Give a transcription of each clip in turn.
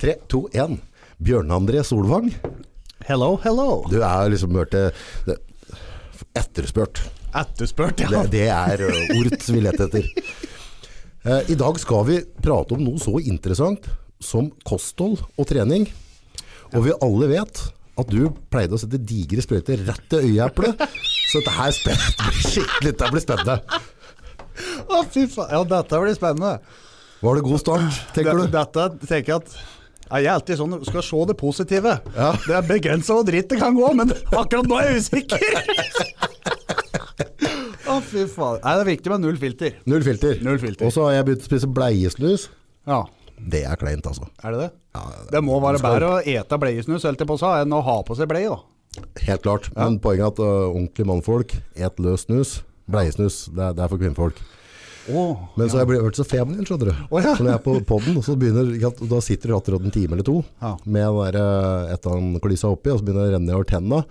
Tre, to, én. Bjørn-André Solvang. Hello, hello. Du er liksom hørt det, det Etterspørt. Etterspurt, ja. Det, det er ø, ord vi leter etter. Eh, I dag skal vi prate om noe så interessant som kosthold og trening. Og vi alle vet at du pleide å sette digre sprøyter rett til øyeeplet. Så dette her spen- blir skikkelig dette blir spennende. Å, fy faen. Ja, dette blir spennende. Var det god start, tenker Det- du? Dette tenker jeg at ja, jeg er alltid sånn, skal se det positive. Ja. Det er begrensa hvor dritt det kan gå, men akkurat nå er jeg usikker! Å, fy faen. Nei, det er viktig med null filter. Null filter. Null filter. Og så har jeg begynt å spise bleiesnus. Ja, Det er kleint, altså. er det det? Ja, Det må være du skal- bedre å ete bleiesnus holdt jeg på å sa, enn å ha på seg bleie. da. Helt klart. Men poenget er at ø, ordentlige mannfolk et løs snus. Bleiesnus, det er, det er for kvinnfolk. Åh. Men så har jeg blitt- vært så feminin, skjønner du. Å, ja. Så når jeg er på podden, så begynner, ikke sant, da sitter du akkurat en time eller to Ja. med den der, eh, et eller annet klysa oppi, og så begynner det å renne over tenna.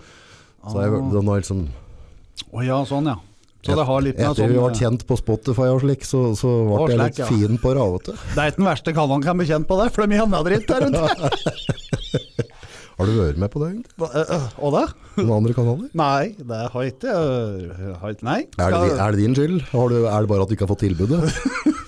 Så har jeg, vært- da nå er jeg liksom, Å ja, sånn Ah. ja. Så det har litt med etter sånn vi ble kjent på Spotify og slik, så, så ble Å, jeg slik, litt ja. fin på det. vet du. Det er ikke den verste kanalen kan bli kjent på der, for det er mye annet dritt der rundt. Har du vært med på det egentlig? Hva, øh, øh, Og da? Noen andre kanaler? Nei, det har jeg ikke. øh, Har ikke nei. Er det, Skal- di- er det din skyld? Har du, er det bare at du ikke har fått tilbudet?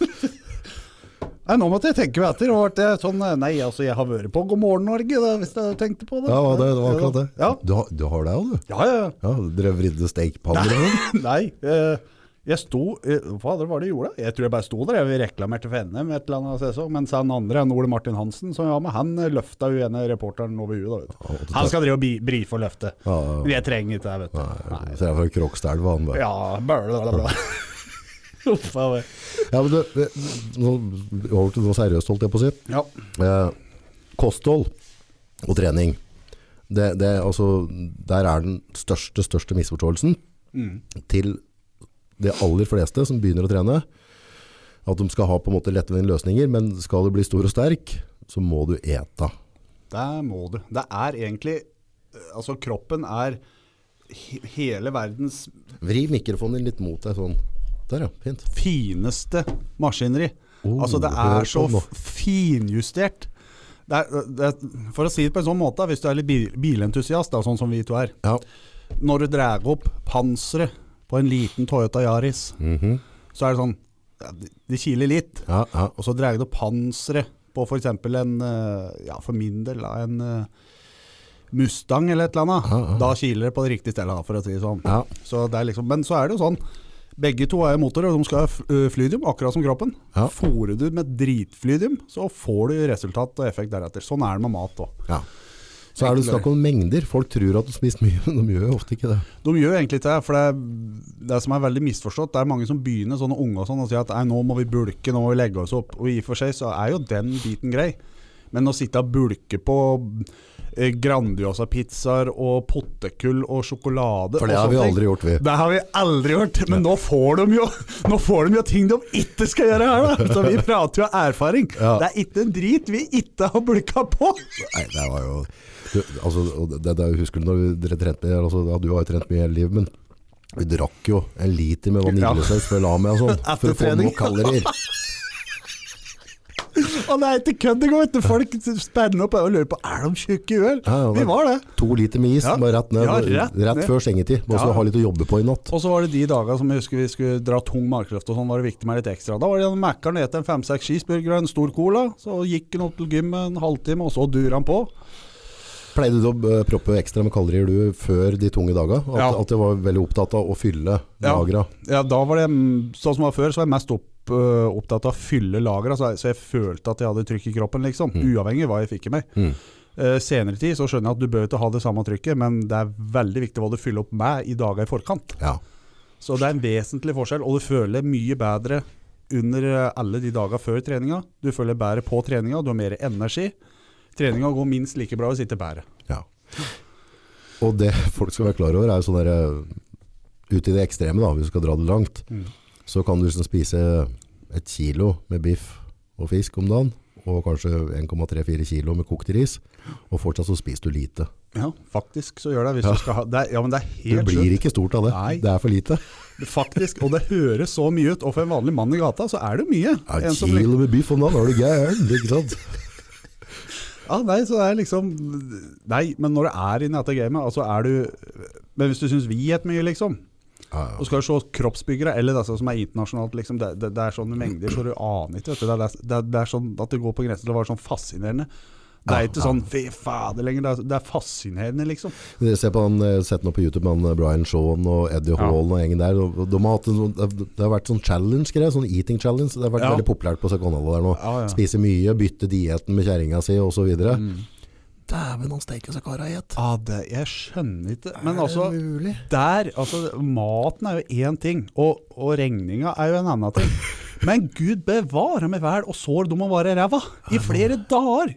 Nei, nå måtte jeg tenke meg etter. Og ble jeg sånn, nei, altså, jeg har vært på God morgen Norge, da, hvis jeg tenkte på det. Ja, det, det var akkurat det. Ja, Du, har, du har det jo, du. ja. ja. Ja, Dere vridde stekepanner og sånn. Nei, eh, jeg sto eh, Hva var det var det jeg gjorde? Jeg tror jeg bare sto der. Jeg reklamerte for NM et eller annet sesong. Mens han andre, han Ole Martin Hansen, som jeg var med, han eh, løfta jo ene reporteren over huet. Da, Å, vet det du. tar- Han skal drive og bi- brife og løfte. Ja, ja, ja. Jeg trenger ikke det, vet du. Nei. Så jeg er fra Krokstadelva, han bare. Ja, blablabla. Uff a meg. Ja, men det, det, nå, over til noe seriøst, holdt jeg på å si. Ja. Eh, kosthold og trening. Det, det, altså, der er den største, største misforståelsen Mm. til de aller fleste som begynner å trene. At de skal ha på en måte lettvinte løsninger, men skal du bli stor og sterk, så må du ete. Det må du. Det er egentlig Altså, kroppen er he- hele verdens Vri mikrofonen din litt mot deg sånn. Der, ja. Fint. fineste maskineri. Oh, altså, det hør er på så den nå. f- finjustert. Det er, eh, det er, for å si det på en sånn måte, hvis du er litt bil- bilentusiast, da, sånn som vi to er Ja. Når du drar opp panseret på en liten Toyota Yaris, så er det sånn ja, det- Det kiler litt. Ja, ja. Og så drar du opp panseret på f.eks. en eh, Ja, for min del, da, en eh, Mustang eller et eller annet. Ja, ja. Da kiler det på det riktige stedet, da, for å si det sånn. Ja. Så det er liksom, men så er det jo sånn. Begge to er jo motorer, og de skal ha f- ø, flydium, akkurat som kroppen. Ja. Fôrer du med dritflydium, så får du resultat og effekt deretter. Sånn er det med mat òg. ja. Så er det snakk om mengder. Folk tror at du spiser mye, men de gjør jo ofte ikke det. De gjør egentlig ikke det, for det, er- det som er veldig misforstått, det er mange som begynner sånne unge og sånn og sier at nei, nå må vi bulke, nå må vi legge oss opp. Og i og for seg så er jo den biten grei, men å sitte og bulke på eh, Grandiosa-pizzaer og pottekull og sjokolade For det og har vi sånne ting, aldri gjort, vi. Det har vi aldri gjort, men nå får de jo Nå får de jo ting de ikke skal gjøre her, da! Så vi prater jo av erfaring. Ja. Det er ikke en drit vi ikke har bulka på! Nei, det var jo du, altså, og det, det, Husker du når vi- dere trente mye? Altså, ja, du har jo trent mye hele livet, men vi drakk jo en liter med vaniljesaus før la meg og sånn. For å få Ettertrening. nok kalorier. Og det er ikke kødd engang! vet du. Folk spenner opp og lurer på er de tjukke i huet. Ja, ja, Vi var det. To liter med is, Ja. bare rett ned. Ja, rett, rett ned. før sengetid. Bare så Ja. du har litt å jobbe på i natt. Og så var det de dagene som jeg husker vi skulle dra tung markløft og sånn, var det viktig med litt ekstra. Da var det en Mækkern og en fem-seks cheeseburger og en stor cola. Så gikk han opp til gymmet en halvtime, og så durer han på. Pleide du å eh, proppe ekstra med kalorier du før de tunge daga? At, Ja. at du var veldig opptatt av å fylle Ja. lagra? Ja, da var det mm, Sånn som det var før, så var jeg mest opp, øh, opptatt av å fylle lagra. Så, jeg- så jeg følte at jeg hadde trykk i kroppen, liksom. Uavhengig av hva jeg fikk i meg. Mm. Eh, senere tid så skjønner jeg at du bør ikke ha det samme trykket, men det er veldig viktig hva du fyller opp med i dager i forkant. Ja. Så det er en vesentlig forskjell, og du føler mye bedre under eh, alle de dagene før treninga. Du føler bedre på treninga, du har mer energi. Treninga går minst like bra hvis ikke bedre. ja. Og det folk skal være klar over, er jo sånn derre Ute i det ekstreme, da, hvis du skal dra det Mm. langt. så kan du liksom spise et kilo med biff og fisk om dagen, og kanskje 1,3-4 kilo med kokt ris, og fortsatt så spiser du lite. Ja, faktisk så gjør det. Hvis du skal ha, det er, ja, men det er Du helt blir sjukt. ikke stort av det. Nei. Det er for lite. Faktisk, og det høres så mye ut. Og for en vanlig mann i gata, så er det mye. Ja, En En som liksom, kilo med biff om dagen, er du gæren? Ikke sant? Ja, nei, så det er liksom Nei, men når du er inne i dette gamet, altså er du Men hvis du syns vi het mye, liksom, Ja, og ja. skal se kroppsbyggere eller disse som er internasjonalt, liksom, det, det, det er sånne mengder så du aner ikke, vet du. Det er, det, er- det er sånn at det går på grensen til å være sånn fascinerende. Det er Ja, ikke sånn fy fader lenger, det er, det er fascinerende, liksom. Dere ser på han, eh, sett nå på YouTube med han, eh, Brian Shawn og Eddie Ja. Hall og gjengen der. og- og De har hatt en, sånn- det det har vært sånn challenge-greier, sånn eating challenge. Det har vært Ja. veldig populært på Sekondalet der nå. Ja, Mm. ja. Spise mye, bytte dieten med kjerringa si osv. videre Dæven, han steker seg kara i ett. Ja, det, jeg skjønner ikke. Er Men det altså, mulig? der, altså, maten er jo én ting, og, og regninga er jo en annen ting. Men gud bevare meg vel, og sår de må være i ræva i flere dager!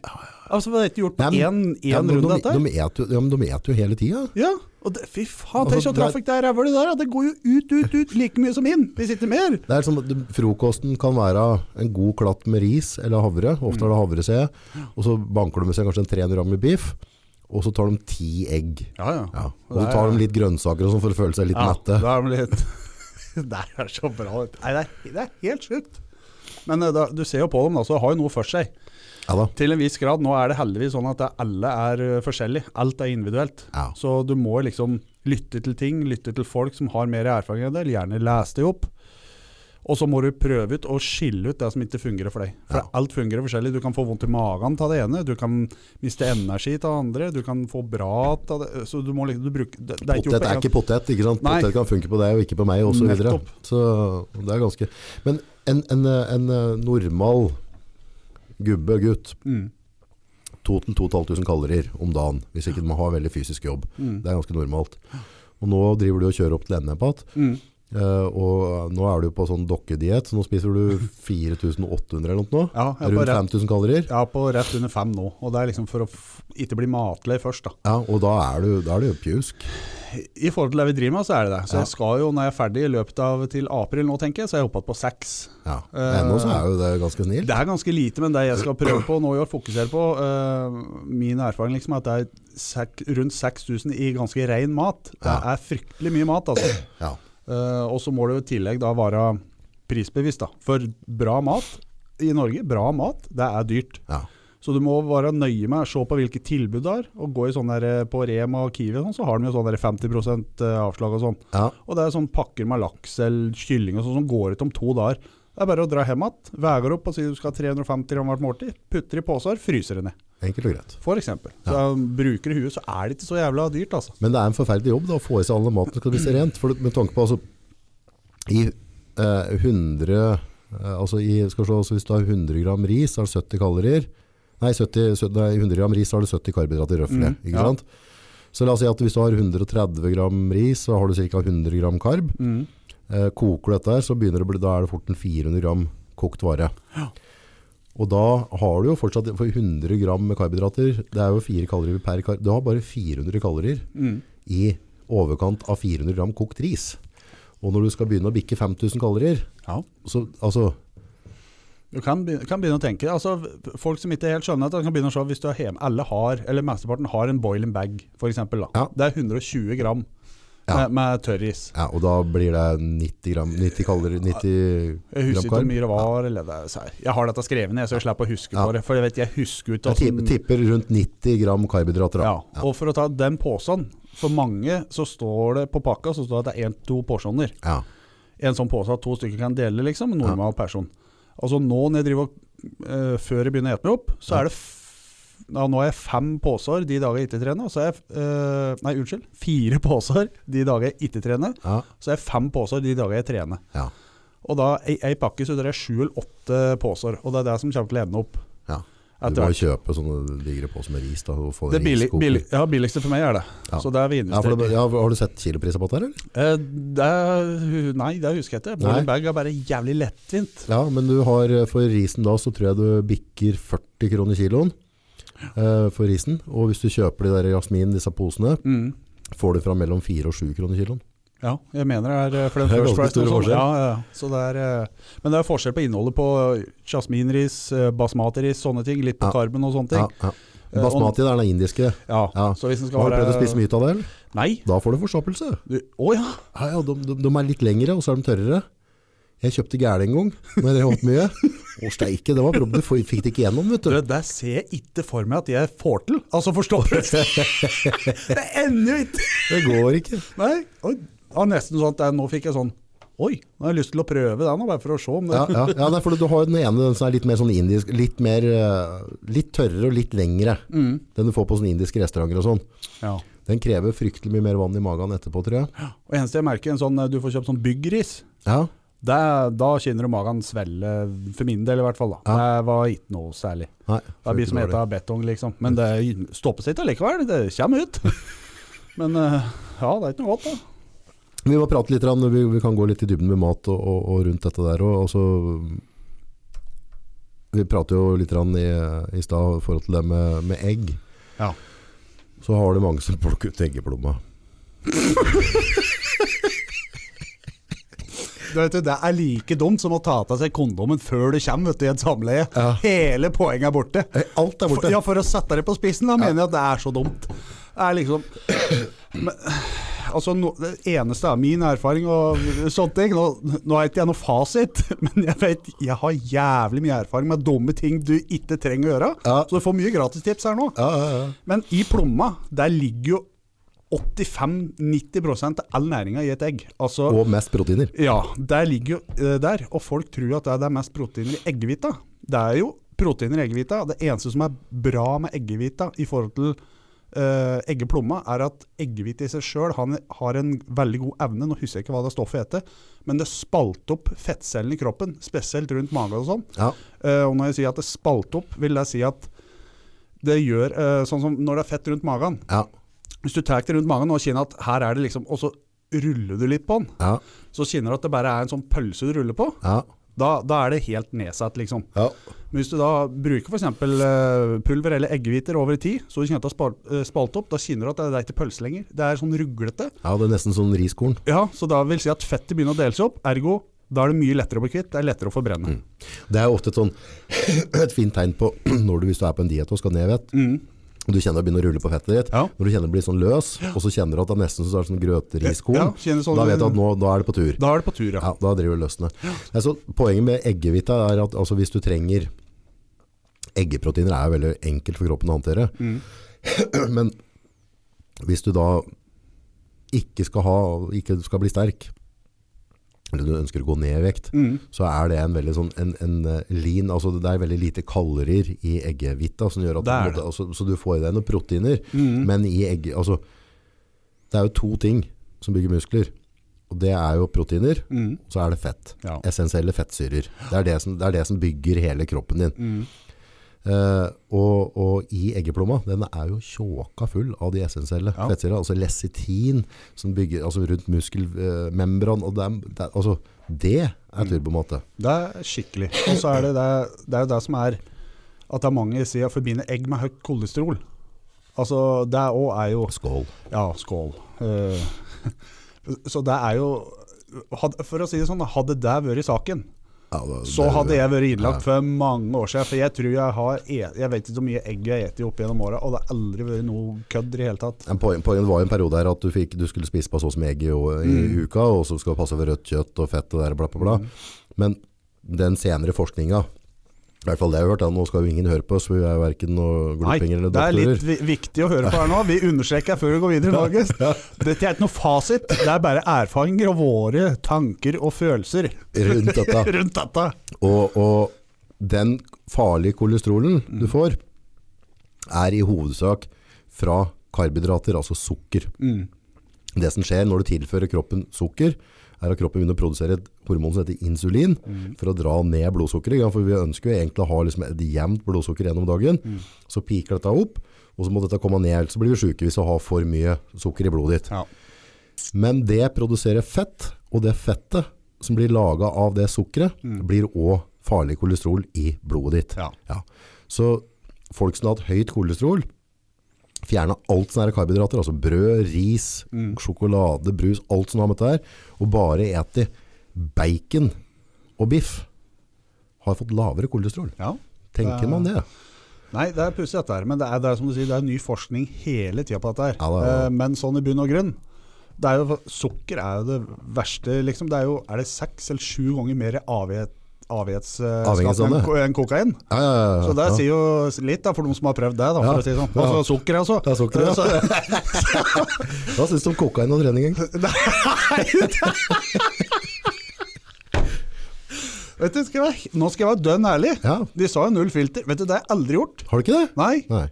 Altså, Vi har ikke gjort på Nei, men- én Ja, men runde, de, dette. de, et jo, ja, men de et jo hele tida. Ja, og det, Fy faen, Altså, tenk så det er- trafikk det er ræva det der! ja. Det går jo ut, ut, ut, like mye som inn, hvis ikke mer! Det er som at Frokosten kan være en god klatt med ris eller havre. Ofte Mm. er det havre, ser jeg. Og så banker du med seg kanskje en 300 gram med biff, og så tar de ti egg. Ja, Ja. Og så tar de litt grønnsaker og sånn for å føle seg litt mette. Da er de litt Det er så bra. vet du. Nei, det er, det er helt sjukt. Men eh, da, du ser jo på dem, da, så har jo noe for seg. Ja da. Til en viss grad. Nå er det heldigvis sånn at det- alle er eh, forskjellig. Alt er individuelt. Ja. Så du må liksom lytte til ting, lytte til folk som har mer erfaring enn deg, eller gjerne lese det opp. Og så må du prøve ut og skille ut det som ikke fungerer for deg. For Ja. alt fungerer forskjellig. Du kan få vondt i magen av det ene, du kan miste energi av det andre, du kan få bra av det Så du må liksom du bruker, det, det er ikke gjort Potet på er en- ikke potet. ikke sant? Nei. Potet kan funke på deg og ikke på meg osv. Så, videre. Nettopp. så det er ganske Men en, en, en eh, normal gubbe, gutt, Mm, 2500 kalorier om dagen, hvis ikke man har veldig fysisk jobb. Mm. Det er ganske normalt. Og nå driver du og kjører opp til NM på at mm. Eh, og nå er du på sånn dokkediett, så nå spiser du 4800 eller noe nå. Ja, jeg er på Rundt rett, 5000 kalorier. jeg er på rett under fem nå, og det er liksom for å f ikke bli matlei først, da. Ja, og da er du, da er du pjusk. I forhold til det vi driver med, så er det det. Så Ja. jeg skal jo, når jeg er ferdig i løpet av til april nå, tenker jeg, så har jeg hoppa på seks. Ja. Eh, Ennå så er jo det ganske snilt. Det er ganske lite, men det jeg skal prøve på nå i år, fokusere på eh, Min erfaring liksom er at det er sek, rundt 6000 i ganske ren mat. Det Ja. er fryktelig mye mat, altså. Ja. Eh, og så må det jo i tillegg da være prisbevisst, da. For bra mat i Norge, bra mat, det er dyrt. Ja. Så du må være nøye med å se på hvilke tilbud det er. Og gå i sånne der, eh, på Rema og Kiwi og sånn, så har de jo sånn der 50 avslag og sånn. ja. Og det er sånn pakker med laks eller kylling og sånn som går ut om to dager. Det er bare å dra hjem igjen, veier opp og si du skal ha 350 gram hvert måltid, putter i poser, fryser det ned. Enkelt og greit. For eksempel. Så bruker du huet, så er det ikke så jævla dyrt, altså. Men det er en forferdelig jobb da, å få i seg all den maten som skal bli rent. For, med tanke på altså, i eh, 100 eh, altså, i, skal vi se, altså, Hvis du har 100 gram ris, så er det 70 kalorier. Nei, 70, 70, nei 100 gram ris, så har du 70 karbohydrater røftlig. Mm, ikke ja. sant? Så la oss si at hvis du har 130 gram ris, så har du ca. 100 gram karb. Eh, koker du dette, her, så begynner det å bli, da er det fort en 400 gram kokt vare. Og da har du jo fortsatt for 100 gram med karbohydrater. Det er jo 4 kalorier per kar. Du har bare 400 kalorier Mm. i overkant av 400 gram kokt ris. Og når du skal begynne å bikke 5000 kalorier, Ja. så altså Du kan, be- kan begynne å tenke. altså v- Folk som ikke helt skjønner det, kan begynne å se hvis du er hjemme. Alle har, eller mesteparten har en boil and bag, f.eks. Ja. Det er 120 gram Ja. med, med tørris. ja, Og da blir det 90 gram 90 kalorier 90 Jeg gram husker ikke hvor karb. mye det var. Eller det, er- så jeg- jeg har dette skrevet ned, så jeg slipper å huske Ja. for det. For jeg vet, jeg husker ut Jeg tipper, tipper rundt 90 gram karbohydrater. da. Ja, Ja. og for å ta den påsen For mange så står det på pakka Så står det at det er en, to porsjoner Ja. En sånn påse at to stykker kan dele liksom En normal person Altså nå når jeg driver og, eh, Før jeg begynner å ete meg opp Så er det f- ja, Nå har jeg fem påser de dager jeg ikke trener og Så er jeg eh, Nei, unnskyld Fire påser de dager jeg ikke trener Ja. Så er jeg fem påser de dager jeg trener Ja. Og da ei, ei pakke så er det sju eller åtte påser Og det er det som kommer til å ende opp ja. Du etter må hvert. jo kjøpe sånne digre poser med ris. da og få Det billig, riskoker. billig, ja, billigste for meg er det Ja. Så det er vi Ja, for investerer det, ja, har du sett kilopriser på dette? her, eller? Eh, det er, nei, det husker jeg ikke. Nei. Bollen Bag er bare jævlig lettvint. Ja, men du har eh, for risen da, så tror jeg du bikker 40 kroner kiloen eh, for Mm. risen. Og hvis du kjøper de der jasmin, disse posene, får du fra mellom 4 og 7 kroner kiloen. Ja, jeg mener det er eh, for den Det er First ganske Price. stor og sånn. forskjell. Ja, ja, ja. Så det er, eh, men det er forskjell på innholdet på jasminris, eh, basmatiris, sånne ting. Litt på Ja. karben Eh, og sånne Ja, ting. ja. Basmati der, den er indiske. Ja, Ja. Så hvis den skal Har du være prøvd å spise mye ut av det? eller? Nei. Da får du forstoppelse. Du- Å ja. Ja, ja, de, de, de er litt lengre, og så er de tørrere. Jeg kjøpte gæle en gang, når jeg drev opp mye. Å, steike, det var problem. Du fikk det ikke gjennom, vet Du, du. det ser jeg ikke for meg at jeg får til. Altså forstoppelse. det ender jo ikke. Det går ikke. Nei. Oi. Ja, nesten sånn at jeg, nå fikk jeg sånn Oi, nå har jeg lyst til å prøve det nå, bare for å se om det Ja, ja, ja nei, for du har jo den ene den som er litt mer sånn indisk, litt mer, eh, litt tørrere og litt lengre. Den du får på sånne indiske restauranter og sånn. Mm. Ja. Den krever fryktelig mye mer vann i magen etterpå, tror jeg. Og eneste jeg merker, en sånn, eh, du får kjøpt sånn byggris. Ja, Det, da kjenner du magen svelle, for min del i hvert fall. Da. Det var ikke noe særlig. nei. Det blir som å spise betong, liksom. Men det stopper seg ikke allikevel. Det kommer ut. Men eh, ja, det er ikke noe godt, da. Vi må prate litt, grann, vi, vi kan gå litt i dybden med mat og, og, og rundt dette der. Og, og så, vi prater jo litt grann i, i stad i forhold til det med, med egg. Ja. Så har du mange som plukker ut eggeplomma. Du vet, det er like dumt som å ta av seg kondomen før du kommer vet du, i et samleie. Ja. Hele poenget er borte. Eh, Alt er For, borte. ja, for å sette det på spissen, da mener jeg at det er så dumt. Det er liksom men, Altså, no, det eneste av min erfaring og sånne ting Nå, nå er ikke jeg noe fasit, men jeg vet jeg har jævlig mye erfaring med dumme ting du ikke trenger å gjøre. Ja. Så du får mye gratistips her nå. Ja, ja, ja. Men i plomma, der ligger jo 85-90 av all næringa i et egg. Altså, Og mest proteiner. ja, der ligger jo eh, der, og folk tror at det er- det er mest proteiner i eggehvita. Det er jo proteiner i eggehvita. Det eneste som er bra med eggehvita i forhold til eh, eggeplomma, er at eggehvite i seg sjøl har en veldig god evne, nå husker jeg ikke hva det stoffet heter, men det spalter opp fettcellene i kroppen, spesielt rundt magen og sånn. Ja. Eh, og når jeg sier at det spalter opp, vil jeg si at det gjør eh, Sånn som når det er fett rundt magen. Ja. Hvis du tar det rundt magen og kjenner at her er det liksom Og så ruller du litt på den Ja. så kjenner du at det bare er en sånn pølse du ruller på, Ja. da, da er det helt nedsatt, liksom. Ja. Men hvis du da bruker f.eks. pulver eller eggehviter over tid, så du kjenner at det er spalt, eh, spalt opp, da kjenner du at det er ikke pølse lenger. Det er sånn ruglete. ja, det er nesten sånn riskorn. Ja, så da vil si at fettet begynner å dele seg opp, ergo da er det mye lettere å bli kvitt, det er lettere å forbrenne. Det er jo ofte et, sånn, et fint tegn på når du, hvis du er på en diet og skal ned vett, Mm. og du kjenner det begynner å rulle på fettet ditt, Ja. når du kjenner det blir sånn løs, og så kjenner du at det er nesten så er det sånn grøteriskorn, Ja, kjenner sånn- da vet du at nå da er det på tur. Da er det på tur, ja. Ja, da driver det løsende. Altså, poenget med eggehvita er at altså, hvis du trenger Eggeproteiner er jo veldig enkelt for kroppen å håndtere. Mm. Men hvis du da ikke skal, ha, ikke skal bli sterk, eller du ønsker å gå ned i vekt, Mm. så er det en veldig sånn en, en eh, lean, altså det er veldig lite kalorier i eggehvita, som gjør at Det Mm. er du, altså, så du får i deg noen proteiner, men i egg, altså, det er jo to ting som bygger muskler, og det er jo proteiner, Mm. og så er det fett. Ja. Essensielle fettsyrer. Det er det, som, det er det som bygger hele kroppen din. Mm. Eh, og, og i eggeplomma, den er jo tjåka full av de essensielle Ja. fettsyrer, altså lecitin som bygger altså rundt muskelmembran, og det er, det er, altså, det er turbomate. Det er skikkelig. Og så er det, det, er- det er jo det som er at det er mange som sier forbinder egg med høyt kolesterol. Altså, det òg er jo Skål. Ja, skål. Eh, så det er jo had- For å si det sånn, hadde det vært saken, Ja, det- så det- hadde jeg vært innlagt for mange år siden. For jeg tror jeg har et, Jeg vet ikke hvor mye egg jeg spiser opp gjennom åra, og det har aldri vært noe kødd i det hele tatt. Men Poen, poenget var jo en periode her at du, fikk, du skulle spise på så som egg i, i Mm. uka, og så skal du passe for rødt kjøtt og fett og der, bla, bla, bla. Men den senere forskninga, i hvert fall det jeg har hørt, da, nå skal jo ingen høre på oss, for vi er jo verken noen Nei, glopinger eller det er doktorer. litt vi viktig å høre på her nå. Vi understreker før vi går videre, Norges. Dette er ikke noe fasit, det er bare erfaringer og våre tanker og følelser Rundt dette. rundt dette. Og, og den farlige kolesterolen du får, er i hovedsak fra karbohydrater, altså sukker. Det som skjer når du tilfører kroppen sukker, er at kroppen begynner å produsere et hormon som heter insulin, for å dra ned blodsukkeret. Ja, for vi ønsker jo egentlig å ha liksom et jevnt blodsukker gjennom dagen. Så piker dette opp, og så må dette komme ned. Så blir vi syke hvis vi har for mye sukker i blodet ditt. Ja. Men det produserer fett, og det fettet som blir laga av det sukkeret, blir òg farlig kolesterol i blodet ditt. Mm. Ja. Så folk som har hatt høyt kolesterol, Fjerne alt sånne her karbohydrater, altså brød, ris, Mm. sjokolade, brus, alt som har med dette her, og bare ete bacon og biff, har fått lavere kolesterol. Ja. Tenker man det? Nei, det er pussig dette her, men det er, det er som du sier, det er ny forskning hele tida på dette her. Ja, det er det. Eh, Men sånn i bunn og grunn det er jo, Sukker er jo det verste, liksom. Det er jo er det seks eller sju ganger mer avhengighet, avhengighetsskapende Avhengighetsskapende. enn, ko- enn kokain. Ja, ja, ja, ja. Så det ja. sier jo litt, da, for de som har prøvd det. da, for Ja. å si det sånn. Ja. Altså sukker, altså. Det er sukker, ja. Så- Hva syns du om kokain og trening? egentlig? Vet du, skal jeg, være- Nå skal jeg være dønn ærlig. Ja. De sa jo null filter. Vet du, det har jeg aldri gjort. Har du ikke det? Nei, Nei.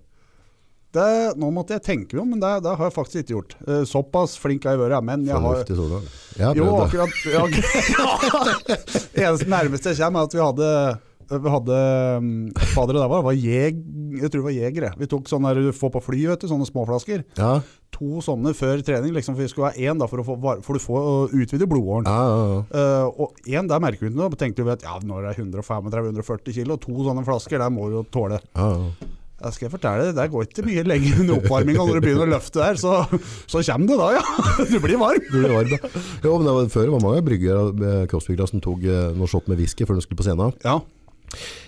det, nå måtte jeg tenke meg om, men det, det har jeg faktisk ikke gjort. Eh, Såpass flink har jeg vært, ja, men jeg har Fornuftig sådan. Jeg har Jo, prøvd det. akkurat. Ja, det eneste nærmeste jeg kommer, er at vi hadde vi hadde mm, Fader, det der var, var jeg, jeg tror det var jegere. Vi tok sånne der du får på fly, vet du, sånne småflasker. Ja, To sånne før trening, liksom, for vi skulle ha én da, for, å få, var- for du får øh, utvide blodåren. ja, ja, ja. Eh, og én der merker vi ikke noe. Tenkte vi at ja, når det er 135-140 kilo, to sånne flasker, der må du jo tåle. ja, ja. Jeg skal fortelle deg, det går ikke mye lenger under oppvarminga når du begynner å løfte der, så, så kommer det da, ja. Du blir varm. Du blir varm, da. Jo, men det var, før var mange bryggere med crossbryggere som tok eh, noen shot med whisky før de skulle på scenen. Ja.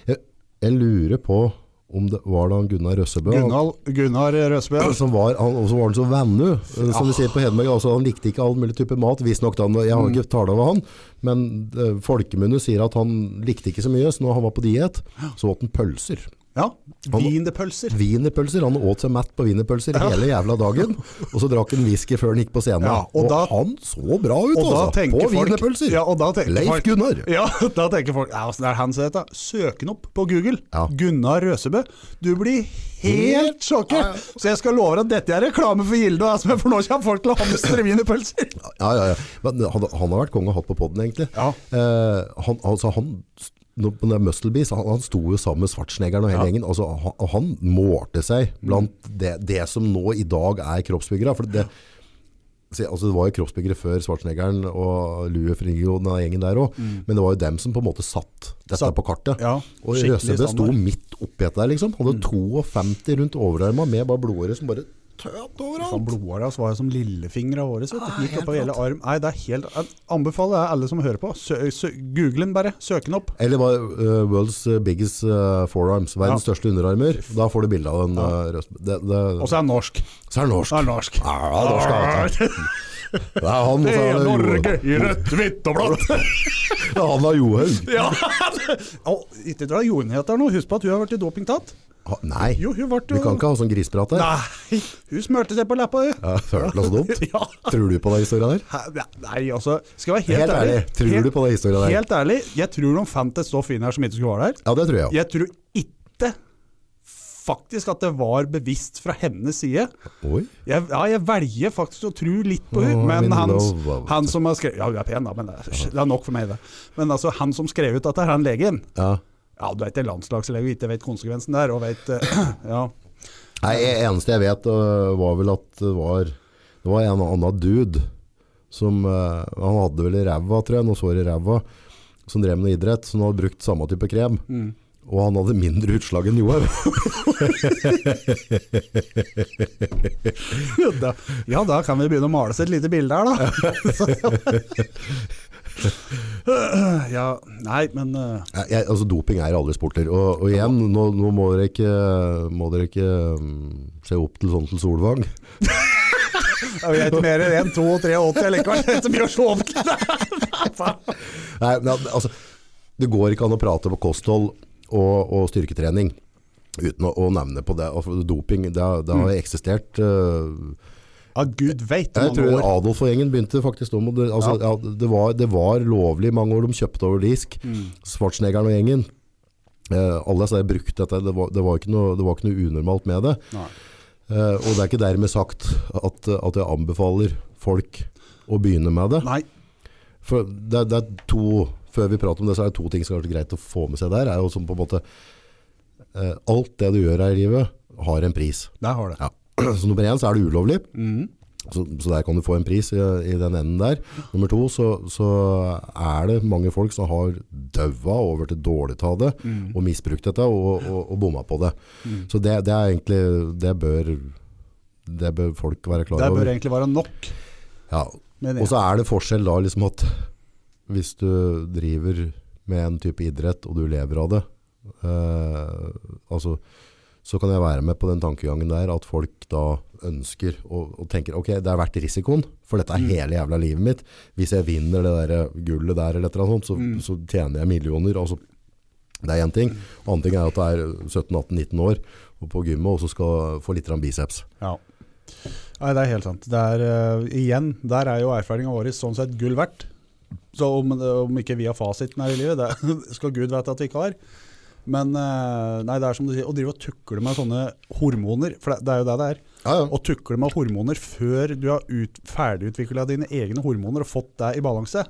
Jeg, jeg lurer på om det var da han Gunnar Røssebø han- eh, Gunnar, Gunnar Røsbø. som var, han, og så var han så vannu, eh, som de sier på Hedmark. Altså, han likte ikke all mulig type mat, visstnok. da han- Jeg har Mm. ikke tale over han, men eh, folkemunne sier at han likte ikke så mye, så når han var på diett, så åt han pølser. Ja. Wienerpølser. Wienerpølser. Han åt seg mett på wienerpølser hele jævla dagen. Og så drakk han whisky før han gikk på scenen. Ja, og, og da- han så bra ut, Og da altså! På tenker folk wienerpølser! ja, og da tenker Leif folk- Gunnar! Ja, da tenker folk ja, Åssen er det han ser ut, da? Søk han opp på Google. Ja. Gunnar Røsebø. Du blir helt Ja, ja. sjokkert! Så jeg skal love deg at dette er reklame for Gilde og Asme, for nå kommer folk til å hamstre wienerpølser! Ja, ja, ja. Men han, han har vært konge og hatt på podden, egentlig. Ja. Eh, han, altså, han, nå på den der Muscle Bees, han, han sto jo sammen med Svartsnegeren og hele gjengen. Altså, han, og han målte seg blant Mm. det, det som nå i dag er kroppsbyggere. For det, se, altså, det var jo kroppsbyggere før Svartsnegeren og Lue Frigo og den der gjengen der òg. Men det var jo dem som på en måte satt dette Mm. Satt- på kartet. Ja, og skikkelig Røsebø sto standard. Mm. midt oppi dette der, liksom. Han hadde 52 rundt overarma med bare blodårer som bare tøt overalt. Faen, blodåra var jo som lillefingra våre. Så vet du. Ah, Gikk helt oppover hele rått. arm. Nei, det er helt jeg Anbefaler jeg alle som hører på. Sø, sø, Google den bare. Søk den opp. Eller bare eh, World's Biggest eh, Forearms, verdens største underarmer. Da får du bilde av en uh, Det, det, Og så er den norsk. så er det norsk. Den er norsk. Ja, det er norsk avtale. Det er han, og Det så er er det Ah, Norge Jo- i rødt, hvitt og blått! Det er han av Johaug. Ja! Og ikke dra jordnhet her nå. Husk på at hun har vært i dopingtatt. Ha- Nei, Jo, hun ble jo vi kan ikke ha sånn grisprat her. Nei! Hun smurte seg på leppa, hun. Ja, Føler du deg så dumt? Ja. Tror du på den historien der? Hæ? Nei, altså. Skal jeg være helt, Helt ærlig, tror du helt- på den historien der? Helt ærlig, jeg tror de fant et stoff inn her som ikke skulle være der. Ja, det tror jeg. Jeg tror ikke faktisk at det var bevisst fra hennes side. Oi. Jeg, ja, jeg velger faktisk å tro litt på Åh, henne, men min han, love. han som har skrevet Ja, hun er pen, da, men det er- det er nok for meg, det. Men altså, han som skrev ut dette, er han legen. Ja. Ja, du er ikke landslagslege og ikke vet konsekvensen der, og vet eh, Ja. Nei, det eneste jeg vet øh, var vel at det var, det var en annen dude som øh, Han hadde vel i ræva, tror jeg, noe sår i ræva, som drev med idrett, så han hadde brukt samme type krem. Og han hadde mindre utslag enn Johaug. Da, ja, da kan vi begynne å male oss et lite bilde her, da. Så- ja, nei, men eh, Jeg- jeg- altså, doping er aldri sporter. Og, og igjen, nå, nå må dere ikke, må dere ikke mm, se opp til sånn til Solvang. Jeg vet mer enn 1, 2, 3, 80 likevel. Det er så mye å se opp til. Nei, men al- altså, det går ikke an å prate på kosthold og, og styrketrening uten å, å nevne på det. Altså, doping, det, har- det har eksistert øh, Ja, gud veit hvor Jeg tror mange år. Adolf og gjengen begynte faktisk om, og det, altså, ja. det, var, det var lovlig mange år de kjøpte over disk. Mm, Svartsnegeren og gjengen. Eh, alle sa jeg brukte dette, det var, det, var ikke noe, det var ikke noe unormalt med det. Nei. Eh, og det er ikke dermed sagt at, at jeg anbefaler folk å begynne med det. Nei. For det, er- det er to, før vi prater om det, så er det to ting som er greit å få med seg der. Er jo som på en måte, eh, alt det du gjør her i livet har en pris. Der har det. Ja. Så nummer én så er det ulovlig. Mm. Så, så der kan du få en pris i, i den enden der. Nummer to så, så er det mange folk som har døva over til dårlig ta det, Mm. og misbrukt dette og, og, og bomma på det. Så det, det er egentlig Det bør det bør folk være klar Det bør over. egentlig være nok. Ja. Men Og så er det forskjell da liksom at hvis du driver med en type idrett og du lever av det, eh, altså, så kan jeg være med på den tankegangen der at folk da ønsker og, og tenker ok, det er verdt risikoen, for dette er Mm. hele jævla livet mitt. Hvis jeg vinner det der eh, gullet der eller et eller annet sånt, så, Mm. så tjener jeg millioner. Altså, det er én ting. Annen ting er at det er 17-18-19 år og på gymmet og så skal få litt grann biceps. Ja. Nei, det er helt sant. Det er, eh, igjen, der er jo erfaringa vår sånn sett gull verdt. Så om, det- om ikke vi har fasiten her i livet, det skal gud vite at vi ikke har. Men eh, nei, det er som du sier, å drive og tukle med sånne hormoner, for det, det er jo det det er. Ja, ja. Å tukle med hormoner før du har ut, ferdigutvikla dine egne hormoner og fått deg i balanse.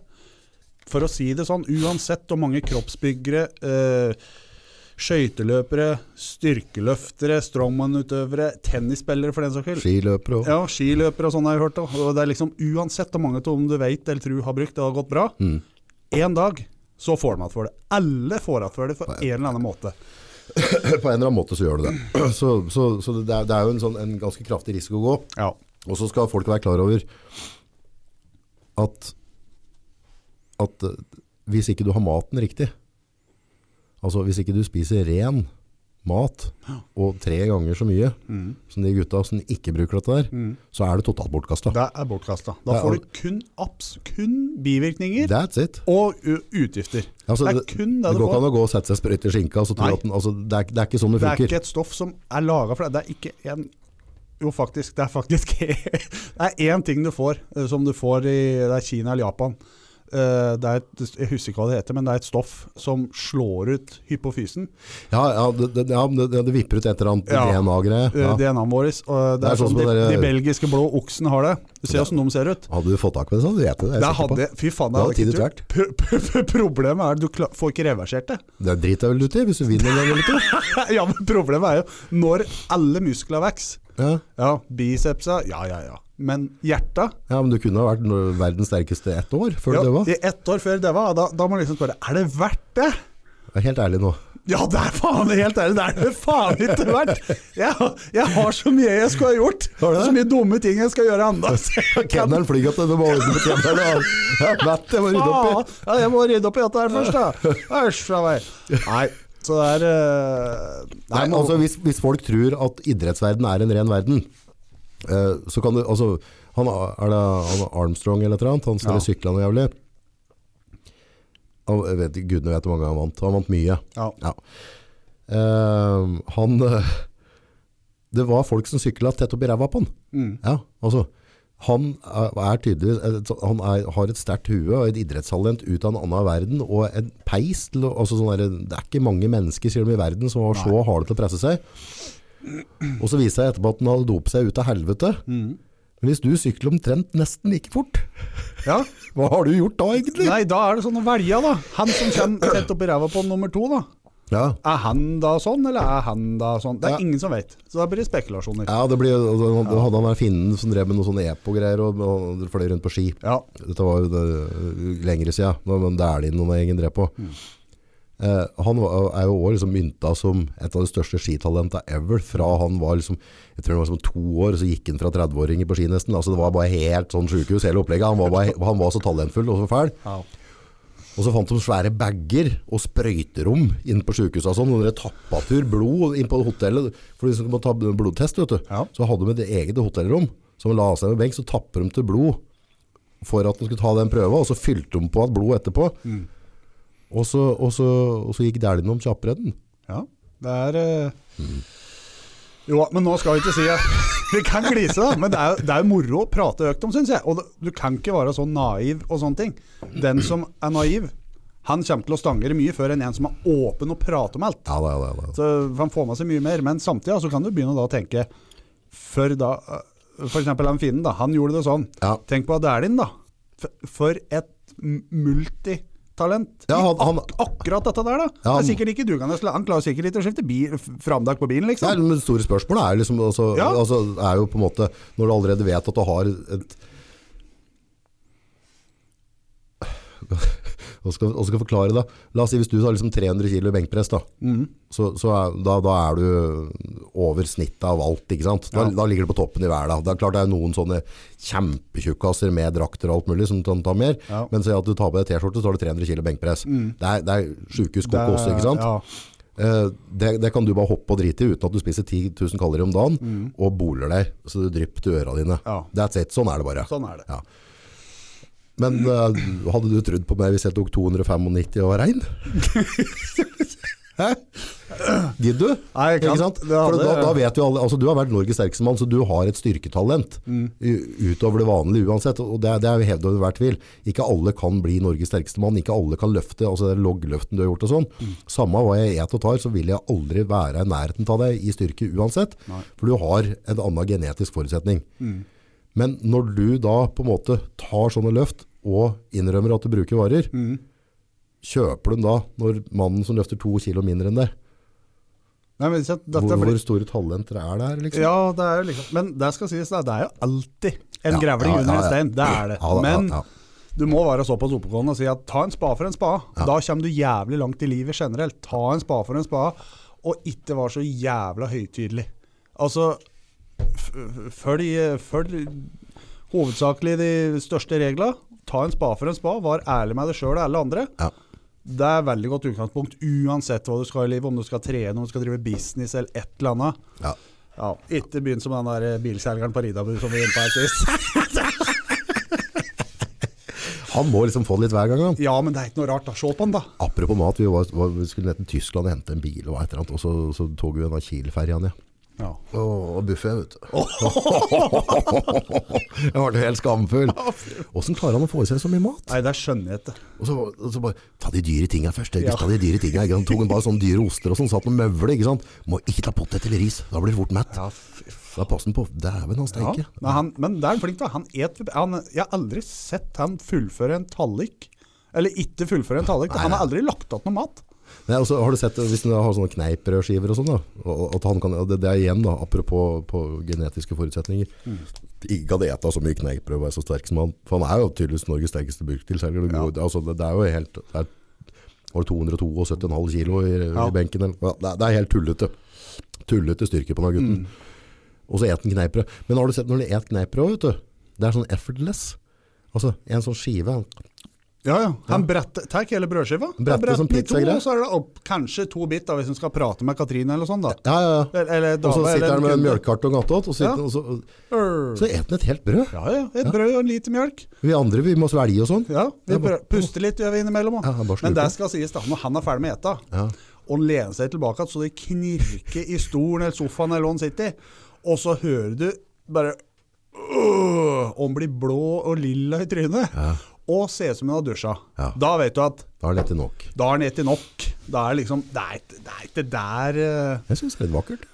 For å si det sånn, uansett hvor mange kroppsbyggere, eh, skøyteløpere, styrkeløftere, strongman-utøvere, tennisspillere for den saks skyld Skiløpere og ja, skiløpere og sånn har jeg hørt. da. Og det er liksom Uansett hvor mange av dem du vet eller tror har brukt, det har gått bra. Mm. En dag så får de igjen for det. Alle får igjen for det på en eller annen måte. på en eller annen måte så gjør du det. Så, så, så det, er, det er jo en, sånn, en ganske kraftig risiko å gå. Ja. Og så skal folk være klar over at, at eh, hvis ikke du har maten riktig, altså hvis ikke du spiser ren mat og tre ganger så mye Mm, som de gutta som ikke bruker dette der, så er det totalt bortkasta. Det er bortkasta. Det Da er får alt. du kun apps, kun bivirkninger That's it. og u- utgifter. Altså, det er kun det, Det du går ikke får. an å gå og sette seg sprøyt i skinka. og Så tro Nei. at den, altså, det, er, det er ikke sånn det Det er funker. ikke et stoff som er laga for deg. Det er ikke en jo, faktisk. Det er faktisk Det er én ting du får, eh, som du får i det er Kina eller Japan. Eh, Det er et, jeg husker ikke hva det heter, men det er et stoff som slår ut hypofysen. Ja, ja, det, det, ja, det, det vipper ut et eller annet Ja. DNA-greie. Eh, Ja. DNA-en vår. Og det er sånn som de, det der- de belgiske blå oksene har det. Du ser åssen de ser ut. Hadde du fått tak på det, så hadde du gjett det. det er Det jeg sikker på. hadde, fy faen, Da det hadde hadde ikke tiden turt. Pro- pro- Problemet er at du kla- får ikke reversert det. Det driter jeg vel ut i, hvis du vinner en gang eller to. Ja, men Problemet er jo når alle muskler vokser. Ja. Ja, bicepsa, ja ja ja. Men hjerta ja, men du kunne ha vært no- verdens sterkeste ett år før ja, du døde. I ett år før døva, da, da må man liksom spørre er det verdt det. Jeg er Helt ærlig nå. Ja, det er faen helt ærlig, det er det faen ikke verdt! Jeg, jeg har så mye jeg skulle ha gjort, Har du det? så mye dumme ting jeg skal gjøre ennå. så jeg kan- Kenneren flyr at du må ordne på kenneren. Jeg er mett, jeg må rydde opp i. Faen! Ja, jeg må rydde opp i dette her først, da. Æsj fra meg. Nei, så det er eh, Nei, man- altså, hvis, hvis folk tror at idrettsverden er en ren verden, eh, så kan du altså, han, Er det han Armstrong eller et eller annet? Han som Ja. ja. sykla noe jævlig? Han, jeg vet, ikke- gudene vet hvor mange han vant. Han vant mye. ja. Ja. Eh, han eh, Det var folk som sykla tett opp i ræva på han. Mm. Ja, altså. Han er er tydeligvis et så- Han er, har et sterkt hue og et idrettstalent ut av en annen verden. Og en peis til å altså sånn derre- Det er ikke mange mennesker sier de, i verden som var så harde til å presse seg. Og så viser det seg etterpå at han hadde dopet seg ut av helvete. Mm. Men hvis du sykler omtrent nesten like fort, ja. hva har du gjort da egentlig? Nei, da er det sånn å velge, da. Han som kommer tett opp i ræva på nummer to, da. Ja. Er han da sånn, eller er han da sånn? Det Ja. er ingen som vet. Så da blir det spekulasjoner. Ja, det blir, altså, han, hadde han vært finnen som drev med noe sånn epo-greier og, og fløy rundt på ski. Ja. Dette var jo det, uh, lengre siden, nå, men det er det noen jeg ingen drev på. Eh, han var, er jo også liksom mynta som et av de største skitalenta ever, fra han var liksom, jeg tror han var som to år, så gikk han fra 30-åringer på ski nesten, altså det var bare helt sånn sykehus, hele opplegget, han var, bare, han var så talentfull og så fæl. ja. Og så fant de svære bagger og sprøyterom inn på sykehuset og sånn. Og dere tappatur blod inn på hotellet. For de som må ta blodtest, vet du. Ja. Så hadde de et eget hotellrom. Så de la seg med benk, så tapper de til blod for at de skulle ta den prøva. Og så fylte de på at blod etterpå. Mm. Og, så, og, så, og så gikk dæljen om kjappredden. ja. Det er eh, Mm. Jo, men nå skal vi ikke si Vi kan glise, da, men det er, jo- det er jo moro å prate økt om, syns jeg. Og det, du kan ikke være så naiv og sånne ting. Den som er naiv, han kommer til å stangere mye før enn en som er åpen og prater om alt. Ja, da, ja, da, ja, da. Så han får med seg mye mer, men samtidig så kan du begynne da å tenke For da, eh, for eksempel han finnen da, han gjorde det sånn Ja. Tenk på Adelin da For- For et m- multitalent Ja, han, han, Akkurat dette der da Ja, Det er sikkert ikke du kan Han klarer sikkert ikke å skifte bil, framdag på bilen Nei, liksom men det store spørsmålet er jo liksom altså, Ja. altså, er jo på en måte Når du allerede vet at du har et og skal, og skal forklare da. La oss si hvis du har liksom 300 kilo i benkpress da, Mm. så, så er, da, da er du over snittet av alt, ikke sant? Da, Ja. da ligger du på toppen i verden. Det er klart det er noen sånne kjempetjukkasser med drakter og alt mulig som kan ta mer, Ja. Mm. men si at du tar på deg t-skjorte, så har du 300 kilo benkpress. Det er, det er sjukehuskokos, Det- ikke sant? Ja. Eh, det, det kan du bare hoppe og drite i uten at du spiser 10 000 kalorier om dagen, og boler deg så du drypper til øra dine. Mm. Ja. That's it, sånn er det bare. Sånn er det. Ja. Men eh, hadde du trodd på meg hvis jeg tok 295 og var rein? Hæ? Gidd du? Nei, ikke Ikke sant? sant? Det For hadde- da, da vet jo alle, altså Du har vært Norges sterkeste mann, så du har et styrketalent Mm. u- utover det vanlige uansett. Og det, er- det er hevd over hver tvil. Ikke alle kan bli Norges sterkeste mann. Ikke alle kan løfte altså det loggløften du har gjort og sånn. Mm. Samme hva jeg et og tar, så vil jeg aldri være i nærheten av deg i styrke uansett. For du har en annen genetisk forutsetning. Mm. Men når du da på en måte tar sånne løft og innrømmer at du bruker varer, Mm. kjøper du den da når mannen som løfter to kilo mindre enn deg Nei, men ikke sant, dette hvor, blir hvor store talenter er det her? Liksom? Ja, det er jo liksom Men det skal sies, det er- det er jo alltid en Ja, grevling ja, under ja, en ja. stein. Det er det. Ja, da, Men ja, ja. du må være såpass oppegående og si at ta en spa for en spa. Da kommer du jævlig langt i livet generelt. Ta en spa for en spa, og ikke vær så jævla høytidelig. Altså, f- f- følg, følg hovedsakelig de største reglene. Ta en spa for en spa. Vær ærlig med deg sjøl og alle andre. Ja. Det er et veldig godt utgangspunkt uansett hva du skal i livet. Om du skal trene, om du skal drive business eller et eller annet. Ja. Ja, Ikke begynn som den der eh, bilselgeren på Ridabu som vi var inne på her sist. Han må liksom få det litt hver gang. Han. Ja, men det er ikke noe rart. da, Se på den, da. Apropos mat, vi, var, var, vi skulle ned til Tyskland og hente en bil, og, et eller annet, og så, så tog vi en av Kiel-ferjen. Ja. Ja. Og buffé, vet du. jeg ble helt skamfull. Åssen klarer han å få i seg så mye mat? Nei, det skjønner jeg ikke. Og så, og så bare Ta de dyre tinga først. Ja. Ja. Ta de dyre tinga, ikke sant? Tok han bare sånne dyre oster og sånn, satt med møvle. Ikke sant? Må ikke ta potet eller ris, da blir du fort mett. Ja, fy faen. Da passer han på. Dæven, han Ja. steker. Men, han, men det er han flink til. Han et, han, jeg har aldri sett han fullføre en tallik. Eller ikke fullføre en tallik. Han har aldri lagt igjen noe mat. Nei, og så har du sett, Hvis du har sånne kneiprødskiver og sånn, da, og at han kan, og det, det er igjen da, apropos på genetiske forutsetninger. Mm. Ikke hadde eta så mye kneiprød og vært så sterk som han. For han er jo tydeligvis Norges sterkeste burktilselger. Det, går- altså, det, det er jo helt det er, Var det 272,5 kilo i, Ja. i benken? Eller, ja, det, er- det er helt tullete. Tullete styrke på den gutten. Mm. Og så et han kneiprød. Men har du sett når de et kneiprød, vet du? Det er sånn effortless. Altså, en sånn skive. han- Ja, ja. Han bretter tar hele brødskiva. Han bretter bretter som den i to, pizzagreier. og så er det opp, kanskje to bit da, hvis hun skal prate med Katrine eller sånn. da. Ja, ja, ja. Eller, eller Og så dame, eller sitter han med en kunde. mjølkekartong attåt, og, sitter- Ja. og så Ør. Så eter han et helt brød. Ja, ja. Et brød og en liter mjølk. Vi andre vi må svelge og sånn. Ja, vi Ja, bare- prø- puster litt gjør vi innimellom Ja, han bare òg. slurper. Men det skal sies, da, når han er ferdig med å ete, Ja. og han lener seg tilbake så det knirker i stolen eller sofaen eller hva han sitter i, og så hører du bare øh, Og han blir blå og lilla i trynet, og ser ut som han har dusja. Ja. Da vet du at Da er dette nok. da har han spist nok. Da er det liksom Det er ikke- det er ikke der eh, Jeg syns det er litt vakkert.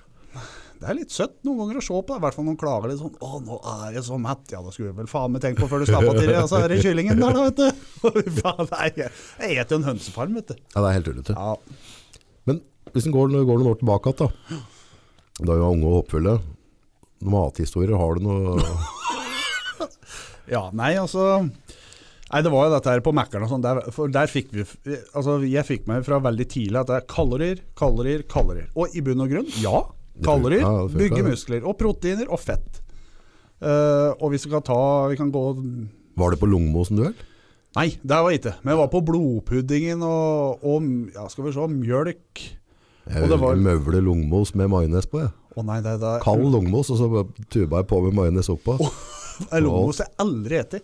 det er litt søtt noen ganger å se på. det, I hvert fall når man klager litt sånn 'Å, nå er jeg så mett.' Ja, det skulle jeg vel faen meg tenkt på før du slappa til. Ja, så er det kyllingen der, da, vet du. Fy faen, nei, jeg jeg eter jo en hønsefarm, vet du. Ja, det er helt tullete. Ja. Men hvis en går, går noen år tilbake igjen, da. Da vi var unge og håpefulle. Noen Mathistorier, har du noe ja, nei, altså Nei, det var jo dette her på Mækkern og sånn. Der, for der fikk vi Altså, jeg fikk med fra veldig tidlig at det er kalorier, kalorier, kalorier. Og i bunn og grunn, ja. Kalorier Ja, det funker, bygger det. muskler. Og proteiner og fett. Eh, og hvis vi skal ta Vi kan gå Var det på Lungmosen duell? Nei, det var jeg ikke. Men jeg var på blodpuddingen og, og ja, skal vi se, mjølk. Og Jeg det var- møvle lungmos med majones på. Jeg. Å nei, det, det Kald lungmos, og så bare tuba jeg på med majones oppå. er lomos jeg aldri etter.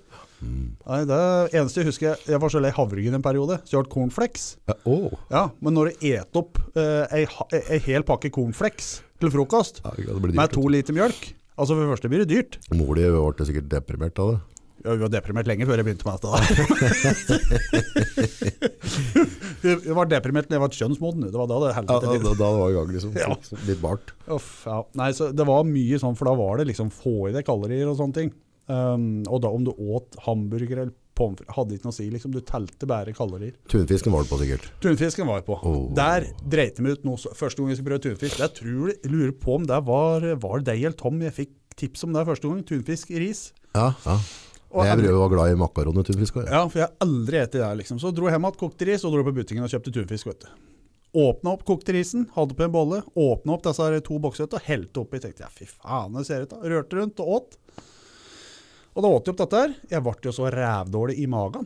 Nei, det eneste jeg husker, jeg var så lei havregryn en periode, så jeg har hatt cornflakes. Ja, Å! Ja, men når du et opp eh, ei, ha- ei hel pakke cornflakes til frokost Ja, det blir dyrt, med to vet liter mjølk, altså for det første blir det dyrt. du. Mor di ble sikkert deprimert av det. Ja, vi var deprimert lenge før jeg begynte med dette. da. Vi var deprimert da jeg var kjønnsmoden, det var da det Ja, helvete da, da, da var det i gang, liksom. Ja. Litt bart. Uff, ja. Nei, så det var mye sånn, for da var det liksom få i deg kalorier og sånne ting. Um, og da om du åt hamburger eller pommes frites, hadde ikke noe å si. liksom, Du telte bare kalorier. Tunfisken var det på, sikkert. Tunfisken var jeg på. Oh. Der dreit de meg ut noe. så- Første gang jeg skulle prøve tunfisk, jeg tror, jeg lurer på om det var, var det deg eller Tom jeg fikk tips om det første gang. Tunfisk i ris. Ja, ja. Og jeg aldri- brød var glad i makaron og tunfisk også, jeg. Ja, for jeg har aldri spist det her, liksom. Så dro jeg hjem igjen, kokte ris, og dro på butikken og kjøpte tunfisk, vet du. Åpna opp kokte risen, hadde på en bolle, åpna opp disse her to bokser vet du, og helte oppi. Tenkte ja, fy faen, det ser ut da. Rørte rundt og åt. Og da åt jeg opp dette her. Jeg ble jo så rævdårlig i magen.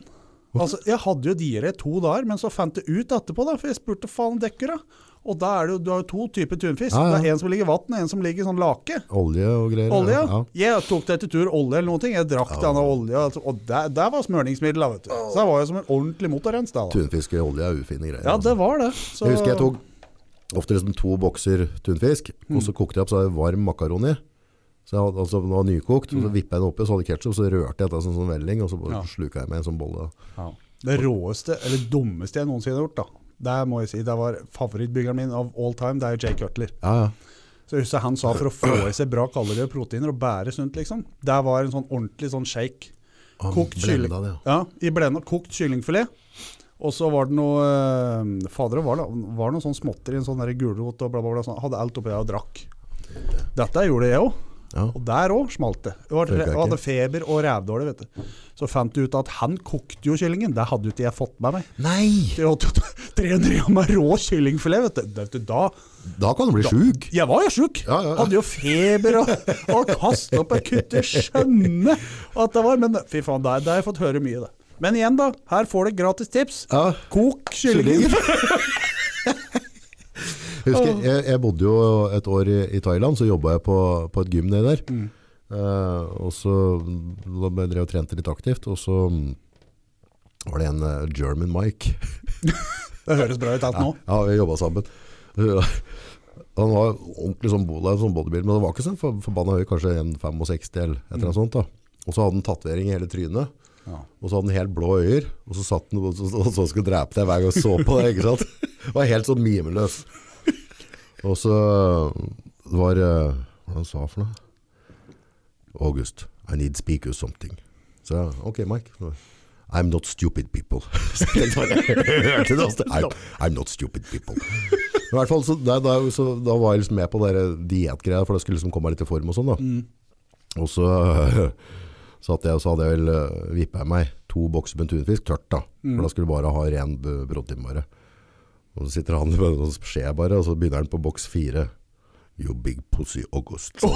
Altså, jeg hadde jo diaré i to dager, men så fant jeg ut etterpå, da, for jeg spurte faen dekker, da. Og da er det jo, du har jo to typer tunfisk. Ja, ja. Det er en som ligger i vann, og en som ligger i sånn lake. Olje og greier. Olje, ja. ja. Jeg tok det til tur olje eller noen ting. Jeg drakk denne olja, altså, og der, der var smøringsmiddel, da, vet du. Så jeg var jo som en ordentlig motorrens da. da. Tunfisk og olje er ufine greier. Ja, altså. det var det. Så- Mm. Jeg husker jeg tok ofte liksom to bokser tunfisk, og så kokte jeg opp så hadde jeg varm makaron i. Så jeg hadde, altså, den var nykokt, og så vippet jeg den oppi, så hadde jeg ketchup, så rørte jeg etter sånn, sånn velling, og så bare Mm. Ja. sluket jeg med en sånn bolle. Ja. Det råeste, eller dummeste jeg noensinne har gjort, da. Det må jeg si, det var favorittbyggeren min av all time, det er Jay Cutler. Ja, ja. Så jeg husker han sa for å få i seg bra kalorier og proteiner og bære sunt, liksom. Det var en sånn ordentlig sånn shake. Han Kokt kylling. blenda det, ja. Ja, i blenda kokt kyllingfilet. Og så var det noe eh, Fader, det var, det var noe sånn småtter i en sånn der gulrot og bla, bla, bla. Sånn. Hadde alt oppi der og drakk. Dette gjorde jeg òg. Ja. Og der òg smalt det. Jeg var, Funka ikke. jeg hadde feber og rævdårlig, vet du. Så fant du ut at han kokte jo kyllingen. Det hadde jo ikke jeg fått med meg. Nei! 300 gram med rå kyllingfilet, vet du. Vet du, Da Da kan du bli sjuk. Jeg var jo sjuk. Ja, ja, ja. Hadde jo feber og, og kastet opp og kutte skjønne at det var Men fy faen, der, der har jeg fått høre mye, det. Men igjen, da. Her får du gratis tips. Ja. Kok kyllingen. Husker, jeg, jeg bodde jo et år i, i Thailand, så jobba jeg på, på et gym nede der. Eh, og så da ble- drev jeg og trente litt aktivt, og så mm, var det en eh, German Mike. Det høres bra ut alt nå. Ja, vi jobba sammen. Uh, Han var ordentlig sånn, bola, sånn bodybuilder, men han var ikke sånn for- forbanna høy, kanskje 1,65 eller et eller annet sånt. da. Og så hadde han tatovering i hele trynet. Ja. Og så hadde han helt blå øyer, og så satt han og så, og så skulle drepe deg hver gang han så på deg. ikke sant? Var helt sånn mimeløs. Og så var eh, Hva var det han sa for noe? August, I need speak you something. Så jeg, ok Mike, I'm not stupid people. Så jeg bare hørte det også. I'm, I'm not stupid people. Men i hvert fall, så, da, da, så, da var jeg liksom med på dere dietgreier, for det skulle liksom komme meg litt i form og sånn da. Og så satt jeg og sa det vel, eh, vippet jeg meg to bokser med tunfisk, tørt da. For da skulle du bare ha ren b- protein bare. Og så sitter han med en sånn skje bare, og så begynner han på boks fire. You big pussy August. Så,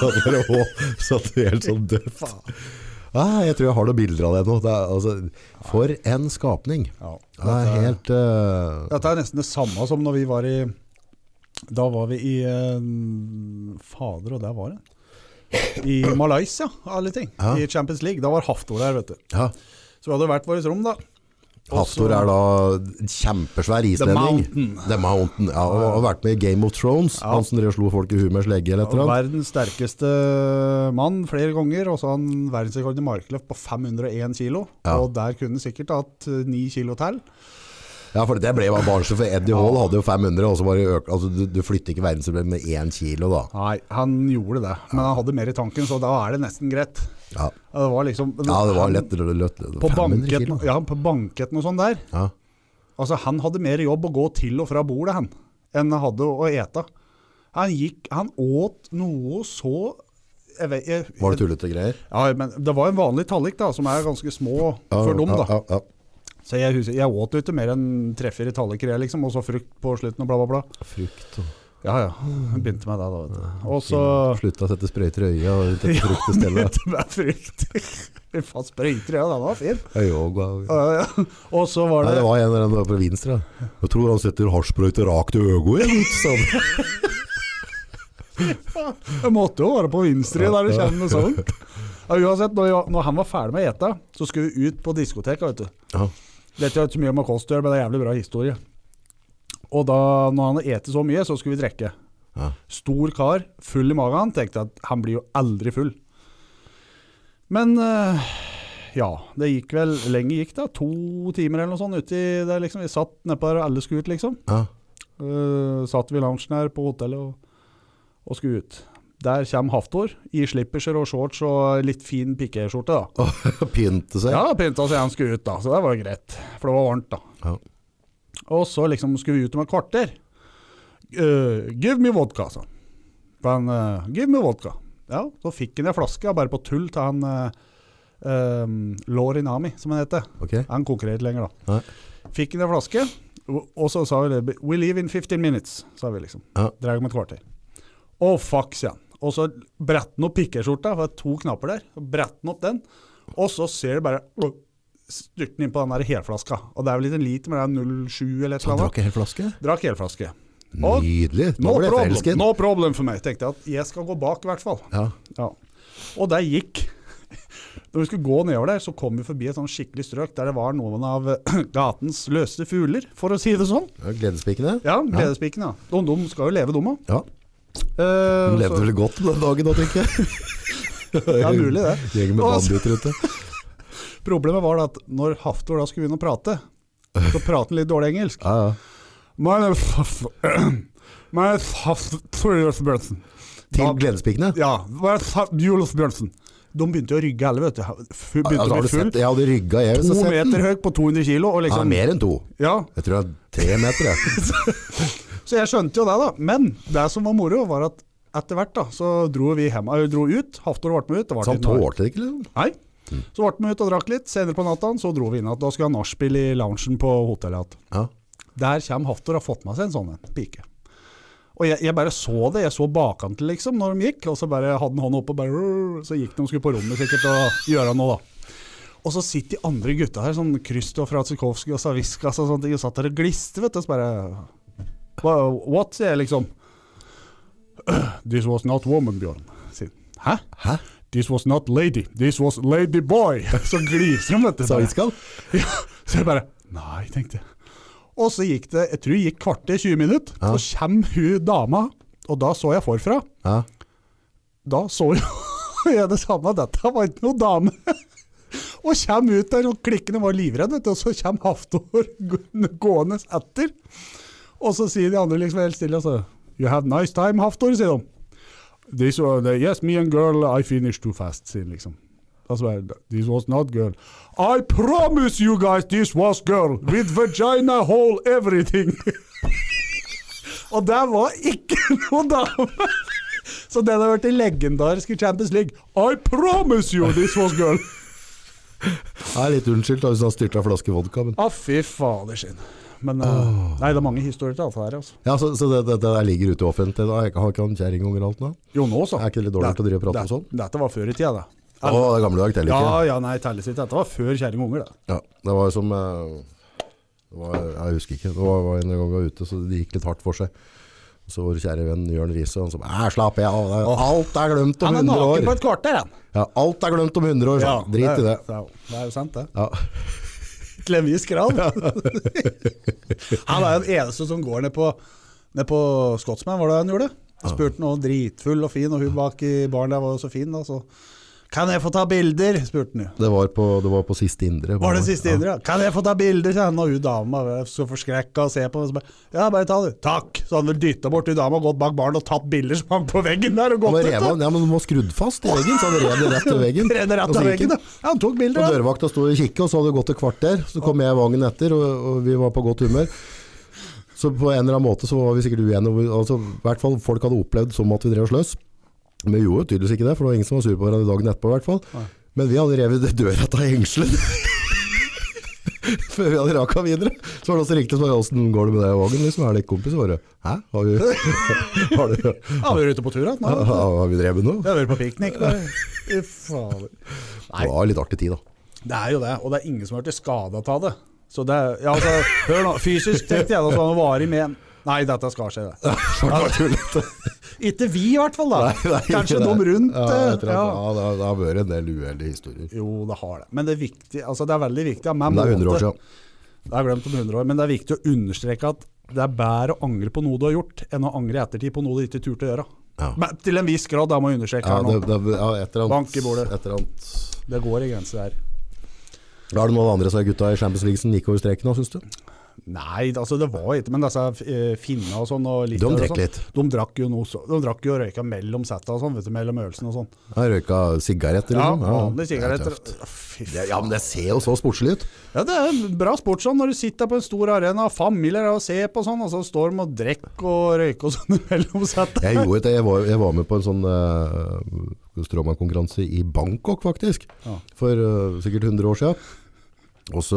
så, bare, å, satt du helt sånn dødt. Ah, jeg tror jeg har noen bilder av det nå. Det er, altså, for en skapning. Ja. Det er helt eh, Dette er nesten det samme som når vi var i Da var vi i eh, Fader, og der var det. I Malaysia, av alle ting. Ja. I Champions League. Da var Haftor der, vet du. ja. Så vi hadde hvert vårt rom, da. Og så- Haftor er da en kjempesvær islending. Mountain. The Mountain. Ja, og har vært med i Game of Thrones. Ja. Han som drev og slo folk i huet med slegge eller et eller annet. Verdens sterkeste mann flere ganger, og så har han verdensrekord i markløft på 501 kilo. Ja. Og der kunne han sikkert hatt eh, ni kilo til. Ja, for det ble jo barnslig, for Eddie Hall hadde jo 500, og så var det øk... Altså, du, du flytter ikke verdensrekord med én kilo, da. Nei, han gjorde det, men han hadde mer i tanken, så da er det nesten greit. Ja, Ja, Det var liksom ja det var han- lett. lett, lett På 500 banketten, kilo. ja, på banketten og sånn der. Ja. Altså, han hadde mer jobb å gå til og fra bordet, han, enn han hadde å ete. Han gikk Han åt noe så jeg vet, jeg, Var det tullete greier? Ja, men det var en vanlig tallik, da, som er ganske små for dem, da. Ja, ja, ja. Så jeg, husker, jeg åt jo ikke mer enn tre-fire tallerkener, liksom, og så frukt på slutten og bla, bla, bla. Frukt og Ja, ja. Jeg begynte med det, da, vet du. Og så Slutta å sette sprøyter i øya og tette frukt i stedet. Begynte med frukt. Fy faen, sprøyter, ja. Den var fin. Øyoga. Ja, ja. Og så var Nei, det det var en eller annen på Vinstra. Jeg tror han setter hasjsprøyte rakt i øyet igjen. sa han. Jeg måtte jo være på Vinstri der det kommer noe sånt. Ja, uansett, når, jeg, når han var ferdig med å ete, så skulle vi ut på diskoteket, vet du. Ja. Dette har ikke så mye med kost å gjøre, men det er en jævlig bra historie. Og da når han hadde ete så mye, så skulle vi drikke. Ja. Stor kar, full i magen. Tenkte at han blir jo aldri full. Men eh, ja, det gikk vel lenge gikk da. To timer eller noe sånt uti der, liksom. Vi satt nedpå der, og alle skulle ut, liksom. Ja. Eh, satt vi i loungen her på hotellet og, og skulle ut. Der kommer Haftor i slipperser og shorts og litt fin pikéskjorte, da. Og pynte seg. Ja, pynta seg han skulle ut, da. Så det var jo greit. For det var varmt, da. Ja. Og så liksom skulle vi ut om et kvarter. Eh, give me vodka, sa han. Men, eh, give me vodka. Ja, så fikk han ei flaske, bare på tull, til han eh, um, Lorinami, som han heter. Ok? Han konkurrerer ikke lenger, da. Nei. Fikk han ei flaske, og og så sa vi det. We leave in 15 minutes, sa vi liksom. Ja. Drar om et kvarter. Å, fuck, sier han. Og så bretter han opp pikkeskjorta, for det er to knapper der. og bretter han opp den, og så ser du bare øh, styrten inn på den der helflaska. Og det er vel ikke en liter, men det er 0,7 eller et Så han drakk eller annet. en hel flaske? Drakk helflaske. Og Nydelig. Nå no ble jeg problem, forelsket. no problem for meg, tenkte jeg at jeg skal gå bak, i hvert fall. Ja. Ja. Og der gikk Når vi skulle gå nedover der, så kom vi forbi et sånn skikkelig strøk der det var noen av gatens løse fugler, for å si det sånn. Ja, Gledespikene? Ja, Gledespikene. Ja. De, de skal jo leve, de Eh, òg. Ja. Hun levde vel godt på den dagen da, tenker jeg. det er mulig, det. Gjengen med Og så- banditer ute. Problemet var da at når Haftor da skulle begynne å prate, så prater han litt dårlig engelsk. Ja, ja. My name is Haftor- My name is Haftor Julius Bjørnsen. Til Da- gledespikene? Ja, my name is Haftor Julius Bjørnsen. De begynte å rygge alle, vet du. Fu- Begynte Altså, å har du bli full. sett? Jeg hadde rygga, jeg. hvis To jeg har sett den. meter høy på 200 kilo. Og Ja, liksom, mer enn to. ja, Jeg tror det er tre meter, jeg. Så jeg skjønte jo det, da. Men det som var moro, var at etter hvert da, så dro vi hjem, eller dro ut. Haftor ble med ut. Det var Så han ikke noe- tålte det ikke, liksom? Nei. Så ble vi ut og drakk litt. Senere på natta så dro vi inn igjen. Da skulle han nachspiel i loungen på hotellet igjen. Ja. Der kommer Haftor og har fått med seg en sånn en pike. Og jeg, jeg bare så det. Jeg så bakkanten, liksom, når de gikk. Og så bare hadde han hånda oppe, og bare «Rrr», Så gikk de og skulle på rommet sikkert og gjøre noe, da. Og så sitter de andre gutta her, sånn Krysto fra Tsikowski og Saviskas og sånne ting, og satt der og glister, vet du. Og så bare «Hva- What, sier jeg liksom. This was not woman, Bjørn. sier han. Hæ? Hæ? This was not lady. This was lady boy. Så gliser de, vet du. Sa bare. Iskall? Ja, så jeg bare Nei, tenkte jeg. Og så gikk det jeg tror det gikk kvarter, 20 minutter. Ja. Så kommer hun dama, og da så jeg forfra. Ja. Da så jo jeg det samme, dette var ikke noe dame. Og kommer ut der, og klikkene var livredde, vet du, og så kommer Haftor gå- gående etter. Og så sier de andre liksom helt stille, og så You had nice time, Haftor, sier de. This was, yes, me and girl, I finished too fast, sier de liksom. Og så bare, This was not girl. I promise you guys this was girl, with vagina hole everything. og der var ikke noe dame. Så den har vært i legendariske Champions League. I promise you this was girl! Jeg er litt unnskyldt da, hvis han styrta en flaske vodka. Men. Å, Ah, fy fader sin. Men eh, Nei, det er mange historier til alt det her, altså. Ja, så, så det, det, det der ligger ute offentlig. Da. Jeg Har ikke han kjerring overalt nå? Jo, nå, så. Er ikke det litt dårlig å drive og prate om sånn? Dette var før i tida, det. Å, det er gamle dag teller ja, ikke. ja, nei, telles ikke. Dette var før kjerring og unger, det. Ja, det var jo som eh, det var, Jeg husker ikke. Det var, var en gang jeg var ute, så det gikk litt hardt for seg. Så vår kjære venn Jørn Riise han sa «Æ, slapp av, det er- alt er glemt om Han er 100 naken på år. et kvarter, han. Ja, alt er glemt om 100 år, så drit i det. Ja, det er jo sant, det. Ja. Til en viss grad. han er jo den eneste som går ned på, ned på Scotsman, var det han gjorde? Spurte han og dritfull og fin, og hun bak i baren der var jo så fin, da, så Kan jeg få ta bilder? spurte han jo. Det var på, det var på siste indre. Var det siste indre? ja. Kan jeg få ta bilder? sa han, og hun dama var så forskrekka og se på. Og så bare, ja, bare ta det. Takk! Så han hadde dytta bort hun dama, gått bak baren og tatt bilder som hang på veggen der. og Han gått var revet, ut. ja, men den var skrudd fast i veggen, så han rev det rett til veggen. Redd rett Og så av gikk den. veggen, da. Ja, han tok bilder, Og han. dørvakta sto og kikket, og så hadde det gått et kvarter. Så kom jeg vognen etter, og, og vi var på godt humør. Så på en eller annen måte så var vi sikkert uenige. og vi- Altså, I hvert fall folk hadde opplevd som at vi drev og sløs. Men vi gjorde jo tydeligvis ikke det, for det var ingen som var sur på hverandre dagen etterpå i hvert fall. Men vi hadde revet døra av hengselen. Før vi hadde raka videre. Så var det også riktig som åssen går det med deg og vognen? Liksom, er det ikke kompiser våre? Hæ? Har vi, har du, Ja, vi var ute på tur igjen. nå. har vi drevet noe? Vi har vært på piknik. bare. Fy fader. Det var litt artig tid da. Det er jo det, og det er ingen som har blitt skada av det. Så det er, ja, altså, hør nå, Fysisk tenkte jeg da så han varig men Nei, dette skal skje, det. Ikke vi, i hvert fall. da. Kanskje det- de rundt. Ja, eh, jeg tror at- ja. ja, det, har, det har vært en del uheldige historier. Jo, det har det. Men det er, viktig, altså, det er veldig viktig. ja, Men med det er 100 år måte. siden. Det er glemt om 100 år, men det er viktig å understreke at det er bedre å angre på noe du har gjort, enn å angre i ettertid på noe du ikke turte å gjøre. Ja. Men til en viss grad, da må jeg understreke Ja, her det, nå. det, ja, et eller annet. Bank i bordet. Et eller annet. Det går i grenser her. Da er det noen andre som er gutta i Champions League som gikk over streken nå, syns du? Nei, altså det var ikke Men disse eh, finna og sånn og De liter og drekk sånn, litt. De drakk jo noe så- De drakk jo og røyka mellom setta og sånn, vet du, mellom øvelsen og sånn. Jeg røyka sigaretter. Ja, liksom. vanlige det er sigaretter. tøft. Fy Det- Ja, men det ser jo så sportslig ut. Ja, det er en bra sport sånn, når du sitter på en stor arena og familier er og ser på sånn, og så står de og drikker og røyker og sånn imellom settet. Jeg gjorde det, jeg var, jeg var med på en sånn uh, stråmannkonkurranse i Bangkok faktisk, Ja. for eh, sikkert 100 år siden. Og så,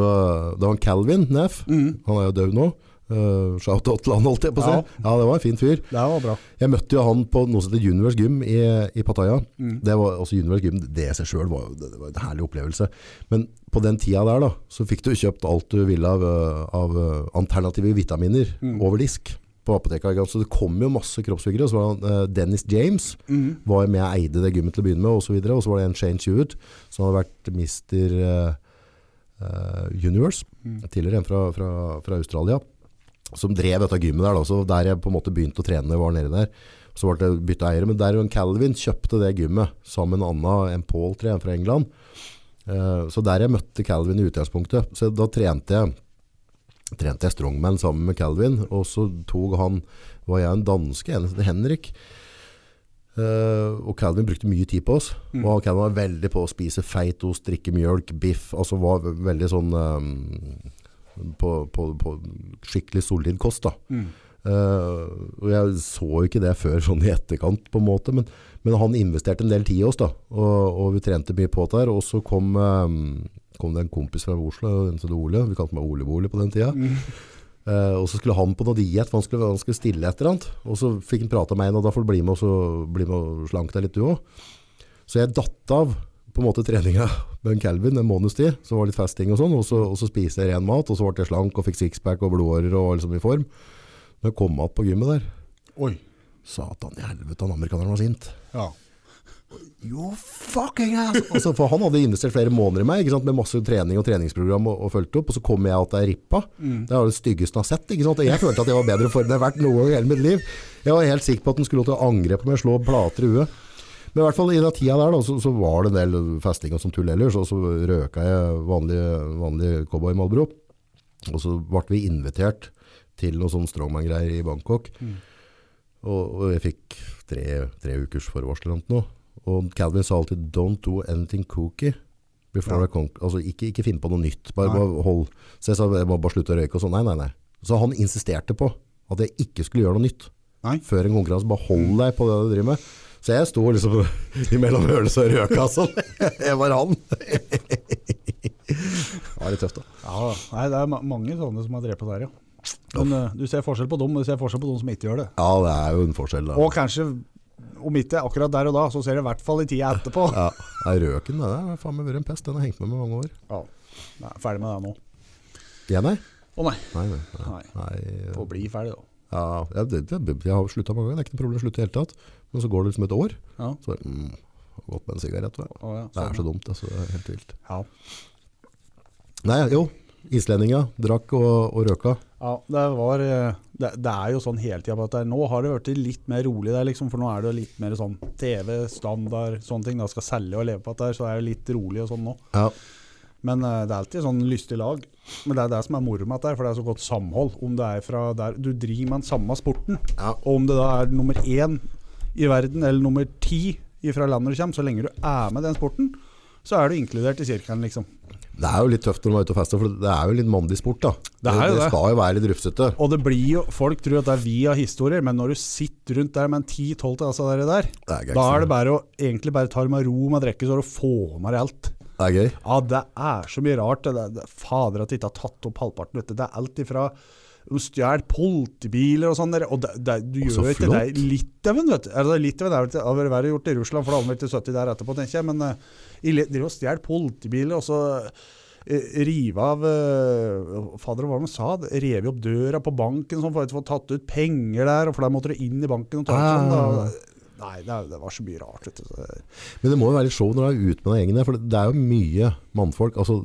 det var en Calvin Neff, han er jo død nå, uh, shout-out til han holdt jeg på å si. Mhm. Ja. Ja. det var en fin fyr. Det var bra. Jeg møtte jo han på noe som heter Universe Gym i, i Pattaya. Det var også Universe Gym, det i seg selv var, jo- det, det var en herlig opplevelse. Men på den tida der da, så fikk du kjøpt alt du ville av, eh, av eh, alternative vitaminer over disk på apoteket. ikke sant? Så det kom jo masse kroppsbyggere, og så var han, eh, Dennis James Mm, var jo med og eide det gymmet til å begynne med, og så videre. Og så var det en Shane Stewart, som hadde vært Mr. eh, eh, Universe, tidligere en fra, fra, fra Australia som drev dette gymmet der. Da. Så der jeg på en måte begynte å trene når jeg var nede der. Så ble det bytta eiere. Men der og en Calvin kjøpte det gymmet sammen med en annen, en Paul tror jeg, fra England. Eh, Så der jeg møtte Calvin i utgangspunktet. Så da trente jeg trente jeg strongman sammen med Calvin, og så tok han, var jeg en danske, en som heter Henrik, Eh, og Calvin brukte mye tid på oss, og han- Calvin var veldig på å spise feitost, drikke mjølk, biff, altså var ve- veldig sånn eh, på, på, på skikkelig solid kost da. mm. Eh, og jeg så jo ikke det før sånn i etterkant på en måte, men, men han investerte en del tid i oss da, og, og vi trente mye på det her, og så kom, eh, kom det en kompis fra Oslo, en som heter Ole, vi kalte meg Ole Bole på den tida, Eh, og så skulle han på noe diet, for han skulle, han skulle stille et eller annet. Og så fikk han prate med en, og da får du bli med og, så, bli med og slanke deg litt du òg. Så jeg datt av på en måte treninga med en Calvin en måneds tid. Så var det litt fasting og sånn, og så, og så spiste jeg ren mat, og så ble jeg slank og fikk sixpack og blodårer og var liksom i form. Når jeg kom opp på gymmet der, Oi. satan i helvete, han amerikaneren var sint. Ja. You fucking ass! Altså, for han hadde investert flere måneder i meg, ikke sant? med masse trening og treningsprogram og, og fulgt opp, og så kom jeg at jeg rippa. Det var det styggeste han har sett. Ikke sant? Og jeg følte at jeg var bedre form enn jeg har vært noen gang i hele mitt liv. Jeg var helt sikker på at han skulle til å angre på meg, slå plater i huet. Men i hvert fall i den tida der da, så, så var det en del festing og som tull ellers, og så røka jeg vanlig, vanlig cowboy Malbro. Og så ble vi invitert til noe sånn strongman-greier i Bangkok. Og, og jeg fikk tre, tre ukers forvarsel eller noe. Og Calvin sa alltid 'don't do anything kooky Before I conquer. Altså, ikke, ikke finn på noe nytt. Bare, Nei. bare hold. Så jeg sa jeg må bare slutte å røyke og sånn. Nei, nei, nei. Så han insisterte på at jeg ikke skulle gjøre noe nytt Nei. før en konkurranse. Bare hold deg på det du driver med. Så jeg sto liksom imellom hølelse og røka sånn. Jeg var han. Det var litt tøft, da. ja. Nei, det er ma mange sånne som har drept der, ja. Men eh, du ser forskjell på dem, og du ser forskjell på dem som ikke gjør det. Ja, det er jo en forskjell. Da. Og kanskje, om ikke akkurat der og da, så ser du i hvert fall i tida etterpå. Ja, Nei, røken det har faen meg vært en pest. Den har hengt med meg i mange år. Ja. Nei, ferdig med det nå. Ja, nei? Å nei. Nei, nei. nei. Nei, nei. få bli ferdig da. Ja, jeg, det, det, jeg har slutta mange ganger. Det er ikke noe problem å slutte i det hele tatt. Men så går det liksom et år. Ja. Så bare, mm, godt med en sigarett. vel. Å, ja. Det er så sånn. dumt. Altså, det er helt vilt. Ja. Nei, jo. Islendinga drakk og, og røka. Ja, det, var, eh, det, det er jo sånn hele tida. Nå har det blitt litt mer rolig der, liksom, for nå er det jo litt mer sånn TV, standard, sånne ting. Da skal selge og leve på dette, her, så det er jo litt rolig og sånn nå. Ja, Men eh, det er alltid sånn lystig lag. Men det er det som er moro med dette, her, for det er så godt samhold. Om det er fra der Du driver med den samme sporten, Ja. og om det da er nummer én i verden eller nummer ti fra landet du kommer, så lenge du er med i den sporten, så er du inkludert i sirkelen, liksom. Det er jo litt tøft når man er ute og fester, for det er jo litt mandig sport. da. Det er jo det. skal jo være litt rufsete. Og det blir jo, folk tror at det er via historier, men når du sitter rundt der med en 10-12 til altså dere der, Det er gøy. da er det bare å egentlig bare ta det med ro med drikke, så du får med deg alt. Det er gøy. Ja, det er så mye rart. Det, det, fader at de ikke har tatt opp halvparten. Vet du. Det er alt ifra de stjal politibiler og sånn. der, Og det, det, du så gjør ikke det flott. i Litauen, vet du. Altså, Litauen er vel til- har vel verre gjort i Russland, for da hadde de vel til 70 der etterpå, tenker jeg. Men uh, de stjal politibiler, og så eh, rive av eh, Fader, hva var det de sa? Rev opp døra på banken sånn, for å få tatt ut penger der, og for da måtte du inn i banken og ta ut sånn. Ah. Da. Nei, det, er- det var så mye rart, vet du. Så, Men det må jo være litt show når du er ute med den gjengen der, for det er jo mye mannfolk. Altså,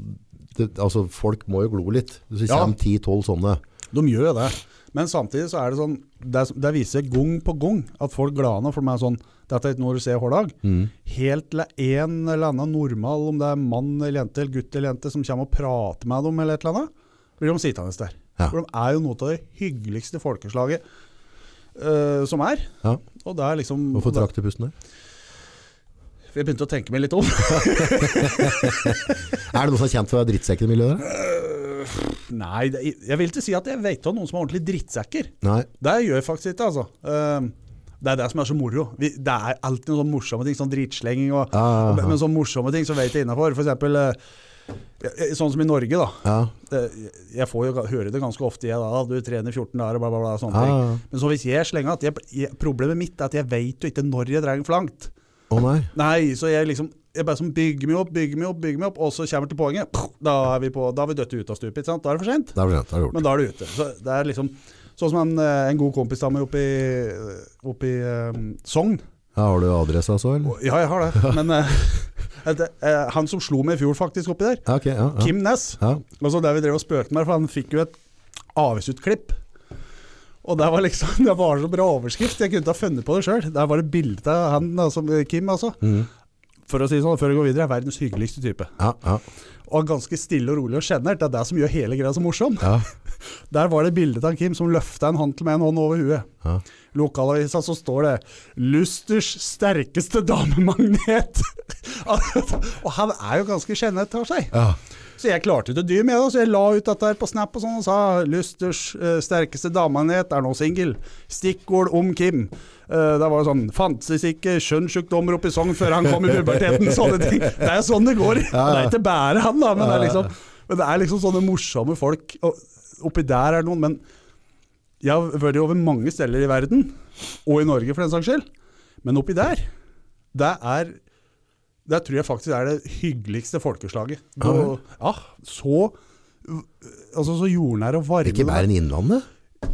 det, altså folk må jo glo litt. Hvis det Ja. kommer 10-12 sånne. De gjør jo det. Men samtidig så er det sånn Det, er- det viser gang på gang at folk glade nå for meg sånn Dette er ikke noe du ser hver dag. Mm. Helt til en eller annen normal, om det er mann eller jente eller gutt eller jente, som kommer og prater med dem eller et eller annet, blir de sittende der. Ja. For de er jo noe av det hyggeligste folkeslaget eh, som er. Ja. Og det er liksom Hvorfor trakk du pusten der? For Jeg begynte å tenke meg litt om. Er det noen som er kjent for å være drittsekk i det miljøet der? Nei, det, jeg vil ikke si at jeg vet om noen som er ordentlig drittsekker. Nei. Det gjør jeg faktisk ikke, altså. Ehm, det er det som er så moro. Vi, det er alltid noen sånne morsomme ting, sånn dritslenging og Ja, ja, ja. Men sånne morsomme ting som vet jeg innafor. F.eks. eh, sånn som i Norge, da. Ja. Eh, Jeg får jo ga- høre det ganske ofte, jeg da. Du trener 14 dager og bla, bla, bla. Sånne Ja, Sånn ting. ja, ja. Men så hvis jeg slenger at jeg, jeg, Problemet mitt er at jeg vet jo ikke når jeg drar den flankt. Å nei. Nei, så jeg liksom jeg bare sånn bygger meg opp, bygger meg opp, bygger meg opp, og så kommer til poenget. Puh, Da er vi, på, da er vi dødt ut av stupet. ikke sant? Da er det for sent. Da er det, da er det gjort. Men da er du ute. Så det er liksom Sånn som en, eh, en god kompis av meg oppe i, oppe i eh, Sogn. Ja, Ah, har du adressa så, eller? Ja, jeg har det. Men eh, det, eh, han som slo meg i fjor faktisk oppi der, Ja, ok. Ja, ja. Kim Ness Ja. Og så der vi drev og spøkte med, for han fikk jo et avisutklipp. Og det var liksom, det var så bra overskrift, jeg kunne ikke ha funnet på det sjøl. Der var det bilde av han, altså, Kim, altså. Mm. For å si det sånn, før jeg går videre, er verdens hyggeligste type. ja, ja, Og ganske stille og rolig og sjenert. Det er det som gjør hele greia så morsom. ja. Der var det bildet av Kim som løfta en håndtel med en hånd over huet. ja. Lokalavisa så står det 'Lusters sterkeste damemagnet'. og han er jo ganske kjennet av seg. ja. Så jeg klarte ikke å dy med det, så jeg la ut dette her på Snap og sånn og sa 'Lusters eh, sterkeste damemagnet er nå singel'. Stikkord om Kim. Eh, det var jo sånn 'Fantes ikke kjønnssykdommer oppe i Sogn før han kom i puberteten'. Sånne ting. Det er jo sånn det går. Ja, Det ja. er ikke bare han, da, men det er Ja, ja. liksom, men det er liksom sånne morsomme folk. Og oppi der er det noen, men jeg har vært over mange steder i verden, og i Norge for den saks skyld, men oppi der, det er Det tror jeg faktisk er det hyggeligste folkeslaget. Ja, Og, ja, så Altså så jordnær og varme. Ikke bare en Innlandet?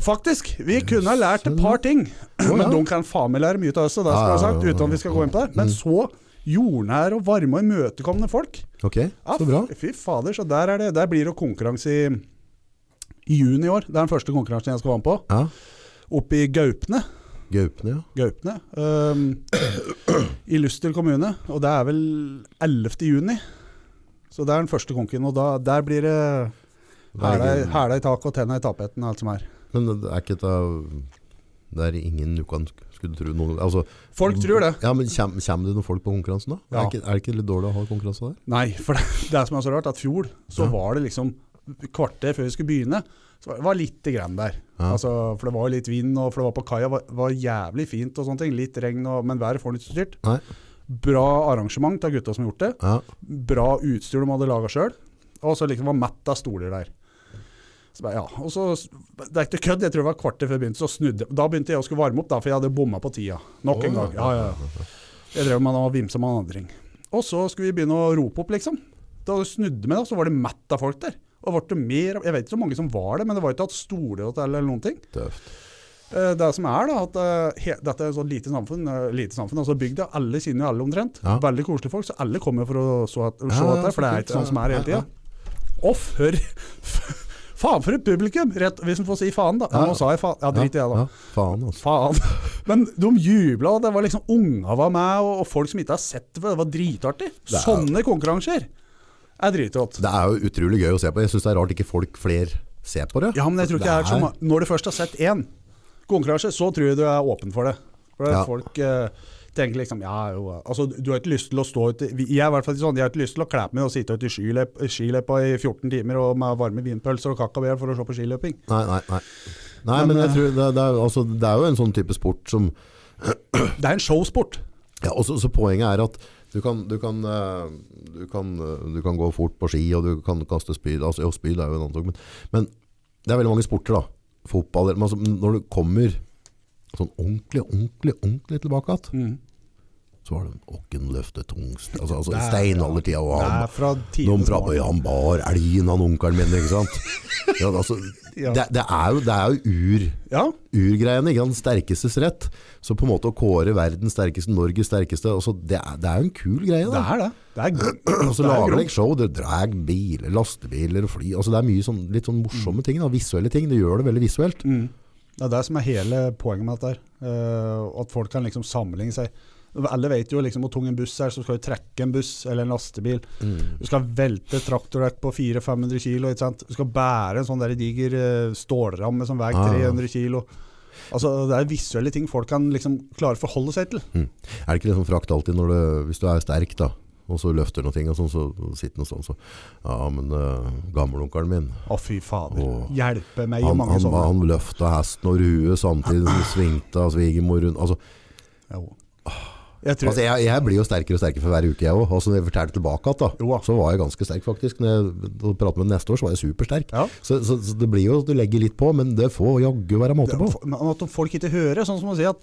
Faktisk! Vi kunne ha lært et par ting, men de kan faen meg lære mye av oss, og det skal jeg ha Ja, sagt, Mm. ja, ja, uten at vi skal gå inn på det. Men så jordnær og varme og imøtekommende folk. Ok, Ja, så bra. Fy fader, så der, er det, der blir det konkurranse i, i juni i år. Det er den første konkurransen jeg skal være med på. Ja. Oppe i Gaupne. Gaupene, ja. Gaupne ehm, I Luster kommune. Og det er vel 11. juni. Så det er den første konken. Og da, der blir det hæla- hæla i taket og tenna i tapeten og alt som er. Men det er ikke et av Det er ingen du kan skulle tro noe altså, Folk tror det. Ja, men kommer, kommer det noen folk på konkurransen da? Ja. Er, ikke, er det ikke litt dårlig å ha konkurranse der? Nei, for det, det som er så rart, at fjor så Ja. var det liksom kvarter før vi skulle begynne, så var- det var lite grann der. Ja. Altså, for det var jo litt vind, og for det var på kaia, var, var jævlig fint og sånne ting. Litt regn, og, men været får litt styrt. Nei. Bra arrangement av gutta som har gjort det. Ja, bra utstyr de hadde laga sjøl. Og så liksom var mett av stoler der. Så bare, ja, og så, Det er ikke kødd, jeg tror det var kvarter før jeg begynte, så snudde Da begynte jeg å skulle varme opp, da, for jeg hadde bomma på tida. Nok en Å, gang. Ja, ja, ja. Jeg drev med å vimse med en andring. Og så skulle vi begynne å rope opp, liksom. Da det snudde meg, da, så var det mett av folk der. Og ble det mer, Jeg vet ikke hvor mange som var det, men det var ikke at stoler og til eller noen ting. tøft. Eh, Det som er da, at eh, he- dette er et sånt lite samfunn, eh, lite samfunn altså bygda, alle kjenner jo alle omtrent. Ja. Veldig koselige folk, så alle kommer for å så at, se Ja, ja, dette, for det er så kult, ikke sånn ja, som er ja, hele tida. Og for Faen for et publikum! Rett, hvis en får si faen, da. Ja. Nå sa jeg faen. Ja, drit i det, da. Ja, faen altså. Faen. Men de jubla, og det var liksom unga var med, og, og folk som ikke har sett det før. Det var dritartig. er- Sånne konkurranser er dritrått. Det er jo utrolig gøy å se på. Jeg synes det er rart ikke folk flere ser på det. Ja, men jeg tror ikke det er så ma- Når du først har sett én konkurranse, så tror jeg du er åpen for det. For Ja. Folk eh, tenker liksom ja, jo, altså, Du har ikke lyst til å stå ute vi- Jeg er i hvert fall sånn, jeg har ikke lyst til å kle på meg og sitte ute i skiløp- skiløpa i 14 timer og med varme vinpølser og kakabær for å se på skiløping. Nei, nei, nei. Nei, men eh, jeg tror det, det, er, altså, det er jo en sånn type sport som Det er en showsport. Ja, og så, så poenget er at du kan, du, kan, eh, du, kan, eh, du kan gå fort på ski, og du kan kaste spyd. Altså, jo, spyd er jo en annen sak, men, men det er veldig mange sporter, da. Fotball eller- men altså, Når du kommer sånn ordentlig, ordentlig, ordentlig tilbake igjen, Mm. så var det en åkken løfte tungst. Altså, altså Det er- steinaldertida og Det han er fra de tidenes prabba, morgen. ja, han bar elgen, han onkelen min, ikke sant? Ja, altså, Ja. det, det er jo, det er jo ur, Ja, urgreiene, ikke sant? Sterkestes rett. Så på en måte å kåre verdens sterkeste, Norges sterkeste, altså, det, er, det er jo en kul greie det da. er det. Det er, Og så det er lager grovt. de show, det drar biler, lastebiler, fly, altså det er mye sånn, litt sånn morsomme ting da, visuelle ting, det gjør det veldig visuelt. mm. Det er det som er hele poenget med dette. her. Eh, at folk kan liksom sammenligne seg. Alle vet jo liksom hvor tung en buss er, så skal du trekke en buss eller en lastebil. Mm. Du skal velte et traktordekk på 400-500 kilo. Ikke sant? Du skal bære en sånn der diger eh, stålramme som veier Ah. 300 kilo. Altså, det er visuelle ting folk kan liksom klare å forholde seg til. Er det ikke liksom frakt alltid når det, hvis du er sterk da, og så løfter noe ting og sånn, så sitter noe sånn, så, ja, men uh, gammelonkeren min, Å, fy fader. Åh. Hjelpe meg og han, mange han, sånne. han løftet hesten over huet samtidig som han svingte av svigermor rundt. Altså, Jo. Jeg tror altså jeg, jeg blir jo sterkere og sterkere for hver uke jeg også, og som jeg fortalte tilbake at da, Jo da. så var jeg ganske sterk faktisk. Når jeg da pratet med den neste år, så var jeg supersterk. ja. Så, så, så det blir jo, at du legger litt på, men det får jaggu være måte på. Det- men At om folk ikke hører, sånn som å si at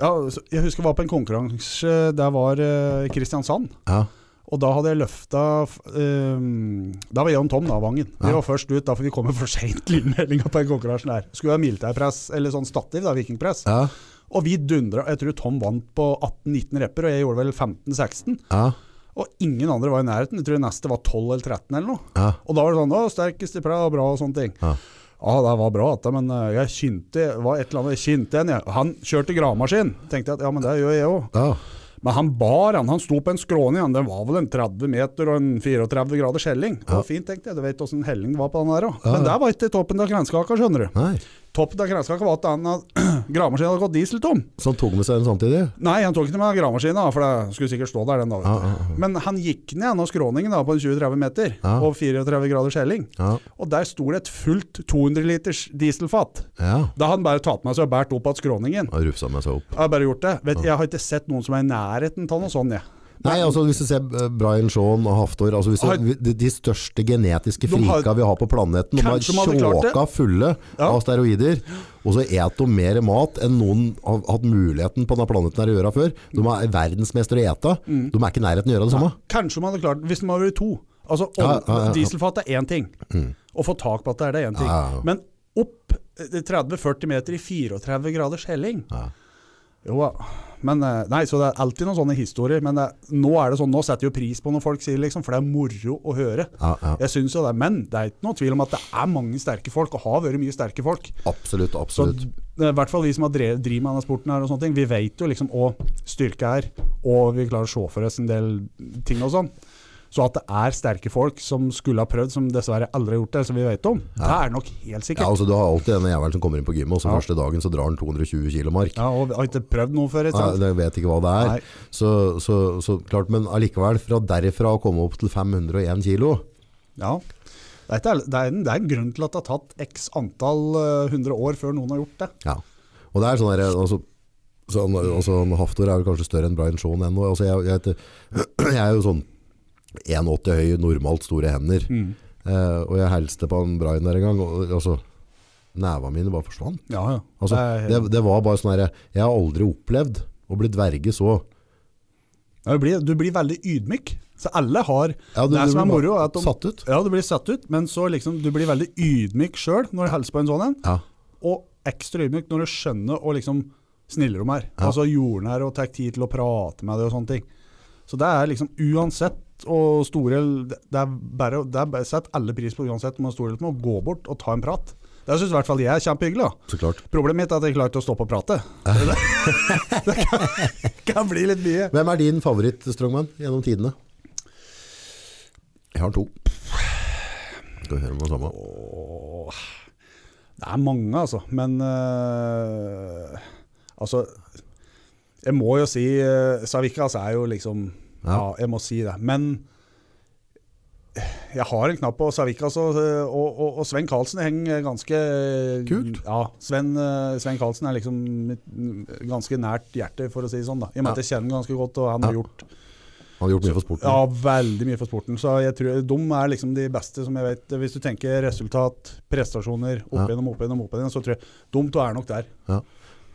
ja, så- Jeg husker jeg var på en konkurranse der var eh, i Kristiansand. Ja, Og da hadde jeg løfta um, Da var jeg og Tom da, Vangen. Vi Ja. var først ut, da, for vi kom med for seint til innmeldinga på den konkurransen der. Skulle ha militærpress, eller sånn stativ, da, vikingpress. ja, Og vi dundra. Jeg tror Tom vant på 18-19 repper, og jeg gjorde vel 15-16. ja, Og ingen andre var i nærheten. Jeg tror neste var 12 eller 13 eller noe. ja. Og da var det sånn Å, sterkest i plæ, og bra og sånne ting. Ja. Ja, det var bra, dette, men eh, jeg kynte det var et eller annet, jeg kynte en, jeg. Han kjørte gravemaskin. Tenkte jeg at ja, men det gjør jeg òg. ja. Men han bar, han, han sto på en skråning, han. den var vel en 30 meter og en 34 grader skjelling. Det var fint, tenkte jeg, du vet åssen helling det var på den der òg. Ja, ja. Men der var ikke toppen av granskaka, skjønner du. Nei, Toppen av granskaka var at han hadde, gravemaskinen hadde gått dieseltom. så han Sånn tok med seg den samtidig? Nei, han tok ikke med gravemaskinen, da, for det skulle sikkert stå der den dagen. Ja, ja, ja. Men han gikk ned av skråningen da, på en 20-30 meter, Ja. og 34 grader skjelling. Ja, Og der sto det et fullt 200 liters dieselfat. ja. Da hadde han bare tatt med seg og båret opp av skråningen. Han rufsa med seg opp. Jeg har bare gjort det. Vet, jeg har ikke sett noen som er i nærheten av noe sånt, jeg. Nei, altså hvis du ser eh, Brian Shawn og Haftor altså hvis Har- du, de, de største genetiske De har- frika vi har på planeten De har Kanskje de hadde klart det. tjåka fulle Ja. av steroider Og så et de mer mat enn noen har hatt muligheten på denne planeten her å gjøre før De er verdensmester å ete Mm. De er ikke i nærheten å gjøre det samme Kanskje man hadde klart Hvis man hadde vært to Altså, om, Ja, ja, ja. dieselfat er én ting. Å få tak på at det er det er én ting. Ja, ja. Men opp eh, 30-40 meter i 34 graders helling Ja. Jo da. Men, eh, nei, så det er alltid noen sånne historier. Men det, er- nå er det sånn, nå setter jeg jo pris på når folk sier liksom, for det er moro å høre. ja, ja. Jeg synes jo det, Men det er ikke noe tvil om at det er mange sterke folk, og har vært mye sterke folk. Absolutt, Så absolutt det er i hvert fall vi som har drevet driv med denne sporten, her og sånne ting, vi vet jo liksom hva styrke er, og vi klarer å se for oss en del ting og sånn. Så at det er sterke folk som skulle ha prøvd, som dessverre aldri har gjort det, som vi vet om, det er nok helt ja, sikkert. altså, Du har alltid denne jævelen som kommer inn på gymmet Og så Ja. første dagen så drar han 220 kilo mark Ja, og vi har ikke prøvd noe før. Ikke Ja, sant? jeg vet ikke hva det Nei. er. Så, så, så klart, men allikevel, fra derifra å komme opp til 501 kilo, Ja. Det, er ikke, alle- det, er en, det er en grunn til at det har tatt x antall eh, hundre år før noen har gjort det. Ja. Og det er sånn der, altså, sånn, altså han Haftor er vel kanskje større enn Brian Shawn ennå. Altså, jeg, jeg, vet- jeg er jo sånn 1,80 høy, normalt store hender. Eh, og jeg helste på han Brian der en gang, og altså, nevene mine bare forsvant. Ja, ja. Altså, det, det, det var bare sånn der, jeg har aldri opplevd å bli dverge så. er- du, blir, du blir veldig ydmyk. Så alle har Ja, du- Det er du som er blir moro, er at bare om- Satt ut. Ja, du blir satt ut, men så liksom, du blir veldig ydmyk sjøl når du hilser på en sånn en, Ja. og ekstra ydmyk når du skjønner og liksom sniller om her. Altså jordnær og tar tid til å prate med deg og sånne ting. Så det er liksom uansett og store Det er bare, det er bare setter alle pris på uansett om man er stor eller liten, å gå bort og ta en prat. Det syns i hvert fall jeg er kjempehyggelig. da. Så klart. Problemet mitt er at jeg ikke klarer ikke å stoppe å prate. Det kan, kan bli litt mye. Hvem er din favoritt strongman gjennom tidene? Jeg har to. Skal vi høre om det samme. Åh. Det er mange, altså. Men eh, altså Jeg må jo si uh, Savikas er jo liksom ja. Ja. jeg må si det. Men jeg har en knapp på Savikas, og, og, og, og Sven Karlsen henger ganske Kult. Ja, Sven, eh, Sven Karlsen er liksom mitt mm, ganske nært hjerte, for å si det sånn. da. I og med at jeg kjenner ham ganske godt, og han har Ja. gjort Han har gjort mye for sporten. ja, veldig mye for sporten. Så jeg tror de er liksom de beste som jeg vet. Hvis du tenker resultat, prestasjoner, opp Ja. igjennom, opp igjennom, opp igjennom, så tror jeg de to er nok der. Ja.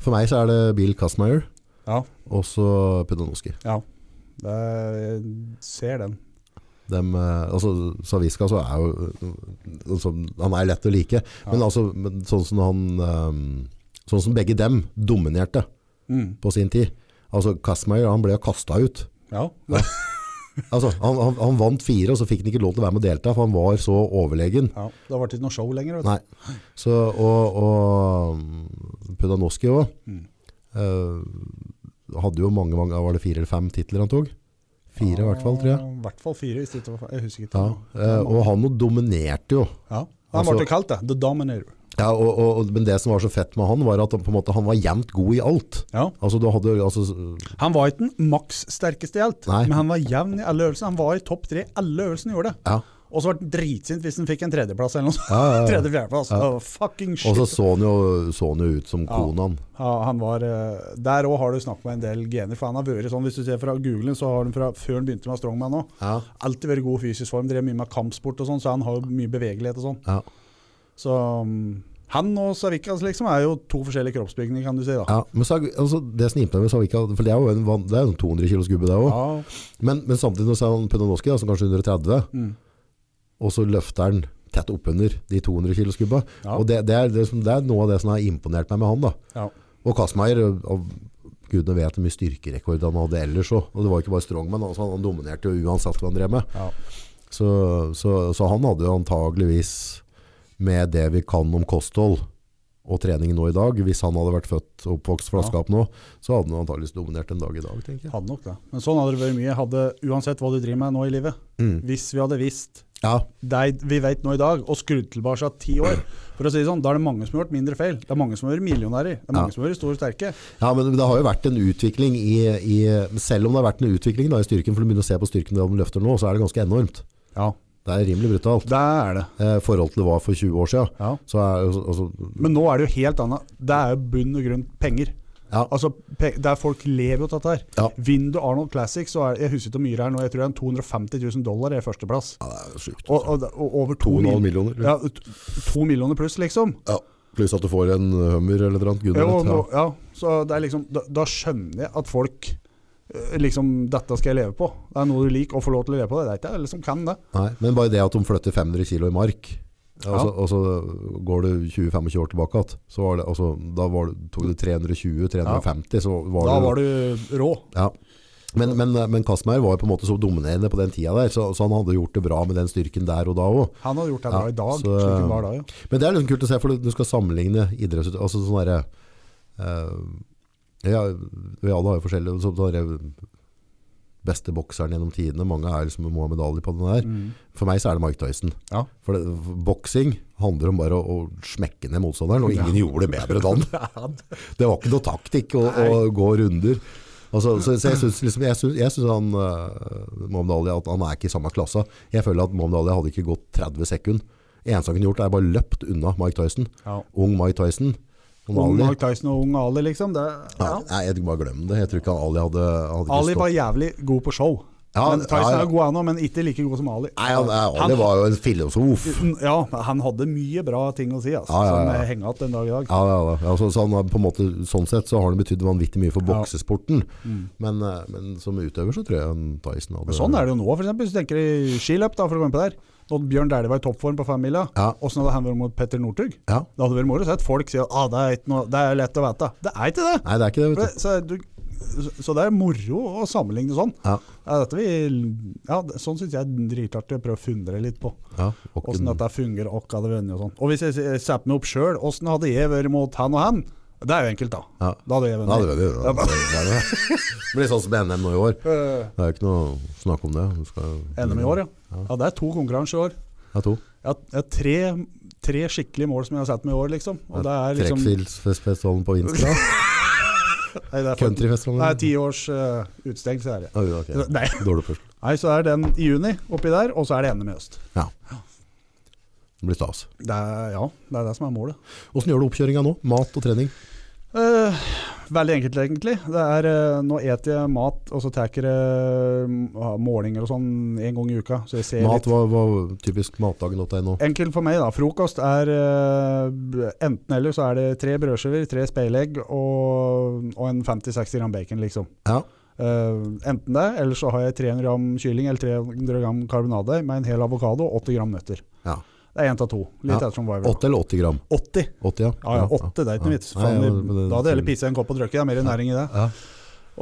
For meg så er det Bill Kastmeier Ja, og så Pudanoski. ja. Det, jeg ser den. Dem, eh, altså, Saviska så er jo altså, Han er lett å like, men altså men sånn som han eh, Sånn som begge dem dominerte Mm. på sin tid. Altså Kastmeier han ble jo kasta ut. Ja. Altså, han, han, han vant fire, og så fikk han ikke lov til å være med og delta, for han var så overlegen. Ja, det har vært ikke noe show lenger. Vet du. Nei. Så, og mm, og Pudanoski òg. eh, hadde jo mange, mange Var det fire eller fem titler han tok? Fire i hvert fall, tror jeg. I hvert fall fire. Hvis det ikke var, jeg husker ikke. Ja. eh, og han dominerte jo. Ja. Han Altså- ble jo kalt det. The Dominator. Ja, og, og, og, men det som var så fett med han, var at han, på en måte, han var jevnt god i alt. Ja. Altså, du hadde altså, Han var ikke den maks sterkeste i alt, Nei. men han var jevn i alle øvelsene. Han var i topp tre i alle øvelsene han gjorde. ja. Og så ble han dritsint hvis han fikk en tredjeplass eller noe sånt. Ja, ja, ja. Tredje-fjerdeplass. Oh, fucking shit. Og så så han jo, så han jo ut som konan. Ja, han var, eh, der òg har du snakket med en del gener. For han har vært sånn, Hvis du ser fra Googlen, så har han fra før han begynte med strongman òg, Ja. alltid vært i god fysisk form. Drev mye med kampsport og sånn, så han har jo mye bevegelighet og sånn. Ja. Så mm, han og Savikas liksom er jo to forskjellige kroppsbygninger, kan du si. da. Ja, men så, altså, det som imponerer meg, så har vi ikke hatt- for det er jo en, van- det er jo en 200 kilos gubbe det også. Ja, Men, men samtidig når så er han Pudanoski, da, som kanskje er 130, Mm. og så løfter han tett oppunder de 200 kilos gubba. Ja. Og det, det, er, liksom, det, som, det er noe av det som har imponert meg med han da. ja. Og Kasmeier, og, og gudene vet hvor mye styrkerekord han hadde ellers også. Og det var ikke bare strongman, altså, han dominerte jo uansett hva han drev med. ja. Så, så, så han hadde jo antageligvis med det vi kan om kosthold og trening nå i dag, hvis han hadde vært født og oppvokst flaskap nå, så hadde han antageligvis dominert en dag i dag, tenker jeg. Hadde nok det. Men sånn hadde det vært mye. Hadde, uansett hva du driver med nå i livet. Mm. Hvis vi hadde visst Ja, det vi vet nå i dag, og skrudd tilbake seg ti år For å si det sånn, Da er det mange som har gjort mindre feil. Det er mange som har vært millionærer. Det er mange Ja. som har vært store og sterke. Ja, men det har jo vært en utvikling i, i Selv om det har vært en utvikling da, i styrken, for du begynner å se på styrken de løfter nå, så er det ganske enormt. Ja, Det er rimelig brutalt. det er det. Eh, forhold til det var for 20 år siden. Ja. Så er, altså, altså, Men nå er det jo helt annet. Det er jo bunn og grunn penger. ja, Altså, pe der folk lever jo av dette her. Ja. Vindu Arnold Classic, så er, jeg husker ikke hvor mye det er nå, jeg tror det er en 250 000 dollar er førsteplass. ja, det er sjukt. Og, og, og over to, 2,5 mil- millioner. Ja, t- to millioner pluss, liksom. Ja, Pluss at du får en hummer eller noe. Gud Jo, vet. nå, Ja. ja, så det er liksom, da, da skjønner jeg at folk eh, liksom, Dette skal jeg leve på. Det er noe du liker å få lov til å leve på. Det Det er ikke alle som kan det. Nei, men bare det at de flytter 500 kilo i mark, og så, og så går du 20-25 år tilbake igjen, så var det, altså, da var det, tok du 320-350, så var da det var du rå. Ja. Men, men, men Kasmeier var jo på en måte så dominerende på den tida der, så, så han hadde gjort det bra med den styrken der og da òg. Han hadde gjort det Ja, bra i dag. så, slik det var da, ja. Men det er liksom kult å se, for du skal sammenligne idrettsutøvere altså sånn derre eh, ja, Vi alle har jo forskjellige så, sånn derre beste bokseren gjennom tidene. Mange er liksom må ha medalje på den der. Mm. For meg så er det Mike Tyson. Ja. For det, for boksing handler om bare å, å smekke ned motstanderen, og ingen gjorde det bedre da. Det var ikke noe taktikk å, å gå runder. Altså, så, så jeg syns liksom, jeg synes, jeg synes han eh, Mohamed Ali at han er ikke i samme klasse. Jeg føler at Mohamed Ali hadde ikke gått 30 sekunder. Det eneste han kunne gjort, er bare løpt unna Mike Tyson. Ja. Ung Mike Tyson. Ung Mohamed Ali. Mike Tyson og ung Ali, liksom. Det, Ja. ja. Nei, jeg bare glem det. Jeg tror ikke Ali hadde, hadde ikke Ali stått. var jævlig god på show. Ja, men Tyson ja, ja. er god ennå, men ikke like god som Ali. Nei, han, nei, Ali var jo en filosof. Ja, han hadde mye bra ting å si, altså, Ja, ja, ja. som eh, henger igjen den dag i dag. Ja, ja, ja. Altså, så han har på en måte, sånn sett så har han betydd vanvittig mye for Ja. Mm. boksesporten. Men, eh, men som utøver så tror jeg han Tyson hadde Men sånn er det jo nå, for eksempel. Hvis du tenker i skiløp, da, for å gå inn på der. Når Bjørn Dæhlie var i toppform på femmila, Ja. åssen hadde han vært mot Petter Northug? Ja. Det hadde vært moro å se at folk sier at ah, det, er ikke noe- det er lett å vite. Det er ikke det! Nei, det er ikke det, For vet du. det så, du så det er moro å sammenligne sånn. Ja. Ja, dette vi, ja, det- sånn syns jeg er dritartig å prøve å fundere litt på. Ja, og Åssen kun- dette fungerer, og hva det vunnet og sånn. Og hvis jeg s- setter meg opp sjøl, åssen hadde jeg vært mot han og han? Det er jo enkelt, da. Ja. Da hadde jeg Ja, det vunnet. vet du. Ja, det er det. Det blir sånn som NM nå i år. Eh, Det er jo ikke noe snakk om det. Du skal, NM i år, ja. Ja, det er to konkurranser i år. Ja, to. Jeg har, jeg har tre, tre skikkelige mål som jeg har satt meg i år, liksom. Og det er liksom Trekkfilsfestivalen på Insta. Nei, det er for- Det er Countryfestivalen. ti års eh, utestengelse, er det. Mm. Ja, jo, ok. Nei. Dårlig først. Nei, så er den i juni oppi der, og så er det NM i høst. Ja. Det blir stas. Det er, ja, det er det som er målet. Hvordan gjør du oppkjøringen nå? Mat og trening? Eh, veldig enkelt, egentlig. Det er, eh, nå eter jeg mat, og så tar jeg eh, målinger og sånn en gang i uka. Så jeg ser Mat litt. Eh, var, var typisk matdagen.no. Enkelt for meg, da. Frokost er eh, b- enten eller, så er det tre brødskiver, tre speilegg og, og en 50-60 gram bacon, liksom. Ja. Eh, enten det, eller så har jeg 300 gram kylling eller 300 gram karbonade med en hel avokado og 80 gram nøtter. ja. Det er én av to. Litt Ja. ettersom hva jeg vil. 8 eller 80 gram? 80! 80, ja. Ja, ja, 8, det er ikke noe vits. Nei, ja, Faen, men det- Da hadde jeg heller pissa en kopp og drukket, det er mer næring i det. Ja.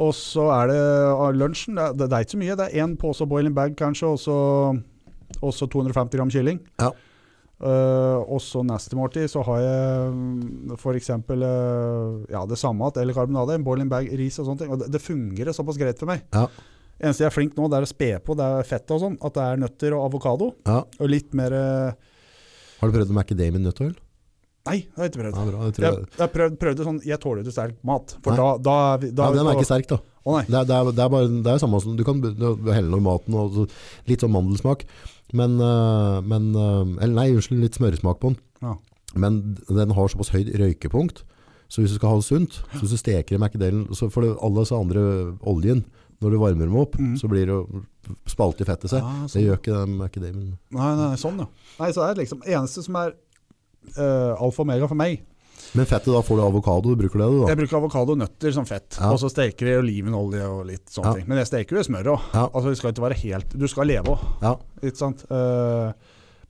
Og så er det ah, lunsjen. Det, det, det er ikke så mye. Det er én pose boiling bag kanskje, og så, og så 250 gram kylling. Ja. Eh, og så neste måltid så har jeg mm, f.eks. Uh, ja, det samme at- eller karbonade. En boiling bag, ris og sånne ting. Og det, det fungerer såpass greit for meg. Ja. eneste jeg er flink nå, det er å spe på. Det er fett og sånn. At det er nøtter og avokado. ja. Og litt mer eh, Har du prøvd macadamia nøttøl? Nei, det har jeg ikke prøvd. Ja, bra, det tror Jeg, jeg. jeg prøvde, prøvde sånn Jeg tåler ikke sterk mat. For Nei. da, da, er vi- da Ja, er vi den er på- ikke sterk, da. Å nei. Det er, det er, det er bare det er samme som du kan be- du helle noe i maten og så litt sånn mandelsmak. Men, øh, men øh, Eller nei, unnskyld, litt smøresmak på den. Ja. Men den har såpass høyt røykepunkt, så hvis du skal ha det sunt, så hvis du steker i macadalen så For det, alle disse andre oljen, når du varmer dem opp, Mhm. så blir det jo spalt i fettet seg. Ah, Det sånn. gjør ikke den macadamien. Nei, nei, sånn, ja. Nei, så er det liksom eneste som er eh, alfa og omega for meg. Men fettet, da får du avokado, du bruker det du da? Jeg bruker avokado og nøtter som fett. Ja. Og så steker jeg olivenolje og litt sånne Ja. ting. Men jeg steker jo i smør òg. Ja. Altså, det skal ikke være helt Du skal leve òg, Ja. ikke sant. Eh,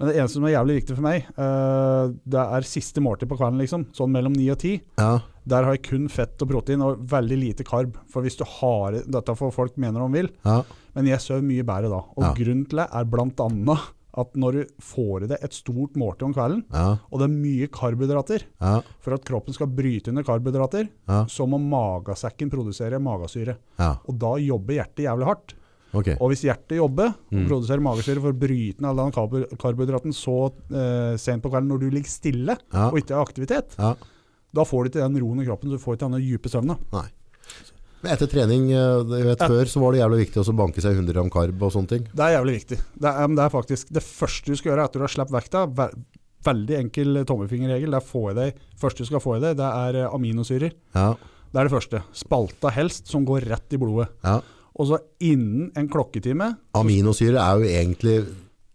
men det eneste som er jævlig viktig for meg, eh, det er siste måltid på kvelden, liksom. Sånn mellom ni og ti. ja. Der har jeg kun fett og protein og veldig lite karb. For hvis du har Dette får folk mener de vil, ja. men jeg sover mye bedre da. Og Ja. grunnen til det er bl.a. at når du får i deg et stort måltid om kvelden, Ja. og det er mye karbohydrater Ja. For at kroppen skal bryte under karbohydrater, Ja. så må magesekken produsere magasyre. ja. Og da jobber hjertet jævlig hardt. Ok. Og hvis hjertet jobber og Mm. produserer magasyre for å bryte ned all den karbo- karbohydraten så eh, sent på kvelden når du ligger stille Ja. og ikke har aktivitet, ja. da får du ikke den roen i kroppen, du får ikke den dype søvnen. Nei. Men etter trening, eh, jeg vet Ja. før, så var det jævlig viktig også å banke seg 100 gram karb og sånne ting. Det er jævlig viktig. Det er, men det er faktisk det første du skal gjøre etter du har sluppet vekta. Ve veldig enkel tommelfingerregel. Det er få i deg, første du skal få i deg, det er eh, aminosyrer. Ja. Det er det første. Spalta helst, som går rett i blodet. ja. Og så innen en klokketime Aminosyre er jo egentlig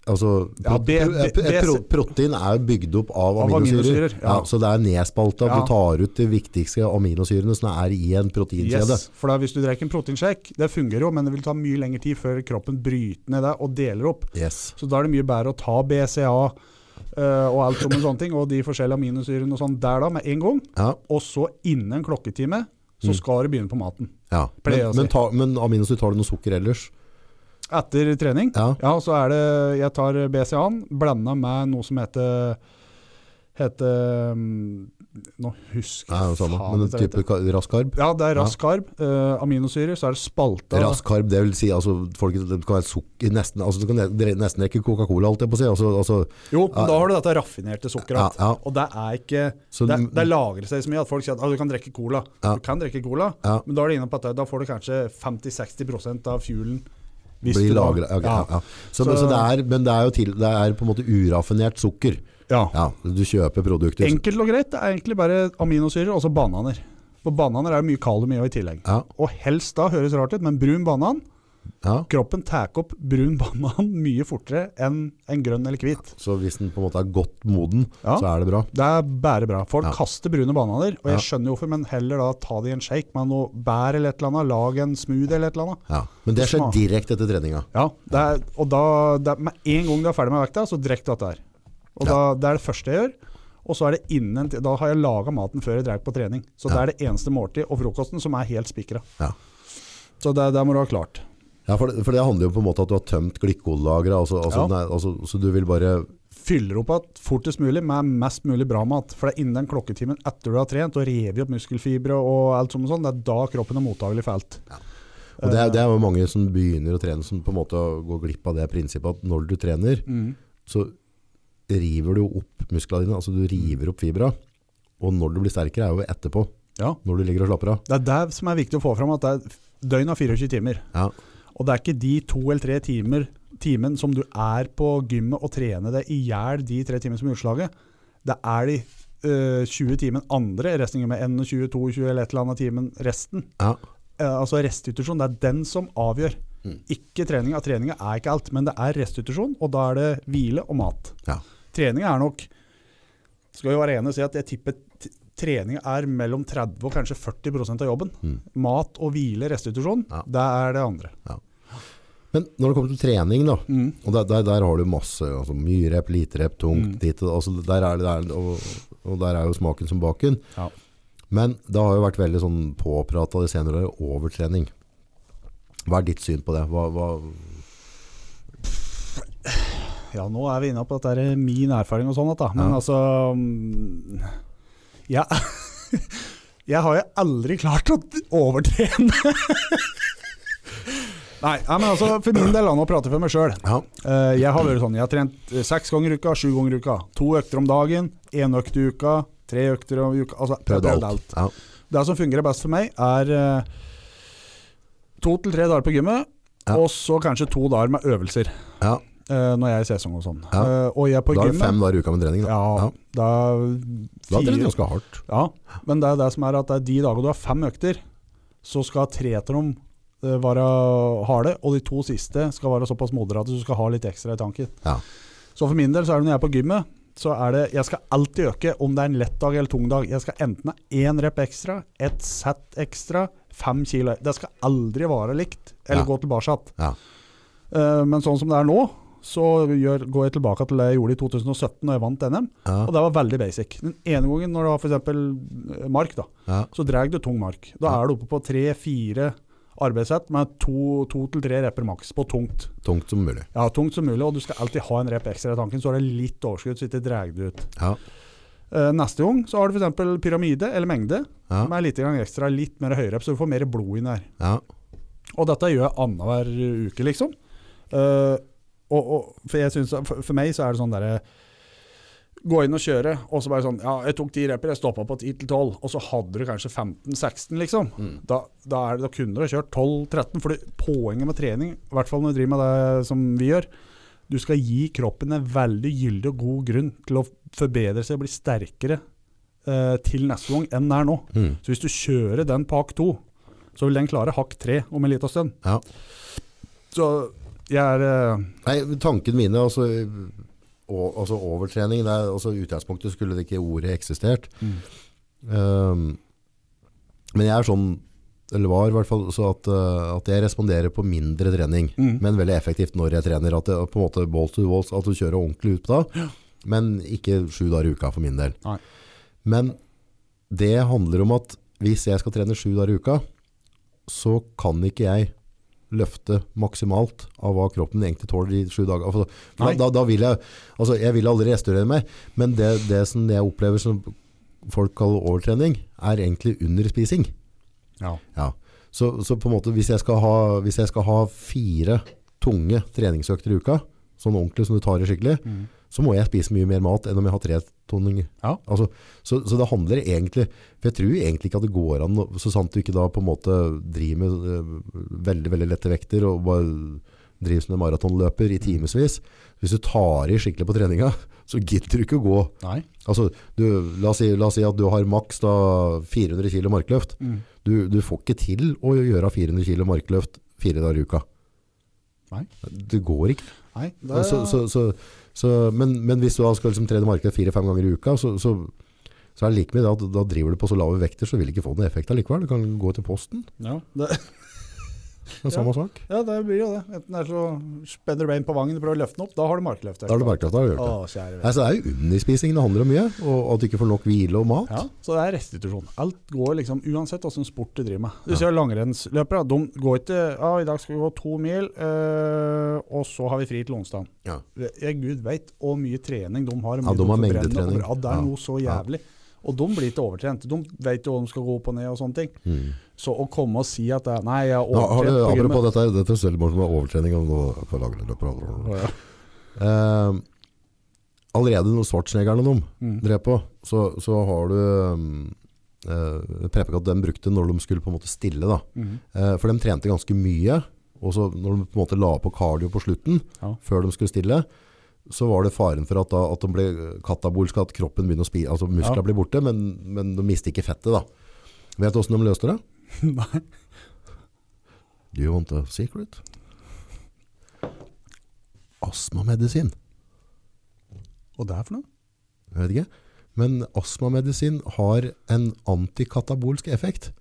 altså, Ja, pro- B- eh, pro- eh, pro- B- Protein er jo bygd opp av Av aminosyrer. aminosyrer, ja. ja. så det er nedspalta. Ja. Du tar ut de viktigste aminosyrene som er i en proteinkjede. Yes, for da hvis du drikker en proteinshake, det fungerer jo, men det vil ta mye lengre tid før kroppen bryter ned det og deler opp. Yes. Så da er det mye bedre å ta BCA eh, og alt som en sånne ting, og de forskjellige aminosyrene og sånn der da med en gang. Ja. Og så innen en klokketime så Mm. skal du begynne på maten. ja. Men, Pleier å si. men, ta, men aminosyre tar du noe sukker ellers? Etter trening Ja. Ja, så er det Jeg tar BCA-en, blanda med noe som heter Heter mm, Nå husker ja det samme. Men en dette type heter. ka- rask karb? Ja, det er rask karb. eh, aminosyrer. Så er det spalta Rask karb, det vil si altså, folk, det kan være sukker nesten, altså, Du kan ne- nesten rekke Coca-Cola, alt jeg på å si. Altså, altså, Jo, men Ja. da har du dette raffinerte sukkeret. ja, ja, Og det er ikke Så Det, du- det lagrer seg så mye at folk sier at ah, du kan drikke cola. Ja. Du kan drikke cola, ja. men da er det inne på at da får du kanskje 50-60 av fuelen. hvis Blir du da- lagret, ok, ja. ja. Så, Så- så, det er, men det er jo til, det er på en måte uraffinert sukker. ja. ja. Ja, du kjøper produkter. Enkelt og greit. Det er egentlig bare aminosyrer og så bananer. For bananer er det mye kalium i og i tillegg. Ja, Og helst da, høres rart ut, men brun banan ja. Kroppen tar opp brun banan mye fortere enn en grønn eller hvit. Så hvis den på en måte er godt moden, Ja. så er det bra. Det er bare bra. Folk Ja. kaster brune bananer, og jeg Ja. skjønner hvorfor, men heller da ta det i en shake med noe bær eller et eller annet. Lag en smoothie eller et eller annet. Ja. Men det skjer Smak. direkte etter treninga. Ja, det er, og da, det er, med en gang du er ferdig med vekta, så drekk dette her. Og Ja. da, det er det første jeg gjør. Og så er det innen, da har jeg laga maten før jeg drar på trening. Så det Ja. er det eneste måltid og frokosten som er helt spikra. Ja. Så det, det må du ha klart. Ja, for, det- for det handler jo på en måte at du har tømt glykollageret, altså, altså, Ja. den er- altså, så du vil bare Fyller opp igjen fortest mulig med mest mulig bra mat. For det er innen den klokketimen etter du har trent og revet opp muskelfibre og alt sånt, og sånn, det er da kroppen er mottagelig for alt. Og Eh. det er, det er jo mange som begynner å trene som på en måte går glipp av det prinsippet at når du trener, Mm. så river du jo opp musklene dine, altså du Mm. river opp fibra. Og når du blir sterkere er jo etterpå, Ja. når du ligger og slapper av. Det er det som er viktig å få fram, at det er døgn av 24 timer. Ja. Og det er ikke de to eller tre timer, timen som du er på gymmet og trener deg i hjel de tre timene som er utslaget. Det er de øh, 20 timen andre, resten med 21, 22 eller et eller annet timen resten. Ja. Eh, altså restitusjon, det er den som avgjør. Mm. Ikke treninga. Treninga er ikke alt, men det er restitusjon, og da er det hvile og mat. Ja. Treninga er nok Skal jo være enig og si at jeg tipper t- treninga er mellom 30 og kanskje 40 av jobben. Mm. Mat og hvile, restitusjon, Ja. det er det andre. Mm. Men når det kommer til trening da, og der, der, der har du masse, altså mye rep, lite rep, tungt, Mm. ditt, og- altså der er det, der, og, og der er jo smaken som baken. Ja. Men det har jo vært veldig sånn påprata de senere årene, overtrening. Hva er ditt syn på det? Hva, hva, Ja, nå er vi inne på at det er min erfaring og sånn, at da. men Ja. altså mm, Ja. Jeg har jo aldri klart å overtrene. Nei, nei, men altså, for min del, da, nå prater jeg for meg sjøl. ja, Jeg har vært sånn, jeg har trent eh, seks ganger i uka, sju ganger i uka. To økter om dagen, én økt i uka, tre økter om uka. Altså, jeg har prøvd prøvd alt. Ja, det som fungerer best for meg, er eh, to til tre dager på gymmet, Ja. og så kanskje to dager med øvelser. ja. eh, når jeg er i sesong og sånn. Ja. Eh, og jeg er på Da er det gymmet fem dager i uka med trening. Da, Ja, Ja. da, da trener fire- du ganske hardt. Ja, men det er det som er at det er de dagene du har fem økter, så skal tre etter dem eh, være harde, og de to siste skal være såpass moderate, så du skal ha litt ekstra i tanken. Ja. Så for min del så er det når jeg er på gymmet, så er det Jeg skal alltid øke, om det er en lett dag eller tung dag. Jeg skal enten ha én rep ekstra, ett sett ekstra, fem kilo Det skal aldri være likt, eller Ja. gå tilbake igjen. Ja. Eh, men sånn som det er nå, så gjør, går jeg tilbake til det jeg gjorde i 2017, da jeg vant NM. Ja, Og det var veldig basic. Den ene gangen når du har f.eks. mark, da, ja, så drar du tung mark. Da Ja. er du oppe på tre-fire arbeidssett med to, to til tre repper maks på tungt. tungt som mulig. Ja, tungt som mulig, og du skal alltid ha en rep ekstra i tanken, så har du litt overskudd, så ikke drar du ut. Ja, Eh, neste gang så har du f.eks. pyramide eller mengde ja, med litt grann ekstra, litt mer høyrepp, så du får mer blod inn der. ja. Og dette gjør jeg annenhver uke, liksom. Eh, og, og for, jeg synes, for, for meg så er det sånn derre Gå inn og kjøre, og så bare sånn Ja, jeg tok ti reper, jeg stoppa på 10-12, og så hadde du kanskje 15-16, liksom. Mm. Da, da, er det, da kunne du ha kjørt 12-13, for poenget med trening, i hvert fall når du driver med det som vi gjør, du skal gi kroppen en veldig gyldig og god grunn til å forbedre seg og bli sterkere eh, til neste gang enn den er nå. Mm. Så hvis du kjører den på hakk to, så vil den klare hakk tre om en liten stund. Ja. Så jeg er eh, Nei, tanken mine, altså, å- altså overtrening, det er, altså i utgangspunktet skulle det ikke ordet eksistert. mm, Um, men jeg er sånn, eller var i hvert fall, så at, uh, at jeg responderer på mindre trening, Mm. men veldig effektivt når jeg trener, at det på en måte balls to walls, at du kjører ordentlig ut da, men ikke sju dager i uka for min del. Nei. Men det handler om at hvis jeg skal trene sju dager i uka, så kan ikke jeg løfte maksimalt av hva kroppen egentlig tåler i sju dager. Altså, For da, Nei. da, da vil jeg, altså jeg vil aldri restaurere meg, men det, det som jeg opplever som folk kaller overtrening, er egentlig underspising. ja. Ja. Så, så på en måte, hvis jeg, skal ha, hvis jeg skal ha fire tunge treningsøkter i uka, sånn ordentlig som du tar i skikkelig, Mm. så må jeg spise mye mer mat enn om jeg har tre toninger. Ja. Altså, så, så det handler egentlig, for jeg tror egentlig ikke at det går an, å- så sant du ikke da på en måte driver med eh, veldig, veldig lette vekter og bare driver som en maratonløper i timesvis. Hvis du tar i skikkelig på treninga, så gidder du ikke å gå. Nei. Altså, du, la, oss si, la oss si at du har maks da 400 kilo markløft. Mm. Du, du får ikke til å gjøre 400 kilo markløft fire dager i uka. Nei. Det går ikke. Nei. Ja, Så, så, så, så, men, men hvis du da skal liksom trene markedet fire-fem ganger i uka, så, så, så er det like mye det at da driver du på så lave vekter, så vil det ikke få noen effekt allikevel. Du kan gå til posten. ja. Det, Det er samme sak. ja, det blir jo det. Enten det er så spenner du bein på vangen og prøver å løfte den opp, da har du markløft. Da er det markedet. Da har du gjort Å, det. kjære Nei, vene. så det er jo underspising det handler om mye, og at du ikke får nok hvile og mat. Ja, så det er restitusjon. Alt går liksom, uansett hvilken sport du driver med. Du ser langrennsløpere, de går ikke ja, 'I dag skal vi gå to mil, eh, og så har vi fri til onsdag'. Ja. Jeg, Gud veit hvor mye trening de har. hvor Ja, de mye har forbrenner mengdetrening. over. Ja, det er Ja. noe så jævlig. Og de blir ikke overtrent. De vet jo hva de skal gå opp og ned og sånne ting. Mm. Så å komme og si at det er, Nei, jeg er Nå, har du, overtrent på apropos gymmet. dette, her, dette er selv morsomt med overtrening og nå- på lagerløpet. Å, ja. Eh, allerede når svartsnegerne de Mm. drev på, så, så har du mm, eh, prepekatt de brukte når de skulle på en måte stille da. Mhm. Eh, For de trente ganske mye, og så når de på en måte la på cardio på slutten, Ja. før de skulle stille, så var det faren for at, da, at de ble katabolske, at kroppen begynner å spise, altså muskler Ja. blir borte, men, men de mister ikke fettet da. Vet du hvordan de løste det? Nei. Do you want a secret? Astmamedisin. Og det er for noe? Jeg vet ikke. Men astmamedisin har en antikatabolsk effekt.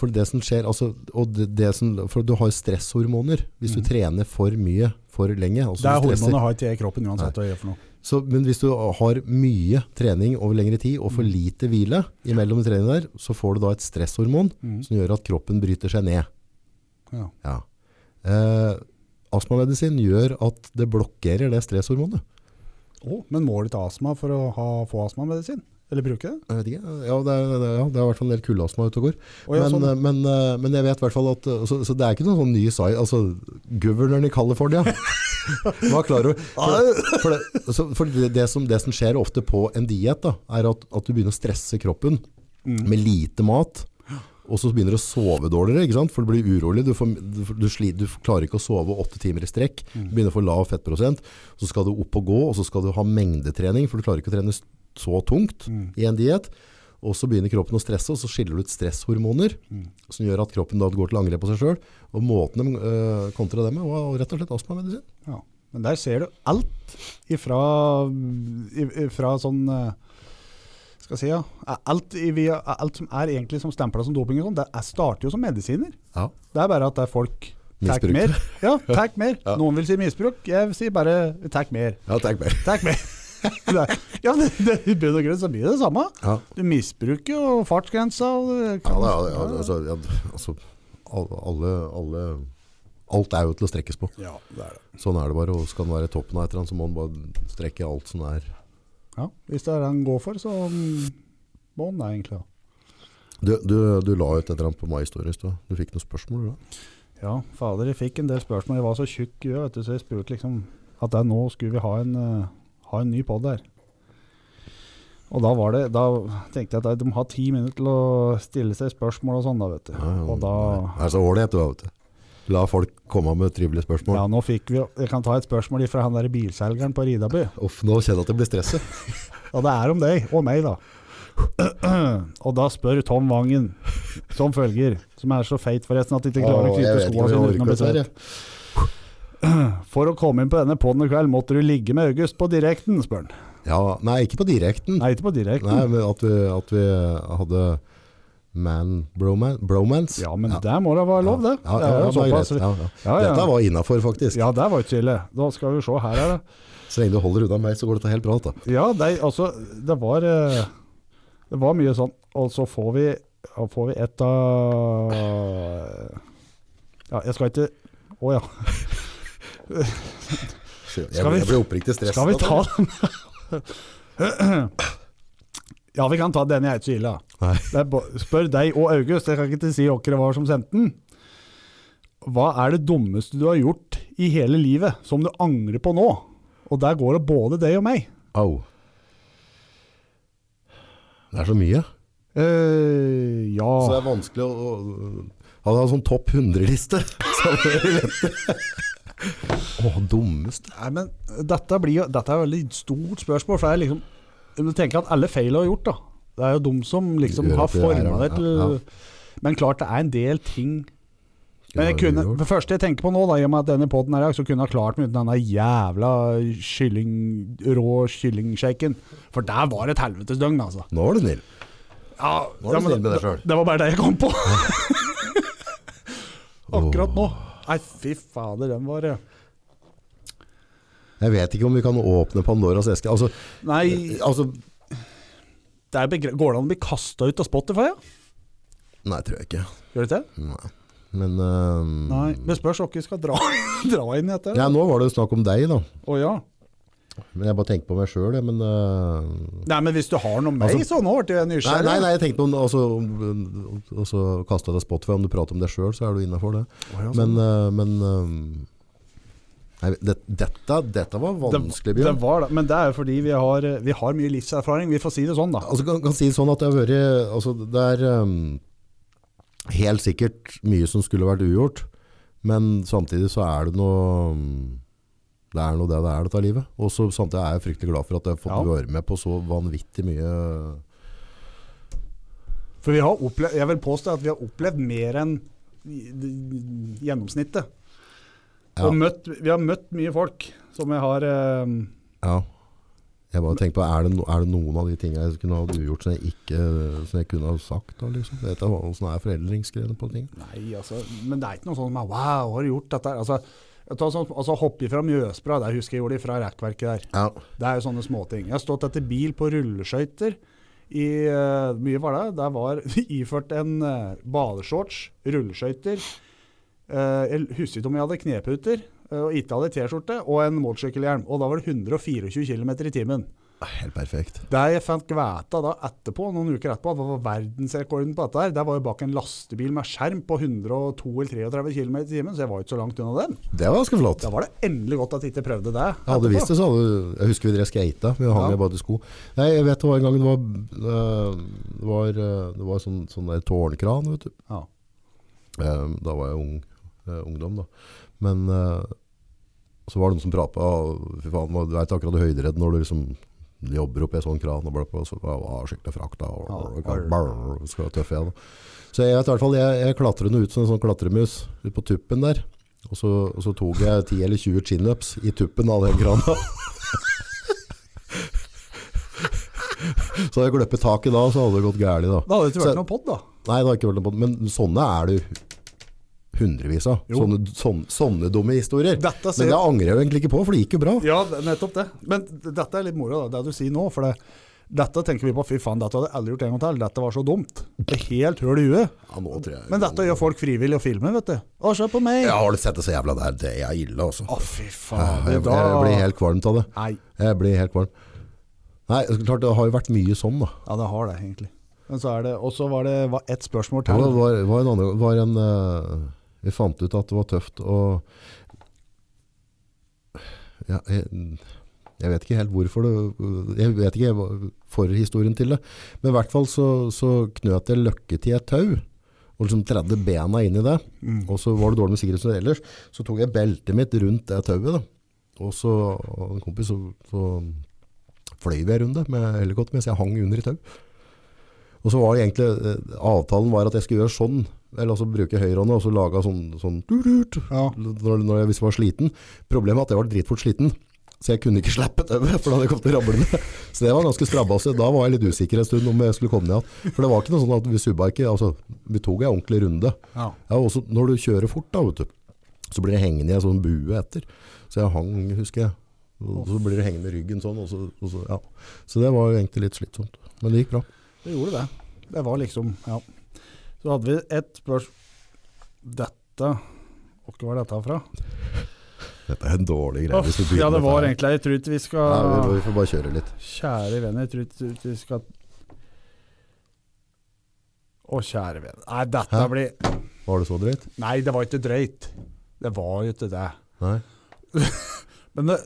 For det som skjer, altså, og det, det som, for du har stresshormoner hvis du trener for mye, for lenge. Altså Mm. Det er du stresser. hormonet har ikke jeg i kroppen uansett hva jeg gjør for noe. Så, men hvis du har mye trening over lengre tid og Mm. for lite hvile imellom treningen der, så får du da et stresshormon Mm. som gjør at kroppen bryter seg ned. Ja. Ja. Eh, astmamedisin gjør at det blokkerer det stresshormonet. Å, men må du til astma for å ha, få astmamedisin? Eller bruke det? Jeg vet ikke. Ja, det er, det er, ja, det er i hvert fall en del kuldeastma ute og går. Å, ja, men, sånn. eh, men, eh, men jeg vet i hvert fall at eh, så, så det er ikke noen sånn ny sci... Altså, guvernøren i California var klar over For, for, det, så, for det, det, som, det som skjer ofte på en diett, da, er at, at du begynner å stresse kroppen Mm. med lite mat. Og så begynner du å sove dårligere, ikke sant? for du blir urolig. Du, får, du, får- du, sli- du klarer ikke å sove åtte timer i strekk. Du Mm. begynner å få lav fettprosent. Så skal du opp og gå, og så skal du ha mengdetrening, for du klarer ikke å trene s- så tungt i en diett. Og så begynner kroppen å stresse, og så skiller du ut stresshormoner, som gjør at kroppen da går til angrep på seg sjøl. Og måten de øh, kontra det med, var rett og slett astmamedisin. Ja. Men der ser du alt ifra, i- ifra sånn eh, skal jeg si, ja. alt, i, via- alt som er egentlig som stempla som doping, og sånn, det er, starter jo som medisiner. Ja. Det er bare at det er folk Takk Misbrukere. mer. Ja, takk mer. Ja. Noen vil si misbruk, jeg sier bare takk mer. Ja, takk mer. Takk mer. Det er- ja, det, det, I bunn og grunn så blir det det samme. Ja. Du misbruker jo fartsgrensa. Og det Ja, kan, da, ja, ja, altså, ja, altså al- alle, alle Alt er jo til å strekkes på. Ja, det er det. Sånn er det bare. Og skal den være i toppen av et eller annet, så må den bare strekke alt som er Ja, hvis det er det han går for, så mm, må han det egentlig. da. Du, du, du la ut et eller annet på My Story i stad. Du fikk noen spørsmål, du da? Ja, fader, jeg fikk en del spørsmål. Jeg var så tjukk i huet, vet du, så jeg spurte liksom at det, nå skulle vi ha en, eh, ha en ny pod her. Og da var det, da tenkte jeg at de har ti minutter til å stille seg spørsmål og sånn da, vet du. Og da, Det er så ålreit, du da, vet du. La folk komme med trivelige spørsmål. ja, nå fikk vi, jo- jeg kan ta et spørsmål fra han der bilselgeren på Ridaby. Uff, nå kjenner jeg at jeg blir stresset. Og det er om deg, og meg da. og da spør Tom Vangen, som følger, som er så feit forresten at de ikke klarer å Åh, jeg knytte vet ikke om skoene jeg orker sine altså, uten å bli dette her, jeg. svett. For å komme inn på denne podden i kveld, måtte du ligge med August på direkten, spør han. Ja, nei, ikke på direkten. Nei, Nei, ikke på direkten. men at vi, at vi hadde man broman, bromance. Ja, men der må det være lov, det. Ja, det ja, er ja, det jo er såpass. greit. Ja, ja. Ja, ja. Dette var innafor, faktisk. Ja, der var ikke ille. Da skal vi se, her er det. Så lenge du holder unna meg, så går dette helt bra. Da. Ja, det, altså, det var, eh, det var mye sånn, og så får vi, ja, får vi et av, ja, jeg skal ikke, å ja. Jeg, Skal vi- jeg blir oppriktig stresset. Skal vi av det. ta den? ja, vi kan ta denne jeg er ikke så ille. da. Nei. Det er bo- Spør deg og August, jeg kan ikke til si hva det var som sendte den. Hva er det dummeste du har gjort i hele livet som du angrer på nå? Og der går det både deg og meg. Au. Det er så mye. eh Så det ja er vanskelig å, å Han har en sånn topp 100-liste. Så det er lett. Åh, dummeste. Nei, men dette, blir, jo- dette er et veldig stort spørsmål, for det er liksom Du tenker at alle feil du har gjort, da. Det er jo de som liksom Gjør har at du er forma her, deg ja, til ja. Men klart det er en del ting Men jeg Ja, kunne, gjort. det første jeg tenker på nå, da, i og med at denne podden er i dag, så kunne jeg klart meg uten denne jævla kylling, rå kyllingshaken. For der var det et helvetes døgn, altså. Nå var du snill. Ja, Nå er du ja, men snill med deg selv. det, det var bare det jeg kom på. Akkurat nå. Nei, fy fader, den var eh, Jeg vet ikke om vi kan åpne Pandoras eske. Altså, Nei, altså det er begre går det an å bli kasta ut av Spotify, ja? Nei, tror jeg ikke. Gjør det det? Nei. Men øhm, Nei. Men spørs hvor vi skal dra, dra inn etter. Å Ja, nå var det jo snakk om deg, da. ja. Men jeg bare tenker på meg sjøl, jeg. Men øh, Nei, men hvis du har noe med meg, Altså- så nå ble jeg Nei, nysgjerrig. nei, nei, jeg tenkte om altså, om- altså, Kastet deg Spotify Om du prater om deg selv så er du innenfor det Å, ja, sånn. Men, eh, men eh, nei, det, dette, dette var eh, vanskelig Det, Bjørn det var det, men det er jo fordi vi har, eh, vi har mye livserfaring. Vi får si det sånn, da. altså, kan, kan si det sånn at det har vært altså, Det er eh, helt sikkert mye som skulle vært ugjort Men samtidig så er det noe mm, Det er noe det det er dette livet Og så samtidig er jeg fryktelig glad for at jeg har fått Ja. være med på så vanvittig mye For vi har opplevd, jeg vil påstå at vi har opplevd mer enn gjennomsnittet. Ja. Og møtt, vi har møtt mye folk som jeg har eh, Ja. Jeg bare tenker på, er det, no, er det noen av de tingene jeg kunne ha ugjort som jeg ikke som jeg kunne ha sagt? Da, liksom? Vet jeg hva- hvordan er foreldringsgreiene på ting? Nei, altså Men det er ikke noe sånn som er, Wow, har du gjort dette her? Altså, Jeg tar sånn, altså Hoppe fra Mjøsbra, det husker jeg gjorde fra rekkverket der. Ja. Det er jo sånne småting. Jeg har stått etter bil på rulleskøyter i eh, mye var det. Der var iført en eh, badeshorts, rulleskøyter eh, Jeg husker ikke om jeg hadde kneputer, eh, og ikke hadde T-skjorte, og en motorsykkelhjelm. Og da var det 124 km i timen. Helt perfekt. Det jeg fant veta da etterpå, noen uker etterpå, at det var verdensrekorden på dette her. Der var jo bak en lastebil med skjerm på 102 eller 33 km i timen, så jeg var jo ikke så langt unna den. Det var ganske flott. Da var det endelig godt at jeg ikke prøvde det. Jeg hadde etterpå. visst det, så hadde, jeg husker vi drev skata, vi hang Ja. med bare sko. Nei, jeg vet det var en gang det var, øh, det var, øh, det var sånn, sånn der tårnkran, vet du. Ja. Eh, Da var jeg ung, eh, ungdom da. Men eh, så var det noen som pratet, «Å, fy faen, hva- du er ikke akkurat høyderedd når du liksom jobber opp i en sånn kran, og, bla, bla, så, «Ja, hva er skikkelig frakta, og, Ja, og, arr. brr, skal være tøff jeg da. Så jeg vet i hvert fall, jeg, jeg klatret noe ut som en sånn klatremus ut på tuppen der, og så, og så tok jeg 10 eller 20 chin-ups i tuppen av den krana. Så hadde jeg gløppet taket da, så hadde det gått gærlig da. Da hadde det ikke Så- vært noen pod, da. Nei, det har ikke vært noe på det, men sånne er det jo hundrevis av. Jo. Sånne, sånne, sånne dumme historier. Dette ser- men det angrer jeg jo egentlig ikke på, for det gikk jo bra. Ja, det- nettopp det. Men d- dette er litt moro, da, det du sier nå. For det, dette tenker vi på, fy faen, dette hadde jeg aldri gjort en gang til. Dette var så dumt. Det er helt høl i huet. Ja, nå tror jeg... Men dette gjør folk frivillig og filmer, vet du. Å, se på meg! Jeg har sett det så jævla der, det er ille altså. Å, fy faen. Jeg, jeg Ah, da... blir helt kvalmt av det. Nei. Jeg blir helt kvalm. Nei, så klart det har jo vært mye sånn da. Ja, det har det, egentlig. Men så er det Og så var det var ett spørsmål Det var, til. var, var en annen var en, eh, Vi fant ut at det var tøft å ja, jeg, jeg vet ikke helt hvorfor det Jeg vet ikke hva- forhistorien til det. Men i hvert fall så, så knøt jeg løkke til et tau. Og liksom tredde bena inn i det. Og så var det dårlig med sikkerhetsnøye ellers. Så tok jeg beltet mitt rundt det tauet. Da. Og så og en kompis så, så fløy vi en runde med helikopter mens jeg hang under i tau. Og så var det egentlig, eh, avtalen var at jeg skulle gjøre sånn, eller altså bruke høyrehånda, og så lage sånn, sånn tut-tut, Ja. når, når jeg hvis jeg var sliten. Problemet var at jeg var dritfort sliten, så jeg kunne ikke slappe tauet, for da hadde jeg kommet til å ramle ned. Så det var ganske strabbasse. Da var jeg litt usikker en stund om jeg skulle komme ned igjen. For det var ikke noe sånn at vi subba ikke, altså, vi tok en ordentlig runde. Ja. Ja, og så når du kjører fort da, vet du, så blir det hengende i en sånn bue etter. Så jeg hang, husker jeg. Og så blir det hengende i ryggen sånn, og så, og så, ja. Så det var jo egentlig litt slitsomt. Men det gikk bra. Det gjorde det. Det var liksom Ja. Så hadde vi ett spørsmål Dette Hvor var dette fra? Dette er en dårlig greie. hvis Uff, vi begynner ja, det med var dette her. egentlig Jeg tror ikke vi Nei, vi, skal vi får bare kjøre litt. Kjære venner, jeg tror ikke vi skal Å, kjære venner. Nei, dette Hæ? blir Var det så drøyt? Nei, det var ikke drøyt. Det var jo ikke det. Nei. Men det,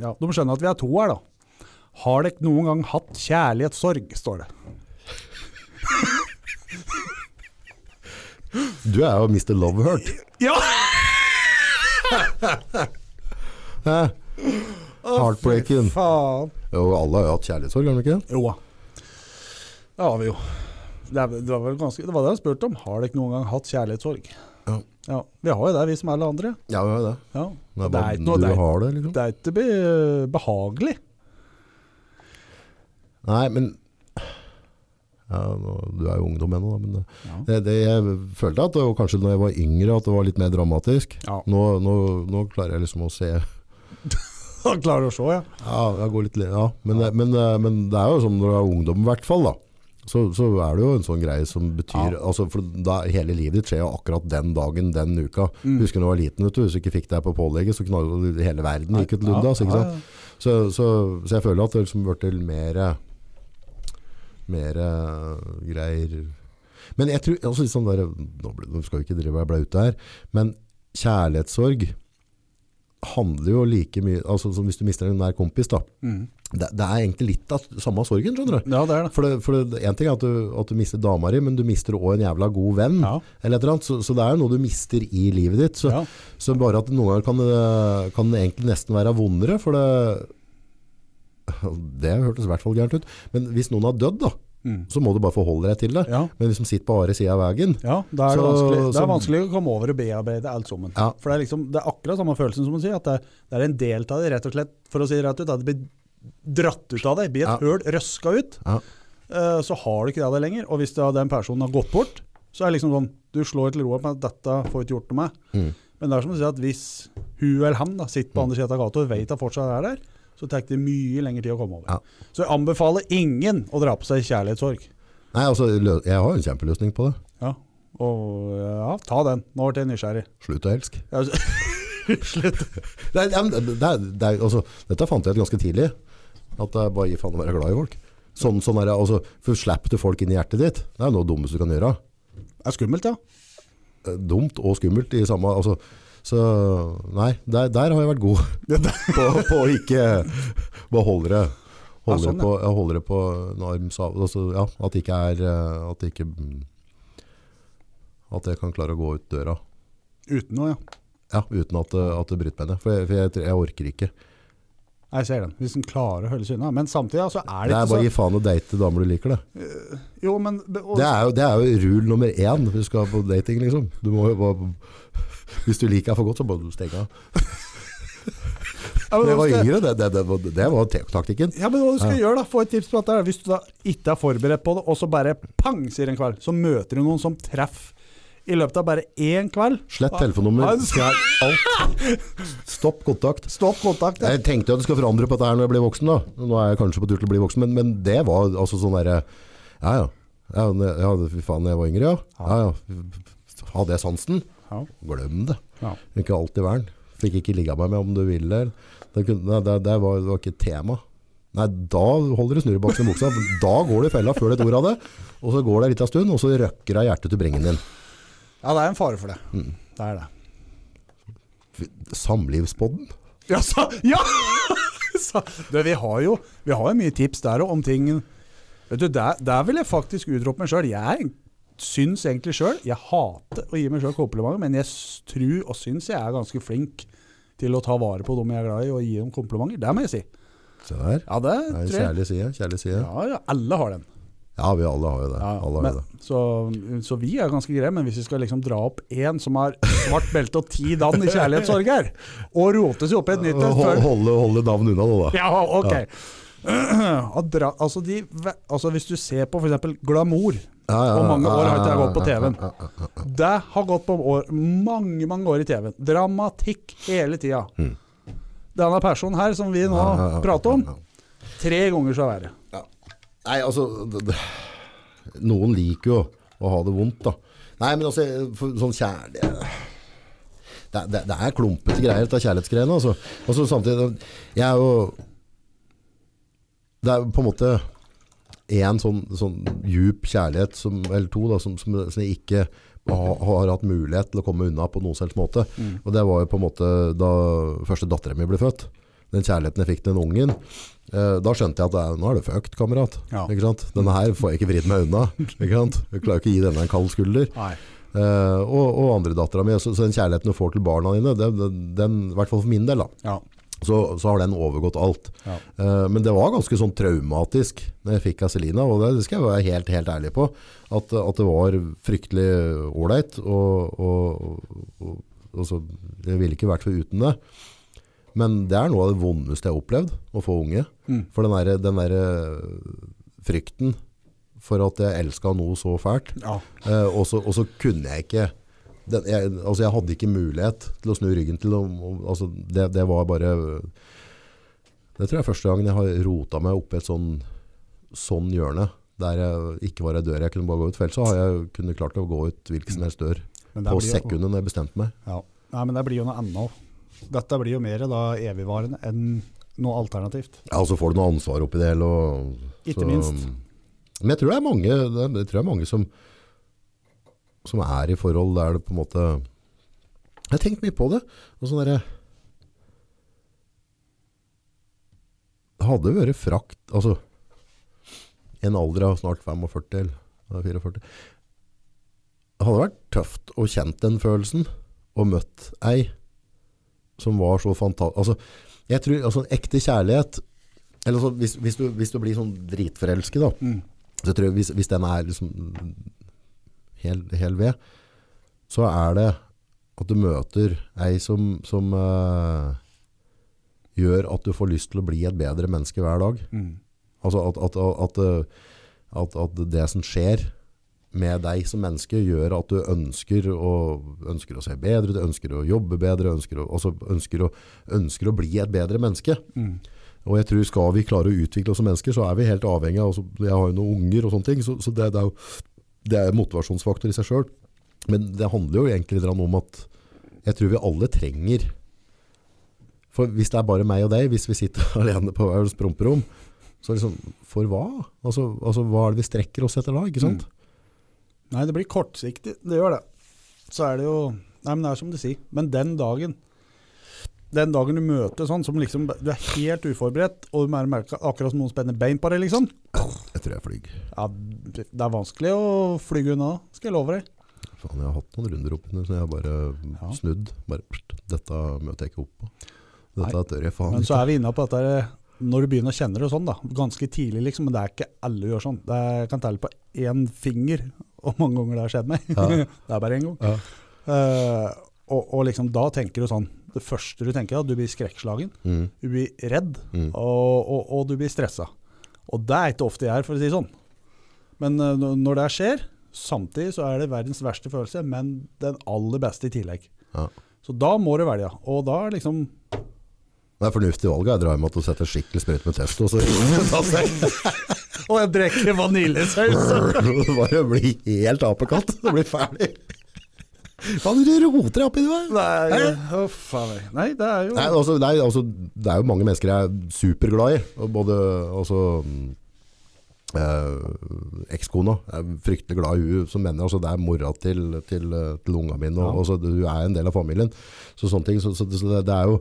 ja, de skjønner at vi er to her, da. Har dere noen gang hatt kjærlighetssorg, står det. Du er jo Mr. Love Hurt. Ja! Hæ? Heartbreaking. Faen. Jo, alle har jo hatt kjærlighetssorg, har de ikke det? Jo da. Det har vi jo. Det, er, det var vel ganske Det var det jeg spurte om. Har dere noen gang hatt kjærlighetssorg? Ja. Ja, Vi har jo det, vi som er alle andre. Ja, vi har jo det. Ja. Det er det bare er ikke noe du det er, har det, liksom. det er ikke be, behagelig. Nei, men ja, nå- Du er jo ungdom ennå, da, men eh, Ja. det, det, jeg følte at det var kanskje når jeg var yngre at det var litt mer dramatisk. Ja. Nå, nå, nå klarer jeg liksom å se Han klarer å se, ja. Ja, jeg går litt, le- ja. Men, det- Men, eh, men det er jo som når du er ungdom i hvert fall da. Så, så er det jo en sånn greie som betyr, Ja. altså for da, hele livet ditt skjer jo akkurat den dagen, den uka. Husker du når du var liten, vet du, hvis du ikke fikk deg på pålegget, så knallet du hele Mm. verden, gikk et lundas, ikke sant? Så, så, så jeg føler at det liksom ble til mer, mer eh, greier. Men jeg tror, altså sånn der, nå, ble, nå skal vi ikke drive og bli ute her, men kjærlighetssorg handler jo like mye, altså som hvis du mister en nær kompis da, Mm. det, det er egentlig litt av samme sorgen, skjønner du? Ja, det er det. For, det, for det, en ting er at du, at du mister dama di, men du mister også en jævla god venn, Ja. eller et eller annet, så, så det er jo noe du mister i livet ditt. Mm. Så, Ja. så bare at noen ganger kan, det- kan det egentlig nesten være vondere, for det, det hørtes i hvert fall gærent ut. Men hvis noen har dødd da, Mm. så må du bare forholde deg til det. Ja. Men hvis de sitter på andre siden av veien, Ja, da er det, Så- vanskelig. det er så- vanskelig å komme over og bearbeide alt sammen. Ja. For det er, liksom, det er akkurat samme følelsen som å si at det, det er en del av det, rett og slett, for å si det rett ut, at det blir dratt ut av deg, blir Ja. et høl røska ut, Ja. eh, så har du ikke det av deg lenger. Og hvis da den personen har gått bort, så er det liksom sånn, du slår til roa med at dette får ikke gjort noe med. Mm. Men det er som å si at hvis hun eller han da, sitter på andre sida av gata og vet at fortsatt er der, så tar det mye lengre tid å komme over. Ja. Så jeg anbefaler ingen å dra på seg kjærlighetssorg. Nei, altså, lø- jeg har en kjempeløsning på det. Ja, og ja, ta den. Nå ble jeg nysgjerrig. Slutt å elske. Jeg er så- Slutt. Nei, ja, men det, det, er- det, er- altså, dette fant jeg ut ganske tidlig. At det er bare å gi faen å være glad i folk. Sånn, sånn er det, altså, for slipper du folk inn i hjertet ditt, det er jo noe dummeste du kan gjøre. Det er skummelt, ja. Eh, Dumt og skummelt i samme, altså, så nei, der, der har jeg vært god Ja, det- på, på å ikke bare holde det. Holde, Ja, sånn, det på, jeg holder det på en arms av, altså, ja, at det ikke er, eh, at det ikke, mm, at jeg kan klare å gå ut døra. Uten noe, ja. Ja, uten at, det- at det bryter meg ned, for jeg, for jeg, jeg orker ikke. Jeg ser den. Hvis den klarer å holde seg unna. Men samtidig ja, så er Det det er bare å ikke gi faen og date damer du liker det. så Jo, men og, Det er, jo, det er jo rule nummer én hvis du skal på dating, liksom. Du må jo bare, hvis du liker henne for godt, så må du stenge av. ja, men, Det hva var skal- yngre, det, det, det, var- det var te- taktikken. Ja, men hva skal jeg gjøre, da? Få et tips på dette. her. Hvis du da ikke er forberedt på det, og så bare pang, sier en kveld, så møter du noen som treffer i løpet av bare én kveld. Slett telefonnummer. Ja, det- Fjern alt. Stopp kontakt. Stopp kontakt. ja. Jeg tenkte jo at det skal forandre på dette her når jeg blir voksen, da. Nå er jeg kanskje på tur til å bli voksen, men, men det var altså sånn derre Ja, ja. Ja, ne- ja, fy faen, jeg var yngre, ja. Ja, ja. Hadde jeg sansen? Ja. Glem det. Ja. Ikke alltid vern. Fikk ikke ligga meg med om du ville. Det, kunne, nei, det, det, var, det var ikke et tema. Nei, da holder du snurrebaksen i buksa. for Da går du i fella før du et ord av det. Og så går det en liten stund, og så røkker det hjertet til bringen din. ja, det er en fare for det. Mm. Det er det. Samlivspodden? Ja, sa, ja! sa, du, vi har jo Vi har jo mye tips der òg om ting Vet du, der, der vil jeg faktisk utrope meg sjøl. Jeg syns egentlig sjøl Jeg hater å gi meg sjøl komplimenter, men jeg s- tror og syns jeg er ganske flink til å ta vare på dem jeg er glad i, og gi dem komplimenter. Det må jeg si. Se der. Ja, det Det er en tror jeg. kjærlig side. Kjærlig side. Ja, ja, alle har den. Ja, vi alle har jo det. Ja, Alle har jo men, det. så, så vi er ganske greie, men hvis vi skal liksom dra opp én som har svart belte og ti dann i kjærlighetssorg her, og rote seg opp i et nytt et Hold- før Holde, holde navn unna nå, da. Ja, ok. At dra, altså, de, ve- altså Hvis du ser på f.eks. glamour Ja, ja, Hvor mange ja, år har ja, ikke jeg ja, gått på ja, TV-en? ja, ja, ja, ja. Det har gått på år, mange mange år i TV-en. Dramatikk hele tida. Denne personen her som vi nå Ja, ja, ja, prater om, ja, ja. tre ganger så verre. Nei, altså d- d- Noen liker jo å ha det vondt, da. Nei, men altså, for, sånn kjærlighet det, er- det, det er klumpete greier, dette kjærlighetsgreiene. Altså. altså samtidig Jeg er jo Det er på en måte én sånn, sånn djup kjærlighet, som, eller to, da, som, som, som jeg ikke har, har hatt mulighet til å komme unna på noen som helst måte. Og det var jo på en måte da første dattera mi ble født. Den kjærligheten jeg fikk til den ungen. Eh, da skjønte jeg at det er, nå er det fucked, kamerat. Ja. Ikke sant? Denne her får jeg ikke vridd meg unna. Ikke sant? Jeg klarer ikke å gi denne en kald skulder. Nei. Eh, og, og andre dattera mi. Så, så den kjærligheten du får til barna dine, den, den, den, i hvert fall for min del, da, Ja. så, så har den overgått alt. Ja. Eh, men det var ganske sånn traumatisk når jeg fikk av Selina, og det skal jeg være helt, helt ærlig på, at, at det var fryktelig ålreit, og, og, og, og så, jeg ville ikke vært foruten det. Men det er noe av det vondeste jeg har opplevd, å få unge. Mm. For den der, den der eh, frykten for at jeg elsket noe så fælt, ja. Eh, og, så, og så kunne jeg ikke den, jeg, altså jeg hadde ikke mulighet til å snu ryggen til dem. og- Altså det, det var bare Det tror jeg er første gangen jeg har rota meg oppi et sånn, sånn hjørne. Der jeg ikke var ei dør jeg kunne bare gå ut. For ellers så har jeg kunne klart å gå ut hvilken som helst dør Men det på blir jo- sekundet når jeg bestemte meg. Ja. Nei, men det blir jo noe annet. Dette blir jo mer da evigvarende enn noe alternativt. Ja, Og så får du noe ansvar oppi det hele. og- Ikke så- minst. Men jeg tror det er mange, det, jeg tror det er mange som, som er i forhold der det på en måte Jeg har tenkt mye på det. Og sånn derre Det hadde vært frakt Altså, i en alder av snart 45 eller ja, 44 Det hadde vært tøft å kjent den følelsen og møtt ei som var så fantastisk Altså, jeg tror altså, en ekte kjærlighet eller altså, hvis, hvis, du, hvis du blir sånn dritforelsket da, så tror jeg hvis, hvis den er liksom hel, hel ved, så er det at du møter ei som, som eh, gjør at du får lyst til å bli et bedre menneske hver dag. Altså at, at, at, at, eh, at, at det som skjer med deg som menneske gjør at du ønsker å, ønsker å se bedre, du ønsker å jobbe bedre, ønsker å, også ønsker, å, ønsker å bli et bedre menneske. Mm. Og jeg tror skal vi klare å utvikle oss som mennesker, så er vi helt avhengig av, altså, jeg har jo noen unger og sånne ting, så, så det, det er jo det er en motivasjonsfaktor i seg selv. Men det handler jo egentlig litt grann om at jeg tror vi alle trenger For hvis det er bare meg og deg, hvis vi sitter alene på hver vårt promperom, så er det sånn For hva? Altså, altså hva er det vi strekker oss etter da? Ikke sant? Mm. Nei, det blir kortsiktig. Det gjør det. Så er det jo Nei, men det er som du sier. Men den dagen Den dagen du møter sånn som liksom Du er helt uforberedt, og du mer- merker akkurat som noen spenner bein på deg, liksom. Jeg tror jeg flyr. Ja, det er vanskelig å fly unna, skal jeg love deg. Faen, jeg har hatt noen runder opp under, så jeg har bare Ja. snudd. Bare, pst, dette møter jeg ikke opp på. Dette Nei. tør jeg faen Men ikke. så er vi inne på dette her, når du begynner å kjenne det sånn, da. Ganske tidlig, liksom. Men det er ikke alle gjør sånn. Det er, jeg kan telle på én finger hvor mange ganger det har skjedd meg. Ja. det er bare én gang. Ja. Eh, og, og liksom da tenker du sånn Det første du tenker, er at du blir skrekkslagen. Mm, Du blir redd, mm. og, og, og du blir stressa. Og det er ikke ofte jeg er, for å si det sånn. Men eh, når- når det skjer, samtidig så er det verdens verste følelse, men den aller beste i tillegg. Ja. Så da må du velge. Og da er liksom Det er fornuftig valg jeg drar med at du setter skikkelig sprøyt med test, og så Og jeg drikker vaniljesaus! bare blir helt apekatt. Det blir ferdig. Faen, du roter deg opp i det der. Nei, å, faen meg. Nei, det er jo Nei, altså, nei, altså, det er jo mange mennesker jeg er superglad i. og Både altså, mm, eh, ekskona er fryktelig glad i henne som mener altså, det er mora til, til, eh, til unga mine. Og, Ja. og så, hun er en del av familien. Så sånne ting. Så, så, så det, det er jo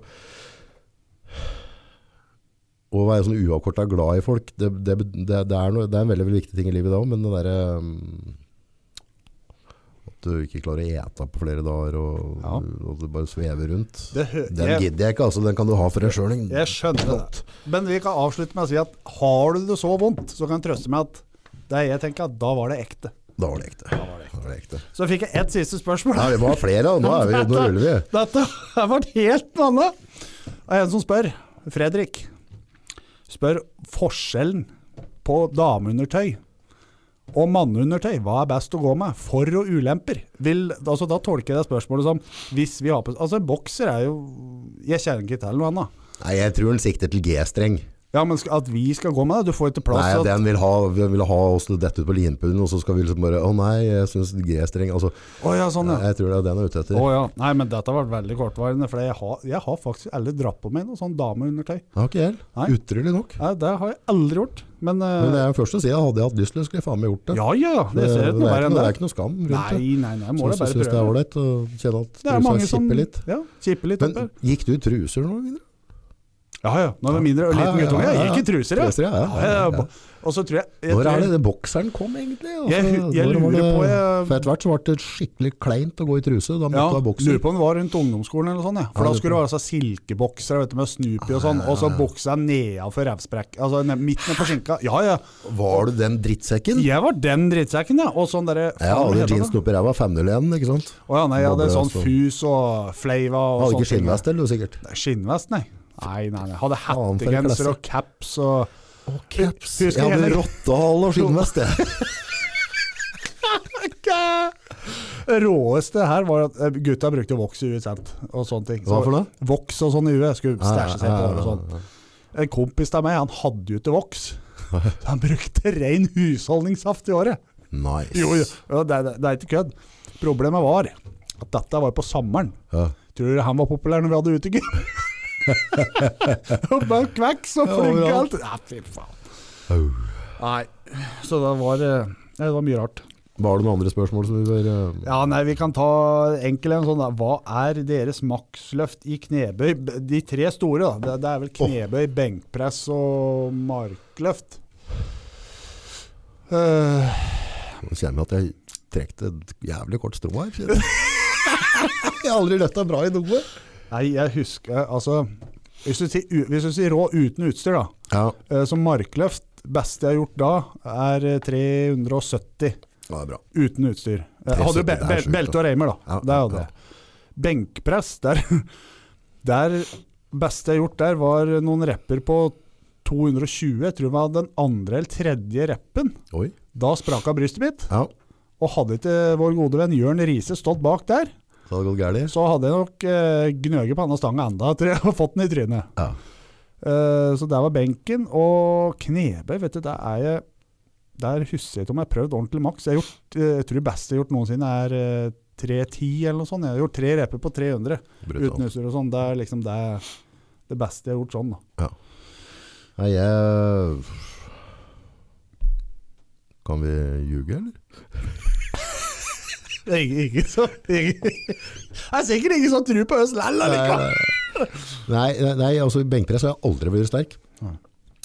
å være sånn uavkorta glad i folk, det, det, det, det, er noe, det er en veldig, veldig viktig ting i livet da, men det derre mm, At du ikke klarer å ete på flere dager, og, Ja. og du bare svever rundt. det hø Den jeg, gidder jeg ikke, altså. Den kan du ha for deg sjøl. jeg skjønner det. Men vi kan avslutte med å si at har du det så vondt, så kan jeg trøste meg at det jeg tenker at da var det ekte. Da var det ekte. Da var det ekte. Så fikk jeg ett siste spørsmål. Nei, vi må ha flere. da. Nå, er vi, nå ruller vi. Dette har vært helt vanlig. Det er en som spør, Fredrik, spør forskjellen på dameundertøy og manneundertøy. Hva er best å gå med? For og ulemper? Vil, altså, da tolker jeg det spørsmålet som hvis vi har på Altså, en bokser er jo Jeg kjenner ikke til noe annet. Nei, jeg tror den sikter til G-streng. Ja, men skal, at vi skal gå med det? Du får ikke Nei, plass. at- den vil ha, den vil ha oss til å dette ut på linpinnen, og så skal vi liksom bare Å nei, jeg syns G-streng Altså, Å ja, sånn, ja. jeg tror det er den jeg er ute etter. Å ja. Nei, men dette har vært veldig kortvarende. For jeg har, jeg har faktisk aldri dratt på meg noe sånn dameundertøy. Det har ikke jeg Nei. heller. Utrolig nok. Nei, det har jeg aldri gjort. Men, eh, Men det er først å si at hadde jeg hatt lyst til det, skulle jeg faen meg gjort det. Ja, ja, det ser ut det, er noe verre ikke, enn noe- det er det. ikke noe skam rundt det. Nei, nei, nei, må Så det jeg bare syns det er prøve. åleit å kjenne at Det er mange trusa som kipper litt. Ja, kipper litt Men oppi. gikk du i truser nå, Vidar? Ja, ja, nå er det mindre og Ja, liten ja, guttunge. ja, Jeg ja. gikk i truser, jeg. Truser, ja, ja, Ja, ja, ja. Og så tror jeg, jeg Når er tror- det, det bokseren kom egentlig? Altså, Jeg hu- jeg når var lurer det- på, jeg- For etter hvert så ble det skikkelig kleint å gå i truse. Da måtte Ja, du ha bokser. lurer på om det var rundt ungdomsskolen eller sånn, ja. Ja, For da lurer skulle det være sånn silkeboksere vet du, med Snoopy og sånn, og så boksa jeg neda for revsprekk. Altså ned- midt ned på skinka. Ja, ja. Var du den drittsekken? Jeg var den drittsekken, ja. Og sånn derre Jeg faen, hadde hva heter jeansen det? oppi ræva, 501, ikke sant? Å ja, nei, jeg hadde Bobler, sånn altså. fus og Jeg fleiva og hadde ikke sånne sånn ting. skinnvest, eller sikkert? Skinnvest, nei. Nei, nei, nei. Hadde Faen, for en hettegenser klasse. og caps og caps. Jeg Husker hadde jeg- rottehale og skinnvest, jeg. Ikke! Det råeste her var at eh, gutta brukte voks i huet, sant? Og sånne ting. Hva for noe? Voks og sånn i huet. Skulle stæsje seg på Ja, ja, ja, håret og sånn. ja, ja. En kompis av meg, han hadde jo ikke voks. Så Han brukte ren husholdningssaft i håret. Nice. Jo, jo. Ja, Det, er- det er ikke kødd. Problemet var at dette var på sommeren. Ja. Tror du han var populær når vi hadde utegym? Og bare kveks og Ja, flugge og overalt. alt. Ja, fy faen. Au. Nei, så det var, eh, nei, det var mye rart. Var det noen andre spørsmål som vi bør eh, Ja, nei, vi kan ta enkel en sånn da. Hva er deres maksløft i knebøy? B- De tre store, da. Det, det er vel knebøy, benkpress og markløft. Eh, Nå kjenner jeg at jeg trekte et jævlig kort strå her. kjenner Jeg Jeg har aldri løfta bra i noe. nei, jeg husker Altså, hvis du sier, u- hvis du sier rå uten utstyr, da. Ja, eh, som markløft, beste jeg har gjort da, er eh, 370 det er bra. uten utstyr. Eh, Det er hadde jo sjukt, be det er be sjukt, belte og reimer, da. Ja, det ja. hadde jeg. Benkpress, der, der beste jeg har gjort der, var noen repper på 220. Jeg tror det var den andre eller tredje reppen. Oi. Da spraka brystet mitt, Ja. Og hadde ikke vår gode venn Jørn Riise stått bak der, Så hadde det gått gærlig. så hadde jeg nok eh, gnøget på denne stanga enda etter jeg har fått den i trynet. Ja. Eh, så der var benken. Og knebøy, vet du, der er jeg Der husker jeg ikke om jeg har prøvd ordentlig maks. Jeg, har gjort, eh, jeg tror det beste jeg har gjort noensinne, er eh, 310 eller noe sånt. Jeg har gjort tre reper på 300 uten Brutalt. utstyr og sånn. Det er liksom det, det beste jeg har gjort sånn. da. Nei, jeg Kan vi ljuge, eller? Det er ingen, ingen som ingen, Det er sikkert ingen som tror på oss lell allikevel! Nei, nei, nei, altså i benkpress har jeg aldri blitt sterk. Nei.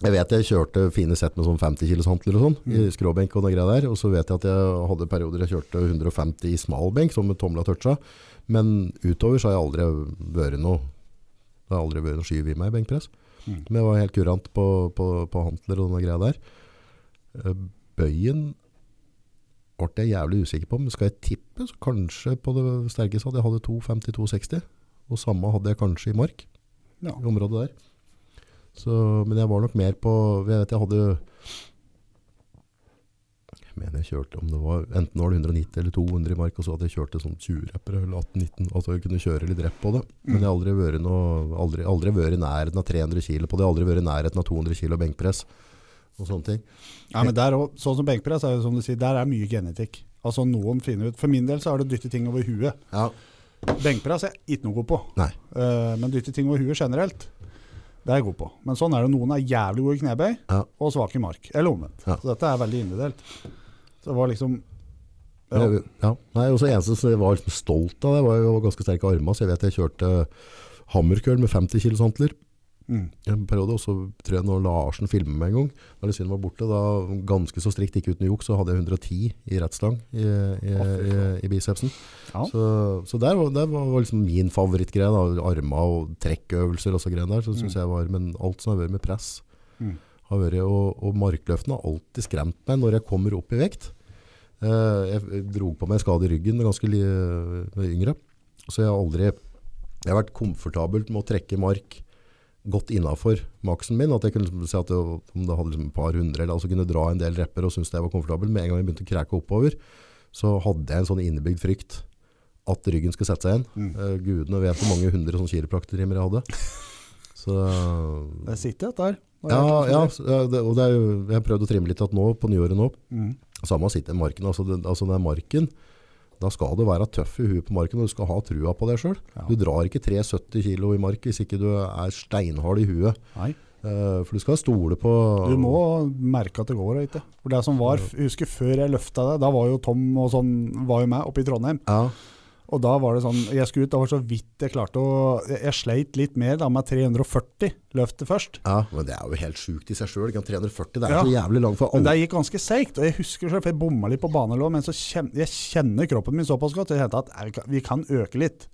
Jeg vet jeg kjørte fine sett med sånn 50 kilos hantler og sånn, i Mm. skråbenk og den greia der, og så vet jeg at jeg hadde perioder jeg kjørte 150 i smalbenk, sånn med tomla toucha, men utover så har jeg aldri vært noe, det har aldri vært noe skyv i meg i benkpress. Mm. Men jeg var helt kurant på, på, på hantler og den greia der. Eh, Bøyen ble jeg jævlig usikker på, men skal jeg tippe, så kanskje på det sterkeste hadde jeg hadde 250-260, og samme hadde jeg kanskje i mark Ja. i området der. Så, men jeg var nok mer på Jeg vet jeg hadde Jeg mener jeg kjørte om det var Enten var det 190 eller 200 i mark, og så hadde jeg kjørt det som 20 rappere eller 18-19. Altså jeg kunne kjøre litt rep på det. Men jeg har aldri vært noe- aldri, aldri vært i nærheten av 300 kilo på det. Aldri vært i nærheten av 200 kilo benkpress og sånne ting. Ja, men der også, sånn som benkpress, er jo som du sier, der er mye genetikk. Altså noen finner ut, For min del så er det å dytte ting over huet. Ja. Benkpress er jeg ikke noe god på. Nei. Eh, men dytte ting over huet generelt, det er jeg god på. Men sånn er det. Noen er jævlig gode i knebøy Ja. og svake i mark. Eller omvendt. Ja. Så dette er veldig individuelt. Så det var liksom ja, Ja. Ja. Nei, og så eneste som jeg var liksom stolt av det, var jo ganske sterke armer. Så jeg vet jeg kjørte hammerkøll med 50 kilos hantler. mm, i en periode, og så tror jeg når Larsen filmet meg en gang, da Lucien var borte, da ganske så strikt, ikke uten juks, så hadde jeg 110 i rettstang i, i, Å, fy i, i bicepsen. Ja. Så, så der, var, der var liksom min favorittgreie, da, armer og trekkøvelser og så greiene der, så synes jeg var, men alt som har vært med press, Mm. har vært, og, og markløftene har alltid skremt meg når jeg kommer opp i vekt. Eh, jeg dro på meg en skade i ryggen ganske li, eh, yngre, så jeg har aldri, jeg har vært komfortabelt med å trekke mark, godt innafor maksen min. At jeg kunne liksom si at det, om det hadde liksom et par hundre, eller altså kunne dra en del repper og synes det var komfortabel. Med en gang jeg begynte å kreke oppover, så hadde jeg en sånn innebygd frykt at ryggen skulle sette seg igjen. mm. Eh, gudene vet hvor mange hundre sånne kiropraktortimer jeg hadde. Så Det sitter dette her. Det ja, er helt ja, utrolig. så, eh, det, og det er jo, jeg har prøvd å trimme litt at nå, på nyåret nå, Mm. samme sitter i marken, altså, den, altså den er marken, da skal du være tøff i huet på marken, og du skal ha trua på deg selv. Ja. Du drar ikke 3,70 kilo i mark hvis ikke du er steinhard i huet. Nei. Eh, for du skal stole på Du må merke at det går. Ikke? For det som var, jeg husker Før jeg løfta det, da var jo Tom og sånn, var jo med oppe i Trondheim. Ja, Og da var det sånn, jeg skulle ut, da var det så vidt jeg klarte å Jeg, jeg sleit litt mer da med 340 løftet først. ja, men det er jo helt sjukt i seg sjøl. 340 det er Ja. så jævlig langt for Men alle. det gikk ganske seigt. Og jeg husker selv, for jeg bomma litt på banelå, men så kjen, jeg kjenner kroppen min såpass godt jeg kjente at jeg, kan- vi kan øke litt.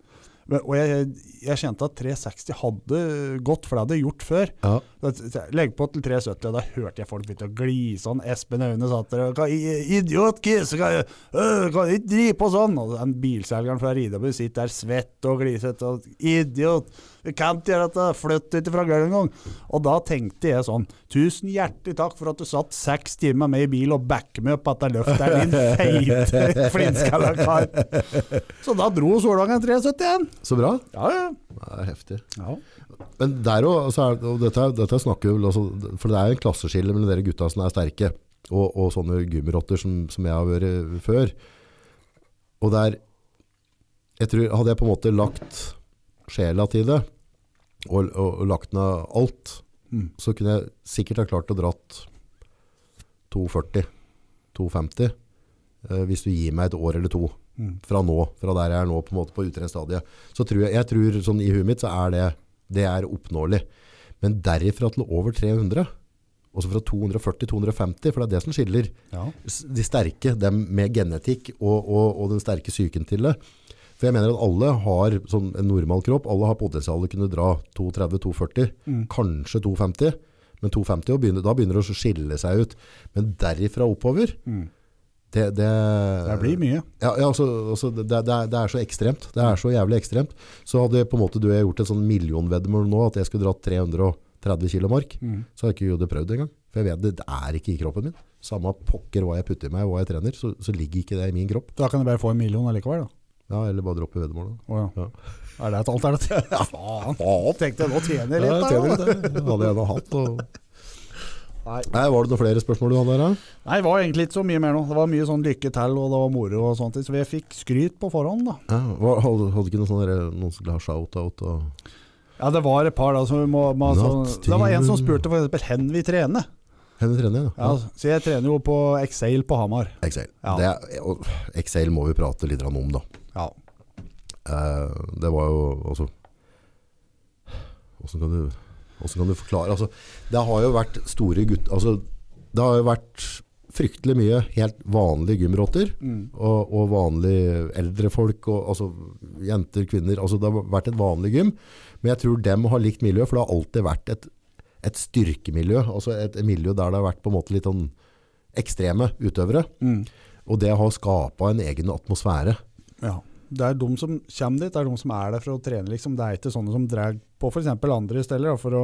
Men, og jeg, jeg kjente at 360 hadde gått, for det hadde jeg gjort før. Ja, Så jeg- så jeg Legg på til 370, og da hørte jeg folk begynne å glise sånn. Espen Aune satt der og «Hva, i- Idiot, Kis! Kan du ikke drive på sånn? Og den bilselgeren fra Ridabu sitter der svett og glisete og Idiot! Du kan ikke gjøre dette! Flytt ut fra gulvet en gang! Og da tenkte jeg sånn Tusen hjertelig takk for at du satt seks timer med i bil og backer meg opp at jeg løfter din feite flinskalla kar! Så da dro Solvangen 371. Så bra. Ja, ja. Det er heftig. ja. Men der òg, altså, er det- og dette, dette snakker vi vel altså, For det er jo en klasseskille mellom dere gutta som er sterke, og, og sånne gummirotter som, som jeg har vært eh, før. Og der jeg tror, Hadde jeg på en måte lagt sjela til det, og, og, og lagt ned alt, Mm. så kunne jeg sikkert ha klart å dratt 240, 250, eh, hvis du gir meg et år eller to Mm. fra nå, fra der jeg er nå på en måte på utrent stadie, så tror jeg, jeg tror sånn i huet mitt så er det, det er oppnåelig. Men derifra til over 300, og så fra 240-250, for det er det som skiller ja. s- de sterke, dem med genetikk og, og, og den sterke syken til det. For jeg mener at alle har sånn en normal kropp, alle har potensial til å kunne dra 230-240, Mm. kanskje 250, men 250, og begynner, da begynner det å skille seg ut. Men derifra oppover, Mm. det, det, Det blir mye. ja, ja altså, altså det, det, er, det er så ekstremt. Det er så jævlig ekstremt. Så hadde på en måte du og jeg gjort et sånn millionveddemål nå, at jeg skulle dratt 300 og 30 kilo mark, Mm. så har jeg ikke gjort det prøvd engang. For jeg vet det, det er ikke i kroppen min. Samme pokker hva jeg putter i meg, hva jeg trener, så, så ligger ikke det i min kropp. Da kan jeg bare få en million allikevel, da. Ja, eller bare droppe veddemålet. Å ja. Er det et alternativ? Ja, faen. Faen! Tenkte jeg nå tjener jeg Ja, litt, jeg der, tjener da. litt, det. Det hadde jeg nå hatt. Og... Nei. Nei, var det noen flere spørsmål du hadde her? da? Nei, det var egentlig ikke så mye mer nå. Det var mye sånn lykke til, og det var moro og sånt. Så vi fikk skryt på forhånd, da. Ja, hva- hadde, hadde ikke noen sånne der, noen som ville ha shout-out? Og... Ja, det var et par, da. Som vi må, må, sånn- Natt, det var en som timen. spurte for eksempel hen vi trener. Henne trener jeg, da. Ja, så jeg trener jo på Excel på Hamar. Excel. Ja. Det, er- og Excel må vi prate litt grann om, da. Ja. Eh, det var jo altså Åssen kan du Hvordan kan du forklare altså, Det har jo vært store gutter altså, Det har jo vært fryktelig mye helt vanlige gymrotter Mm. og, og vanlige eldre folk og, altså, Jenter, kvinner altså, Det har vært et vanlig gym Men jeg tror dem har likt miljø For det har alltid vært et, et styrkemiljø altså et, et miljø der det har vært på en måte litt sånn ekstreme utøvere Mm. Og det har skapet en egen atmosfære ja. Det er de som kommer dit, det er de som er der for å trene, liksom. Det er ikke sånne som drar på f.eks. andre steder, da, for å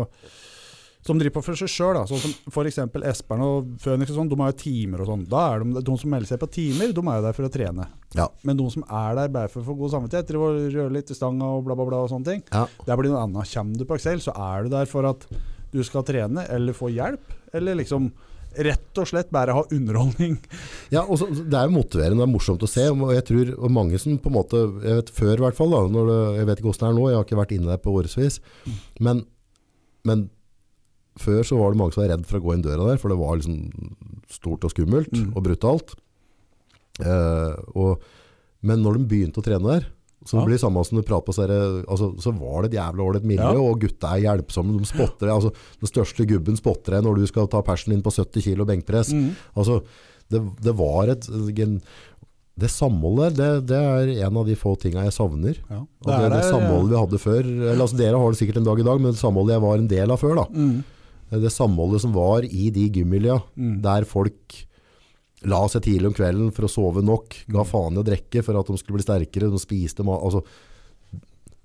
som driver på for seg sjøl, sånn som f.eks. Espern og Føniks og sånn, de har jo timer og sånn. Da er de, de som melder seg på timer, de er jo der for å trene. Ja, Men de som er der bare for å få god samvittighet, driver og rører litt i stanga og bla, bla, bla og sånne ting, ja der blir det noe annet. Kommer du på Excel, så er du der for at du skal trene eller få hjelp, eller liksom rett og slett bare ha underholdning. Ja, og så, Det er jo motiverende, det er morsomt å se. Og jeg tror og mange som på en måte jeg vet, Før i hvert fall, da, når det, jeg vet ikke åssen det er nå, jeg har ikke vært inne der på årevis. Men, men før så var det mange som var redd for å gå inn døra der, for det var liksom stort og skummelt Mm. og brutalt. Eh, og, men når de begynte å trene der, så Ja. blir det samme som du prater på, så, er det- altså, så var det et jævla ålreit miljø, Ja. og gutta er hjelpsomme. De spotter deg. Altså, den største gubben spotter deg når du skal ta persen din på 70 kilo benkpress. Altså, det, det var et gen- Det samholdet der, det, det er en av de få tinga jeg savner. Ja. Og det, det samholdet vi hadde før eller, altså, Dere har det sikkert en dag i dag, men det samholdet jeg var en del av før, da. Mm, det samholdet som var i de gymmiljøa, Mm. der folk la seg tidlig om kvelden for å sove nok, ga faen i å drikke for at de skulle bli sterkere, de spiste mat altså,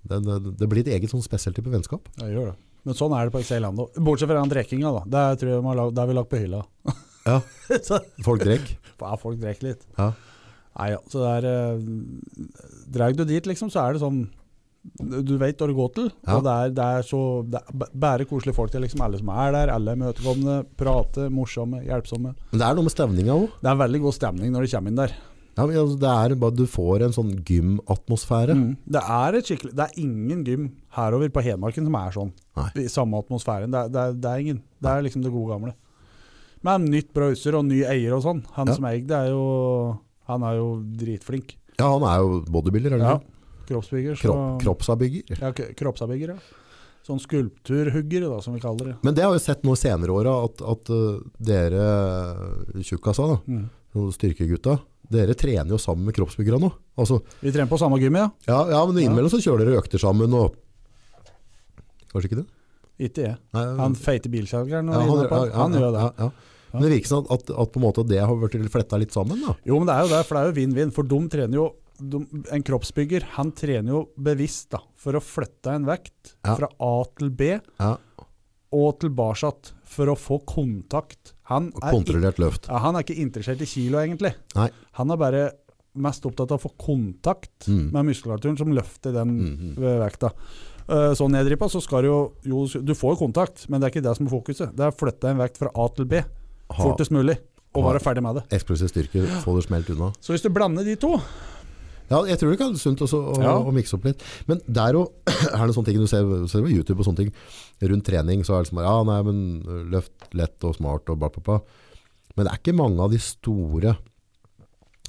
det, det, det blir et eget sånn spesiell type vennskap. jeg gjør det. Men sånn er det på Excel Lando. Bortsett fra den drekkinga, da. Der tror jeg de har lag- der har vi lagt på hylla. Ja. så, Folk drekk. ja, folk drikker litt. Ja. Nei, ja. Så der eh, Drar du dit, liksom, så er det sånn Du veit hva du går til. Ja. Og det er, det er så det er b- bare koselige folk. Det er liksom alle som er der. Alle er imøtekommende, prater, morsomme, hjelpsomme. Men det er noe med stemninga òg. Det er veldig god stemning når de kommer inn der. Ja, men altså, det er bare du får en sånn gymatmosfære. Mm. Det, er et skikkelig, det er ingen gym herover på Hedmarken som er sånn. Nei. I samme atmosfæren. Det er, det, er, det er ingen. Det er liksom det gode gamle. Men nytt browser og ny eier og sånn. Han Ja. som eier det, er jo Han er jo dritflink. Ja, han er jo bodybuilder, eller Ja. ja. Kroppsbygger. Så, Kropp, kroppsavbygger. Ja, k- kroppsavbygger, ja. Sånn skulpturhugger, da, som vi kaller det. Men det har jeg sett nå i senere åra, at, at uh, dere tjukkasa, da, Mm. noen styrkegutta, dere trener jo sammen med kroppsbyggere nå. Altså, Vi trener på samme gym, ja. ja, ja, men innimellom så kjører dere økter sammen og Kanskje ikke det? Ikke jeg. Nei, Han feite bilselgeren. ja, og han, inne på- ja, ja, han gjør det. ja, ja. Men det virker som at, at på en måte det har vært fletta litt sammen, da. Jo, men det er jo det, for det er jo vinn-vinn. For de trener jo de, En kroppsbygger han trener jo bevisst da, for å flytte en vekt Ja. fra A til B Ja, og tilbake igjen for å få kontakt. Han er, ikke, kontrollert løft. ja, han er ikke interessert i kilo, egentlig. Nei. Han er bare mest opptatt av å få kontakt Mm. med muskulaturen som løfter den Mhm. ved vekta. Eh, Sånn jeg driver på, så skal du jo, jo Du får jo kontakt, men det er ikke det som er fokuset. Det er å flytte en vekt fra A til B Ha fortest mulig, og Ha- være ferdig med det. eksplosiv styrke, få det smelt unna. Så hvis du blander de to Ja, jeg tror det kan være sunt også å, Ja. å mikse opp litt. Men der og, er det sånne ting du ser, ser på YouTube og sånne ting. Rundt trening så er det liksom bare, ja, nei, men løft lett og smart og bla, bla, bla. Men det er ikke mange av de store,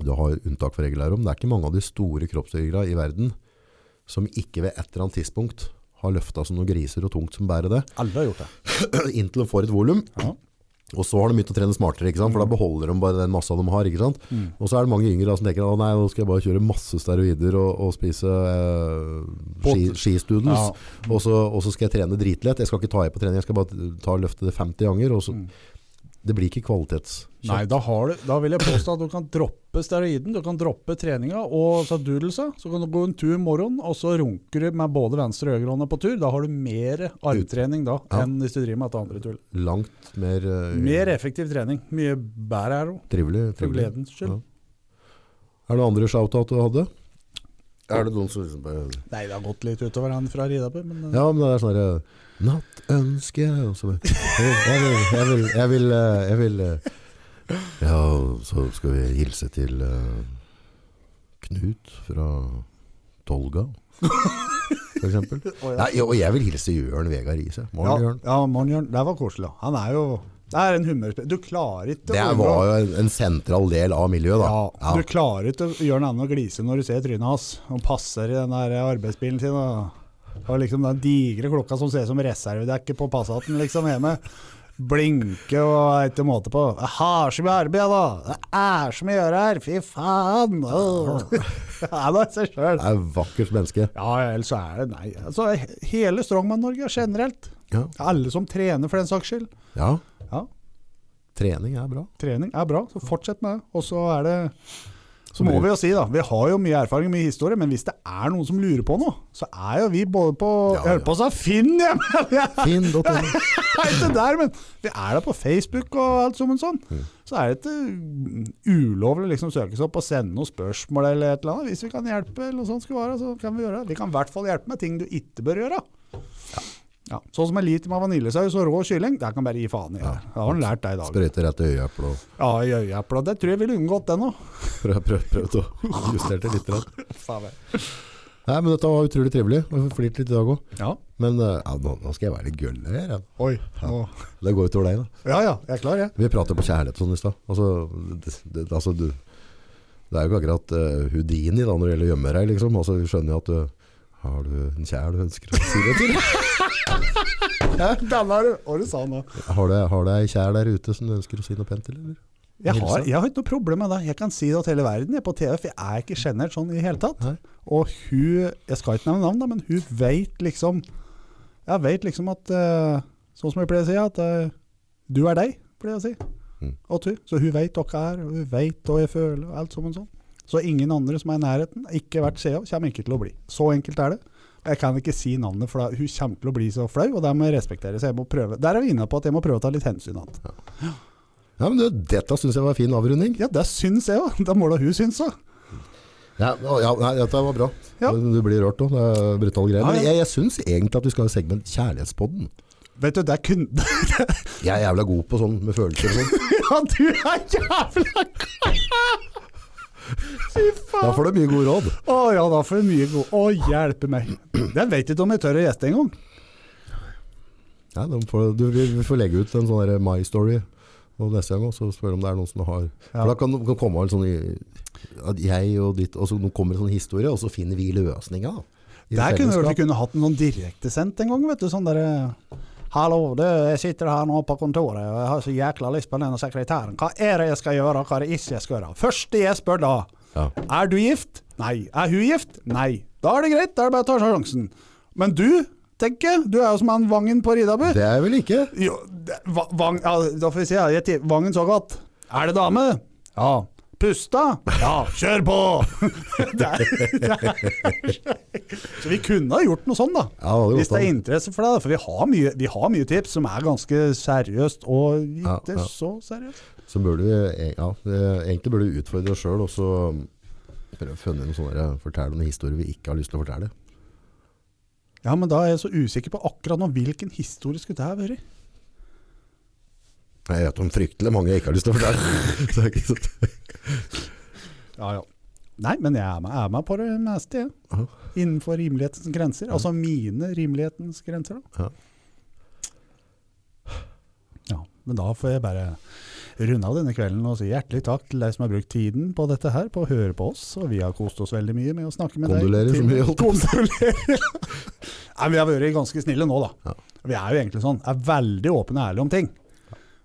du har unntak for regler her om, det er ikke mange av de store kroppsbyggere i verden som ikke ved et eller annet tidspunkt har løftet som noen griser og tungt som bærer det, Alle har gjort det. inntil de får et volum. Ja. Og så har de begynt å trene smartere, ikke sant? for da beholder de bare den massa de har. ikke sant? Mm. Og så er det mange yngre da, som tenker at nei, nå skal jeg bare kjøre masse steroider og, og spise eh, ski, Pot- skistudels. Og, så, og så skal jeg trene dritlett. Jeg skal ikke ta i på trening, jeg skal bare ta og løfte det 50 ganger. Og så. Det blir ikke kvalitets... Mm. Nei, da, har du, da vil jeg påstå at du kan droppe steroiden, du kan droppe treninga og så doodlesa. Så kan du gå en tur i morgen, og så runker du med både venstre og høyrehånda på tur. Da har du mer armtrening da, Ja. enn hvis du driver med dette andre tullet. Langt mer, eh, Mer effektiv trening. Mye bedre er det òg, trivelig. for trivelig. gledens skyld. Ja. Er det noen andre shoutout du hadde? Er det noen som liksom bare Nei, det har gått litt utover han fra Ridabu, men eh, Ja, men det er sånn derre Nattønske og så bare, jeg vil, jeg vil, jeg vil, eh, jeg vil eh, Ja, og så skal vi hilse til eh, Knut fra Tolga, for eksempel. Å, ja. Nei, og jeg vil hilse Jørn Vegard Riise. Ja, Morgen, Jørn. ja morgen, Jørn. Det var koselig. da. Han er jo Det er en humørspe... Du klarer ikke Det var jo en, en sentral del av miljøet, da. Ja, Du klarer ikke å gjøre noe annet enn å glise når du ser trynet hans. Han passer i den der eh, arbeidsbilen sin. Og, og liksom den digre klokka som ser ut som reservedekket på Passaten liksom hjemme. Blinke og er ikke måte på. Jeg har så mye arbeid, da! Det er så mye å gjøre her! Fy faen! Åh. Ja, det er seg sjøl. Det er et vakkert menneske. Ja, ellers så er det Nei. Altså, hele Strongman-Norge generelt. Ja. Alle som trener, for den saks skyld. ja. Ja, Trening er bra. trening er bra, så fortsett med det. Og så er det Så Så må blir- vi jo si, da. Vi har jo mye erfaring og mye historie, men hvis det er noen som lurer på noe, så er jo vi både på Ja, Jeg holdt på å si Finn, jeg! men vi er Finn.no. ikke der, men vi er da på Facebook og alt som en sånn. Mm. Så er det ikke ulovlig å liksom søke seg opp og sende noen spørsmål eller et eller annet. Hvis vi kan hjelpe eller noe sånt skulle være, så kan vi gjøre det. Vi kan i hvert fall hjelpe med ting du ikke bør gjøre. Ja, Sånn som en liter med vaniljesaus og rå kylling, det kan bare gi faen i. det. Det har han lært deg i dag. Sprøyte rett i øyeeplet og Ja, i øyeepla. Det tror jeg ville unngått den òg. prøv, prøv, prøvd å justere det litt. grann. Nei, men dette var utrolig trivelig. Vi får flirte litt i dag òg. Ja. Men eh, ja, nå, nå skal jeg være litt gølle her. jeg. Oi. Nå. Det går utover deg, da. Ja ja, jeg er klar, jeg. Vi prater på kjærlighet og sånn i stad. Altså, det, det, altså, du Det er jo ikke akkurat eh, Houdini da, når det gjelder å gjemme deg, liksom. Altså, vi skjønner jo at du har du en kjær du ønsker å si det til? Den har du. Hva du sa nå? Har du, har du ei kjær der ute som du ønsker å si noe pent til, eller? Jeg har, jeg har ikke noe problem med det. Jeg kan si det til hele verden jeg på TV, for jeg er ikke sjenert sånn i det hele tatt. Nei. Og hun Jeg skal ikke nevne navn, da, men hun veit liksom Jeg veit liksom at eh, Sånn som jeg pleier å si, at eh, du er deg, pleier jeg å si. Mm. Og du. Så hun veit hva jeg er, og hun veit hva jeg føler, og alt som en sånn. Så ingen andre som er i nærheten, ikke vært CA, kommer ikke til å bli. Så enkelt er det. Jeg kan ikke si navnet, for da, hun kommer til å bli så flau, og det må jeg respektere. Så jeg må prøve. Der er vi inne på at jeg må prøve å ta litt hensyn til henne. Ja, men du, dette syns jeg var en fin avrunding. Ja, det syns jeg òg. Det må da hun synes òg. Ja, å, ja nei, dette var bra. Ja. Du blir rørt òg. Det er brutale greier. Ja, ja. Men jeg, jeg syns egentlig at vi skal ha segment Kjærlighetspodden. Vet du, det er kun... Jeg er jævla god på sånn med følelser og sånn. Ja, du er jævla Fy Da faen. får du mye gode råd. Å ja, da får jeg mye god Å, hjelpe meg. Jeg vet ikke om jeg tør å gjeste engang. Ja, de får, du, vi vi får legge ut en sånn der My Story og neste gang, og så spør om det er noen som har Ja. For da kan det komme en sånn i- at jeg og ditt Og så nå kommer det en sånn historie, og så finner vi løsninga. da. I Der kunne fellesskap. vi kunne hatt en sånn direktesendt en gang, vet du. Sånn derre Hallo, du, jeg sitter her nå på kontoret og jeg har så jækla lyst på denne sekretæren. Hva er det jeg skal gjøre, og hva er det ikke jeg skal gjøre? Første jeg spør da, Ja. er du gift? Nei. Er hun gift? Nei. Da er det greit, da er det bare å ta sjansen. Men du, tenker jeg, du er jo som han Vangen på Ridabu. Det er vel ikke Jo, det, va, vang, ja, da får vi se. Jeg, ti- vangen så godt. Er det dame? Ja. Pusta? Ja, kjør på! det er, det er. Så vi kunne ha gjort noe sånn, da. Ja, det sånn. hadde Hvis gått det er an. interesse for det. da, For vi har mye, vi har mye tips som er ganske seriøst, og Ja, ikke ja. så seriøst. Så burde vi ja, det- egentlig burde vi utfordre oss sjøl og så um, prøve å finne noen sånne der- fortelle noen historier vi ikke har lyst til å fortelle. Ja, men da er jeg så usikker på akkurat nå hvilken historie skulle det her vært. Jeg vet om fryktelig mange jeg ikke har lyst til å fortelle. Så det er ikke så- Ja, ja. Nei, men jeg er med, er med på det meste, jeg. Ja. Innenfor rimelighetens grenser. Altså mine rimelighetens grenser, da. Ja. Ja, men da får jeg bare runde av denne kvelden og si hjertelig takk til deg som har brukt tiden på dette her, på å høre på oss. Og vi har kost oss veldig mye med å snakke med Kondolerer deg. så mye, holdt Kondolerer. Nei, vi har vært ganske snille nå, da. Ja. Vi er jo egentlig sånn. Er veldig åpne og ærlige om ting.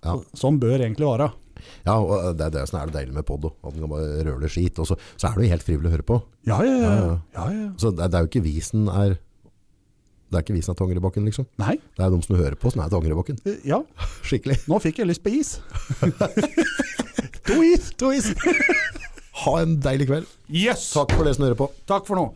Ja. Så- Sånn bør egentlig være. ja, og det, er- det er sånn er det deilig med pod, at den kan bare røle skit, og så, så er det jo helt frivillig å høre på. Ja, ja, ja. Ja, ja. ja, ja. Så det, det er jo ikke vi som er Det er ikke vi som er til Angrebakken, liksom. Nei, Det er de som hører på som er til Angrebakken. eh, ja. Skikkelig. Nå fikk jeg lyst på is. to is! To is! Ha en deilig kveld. Yes! Takk for det som hører på. Takk for nå.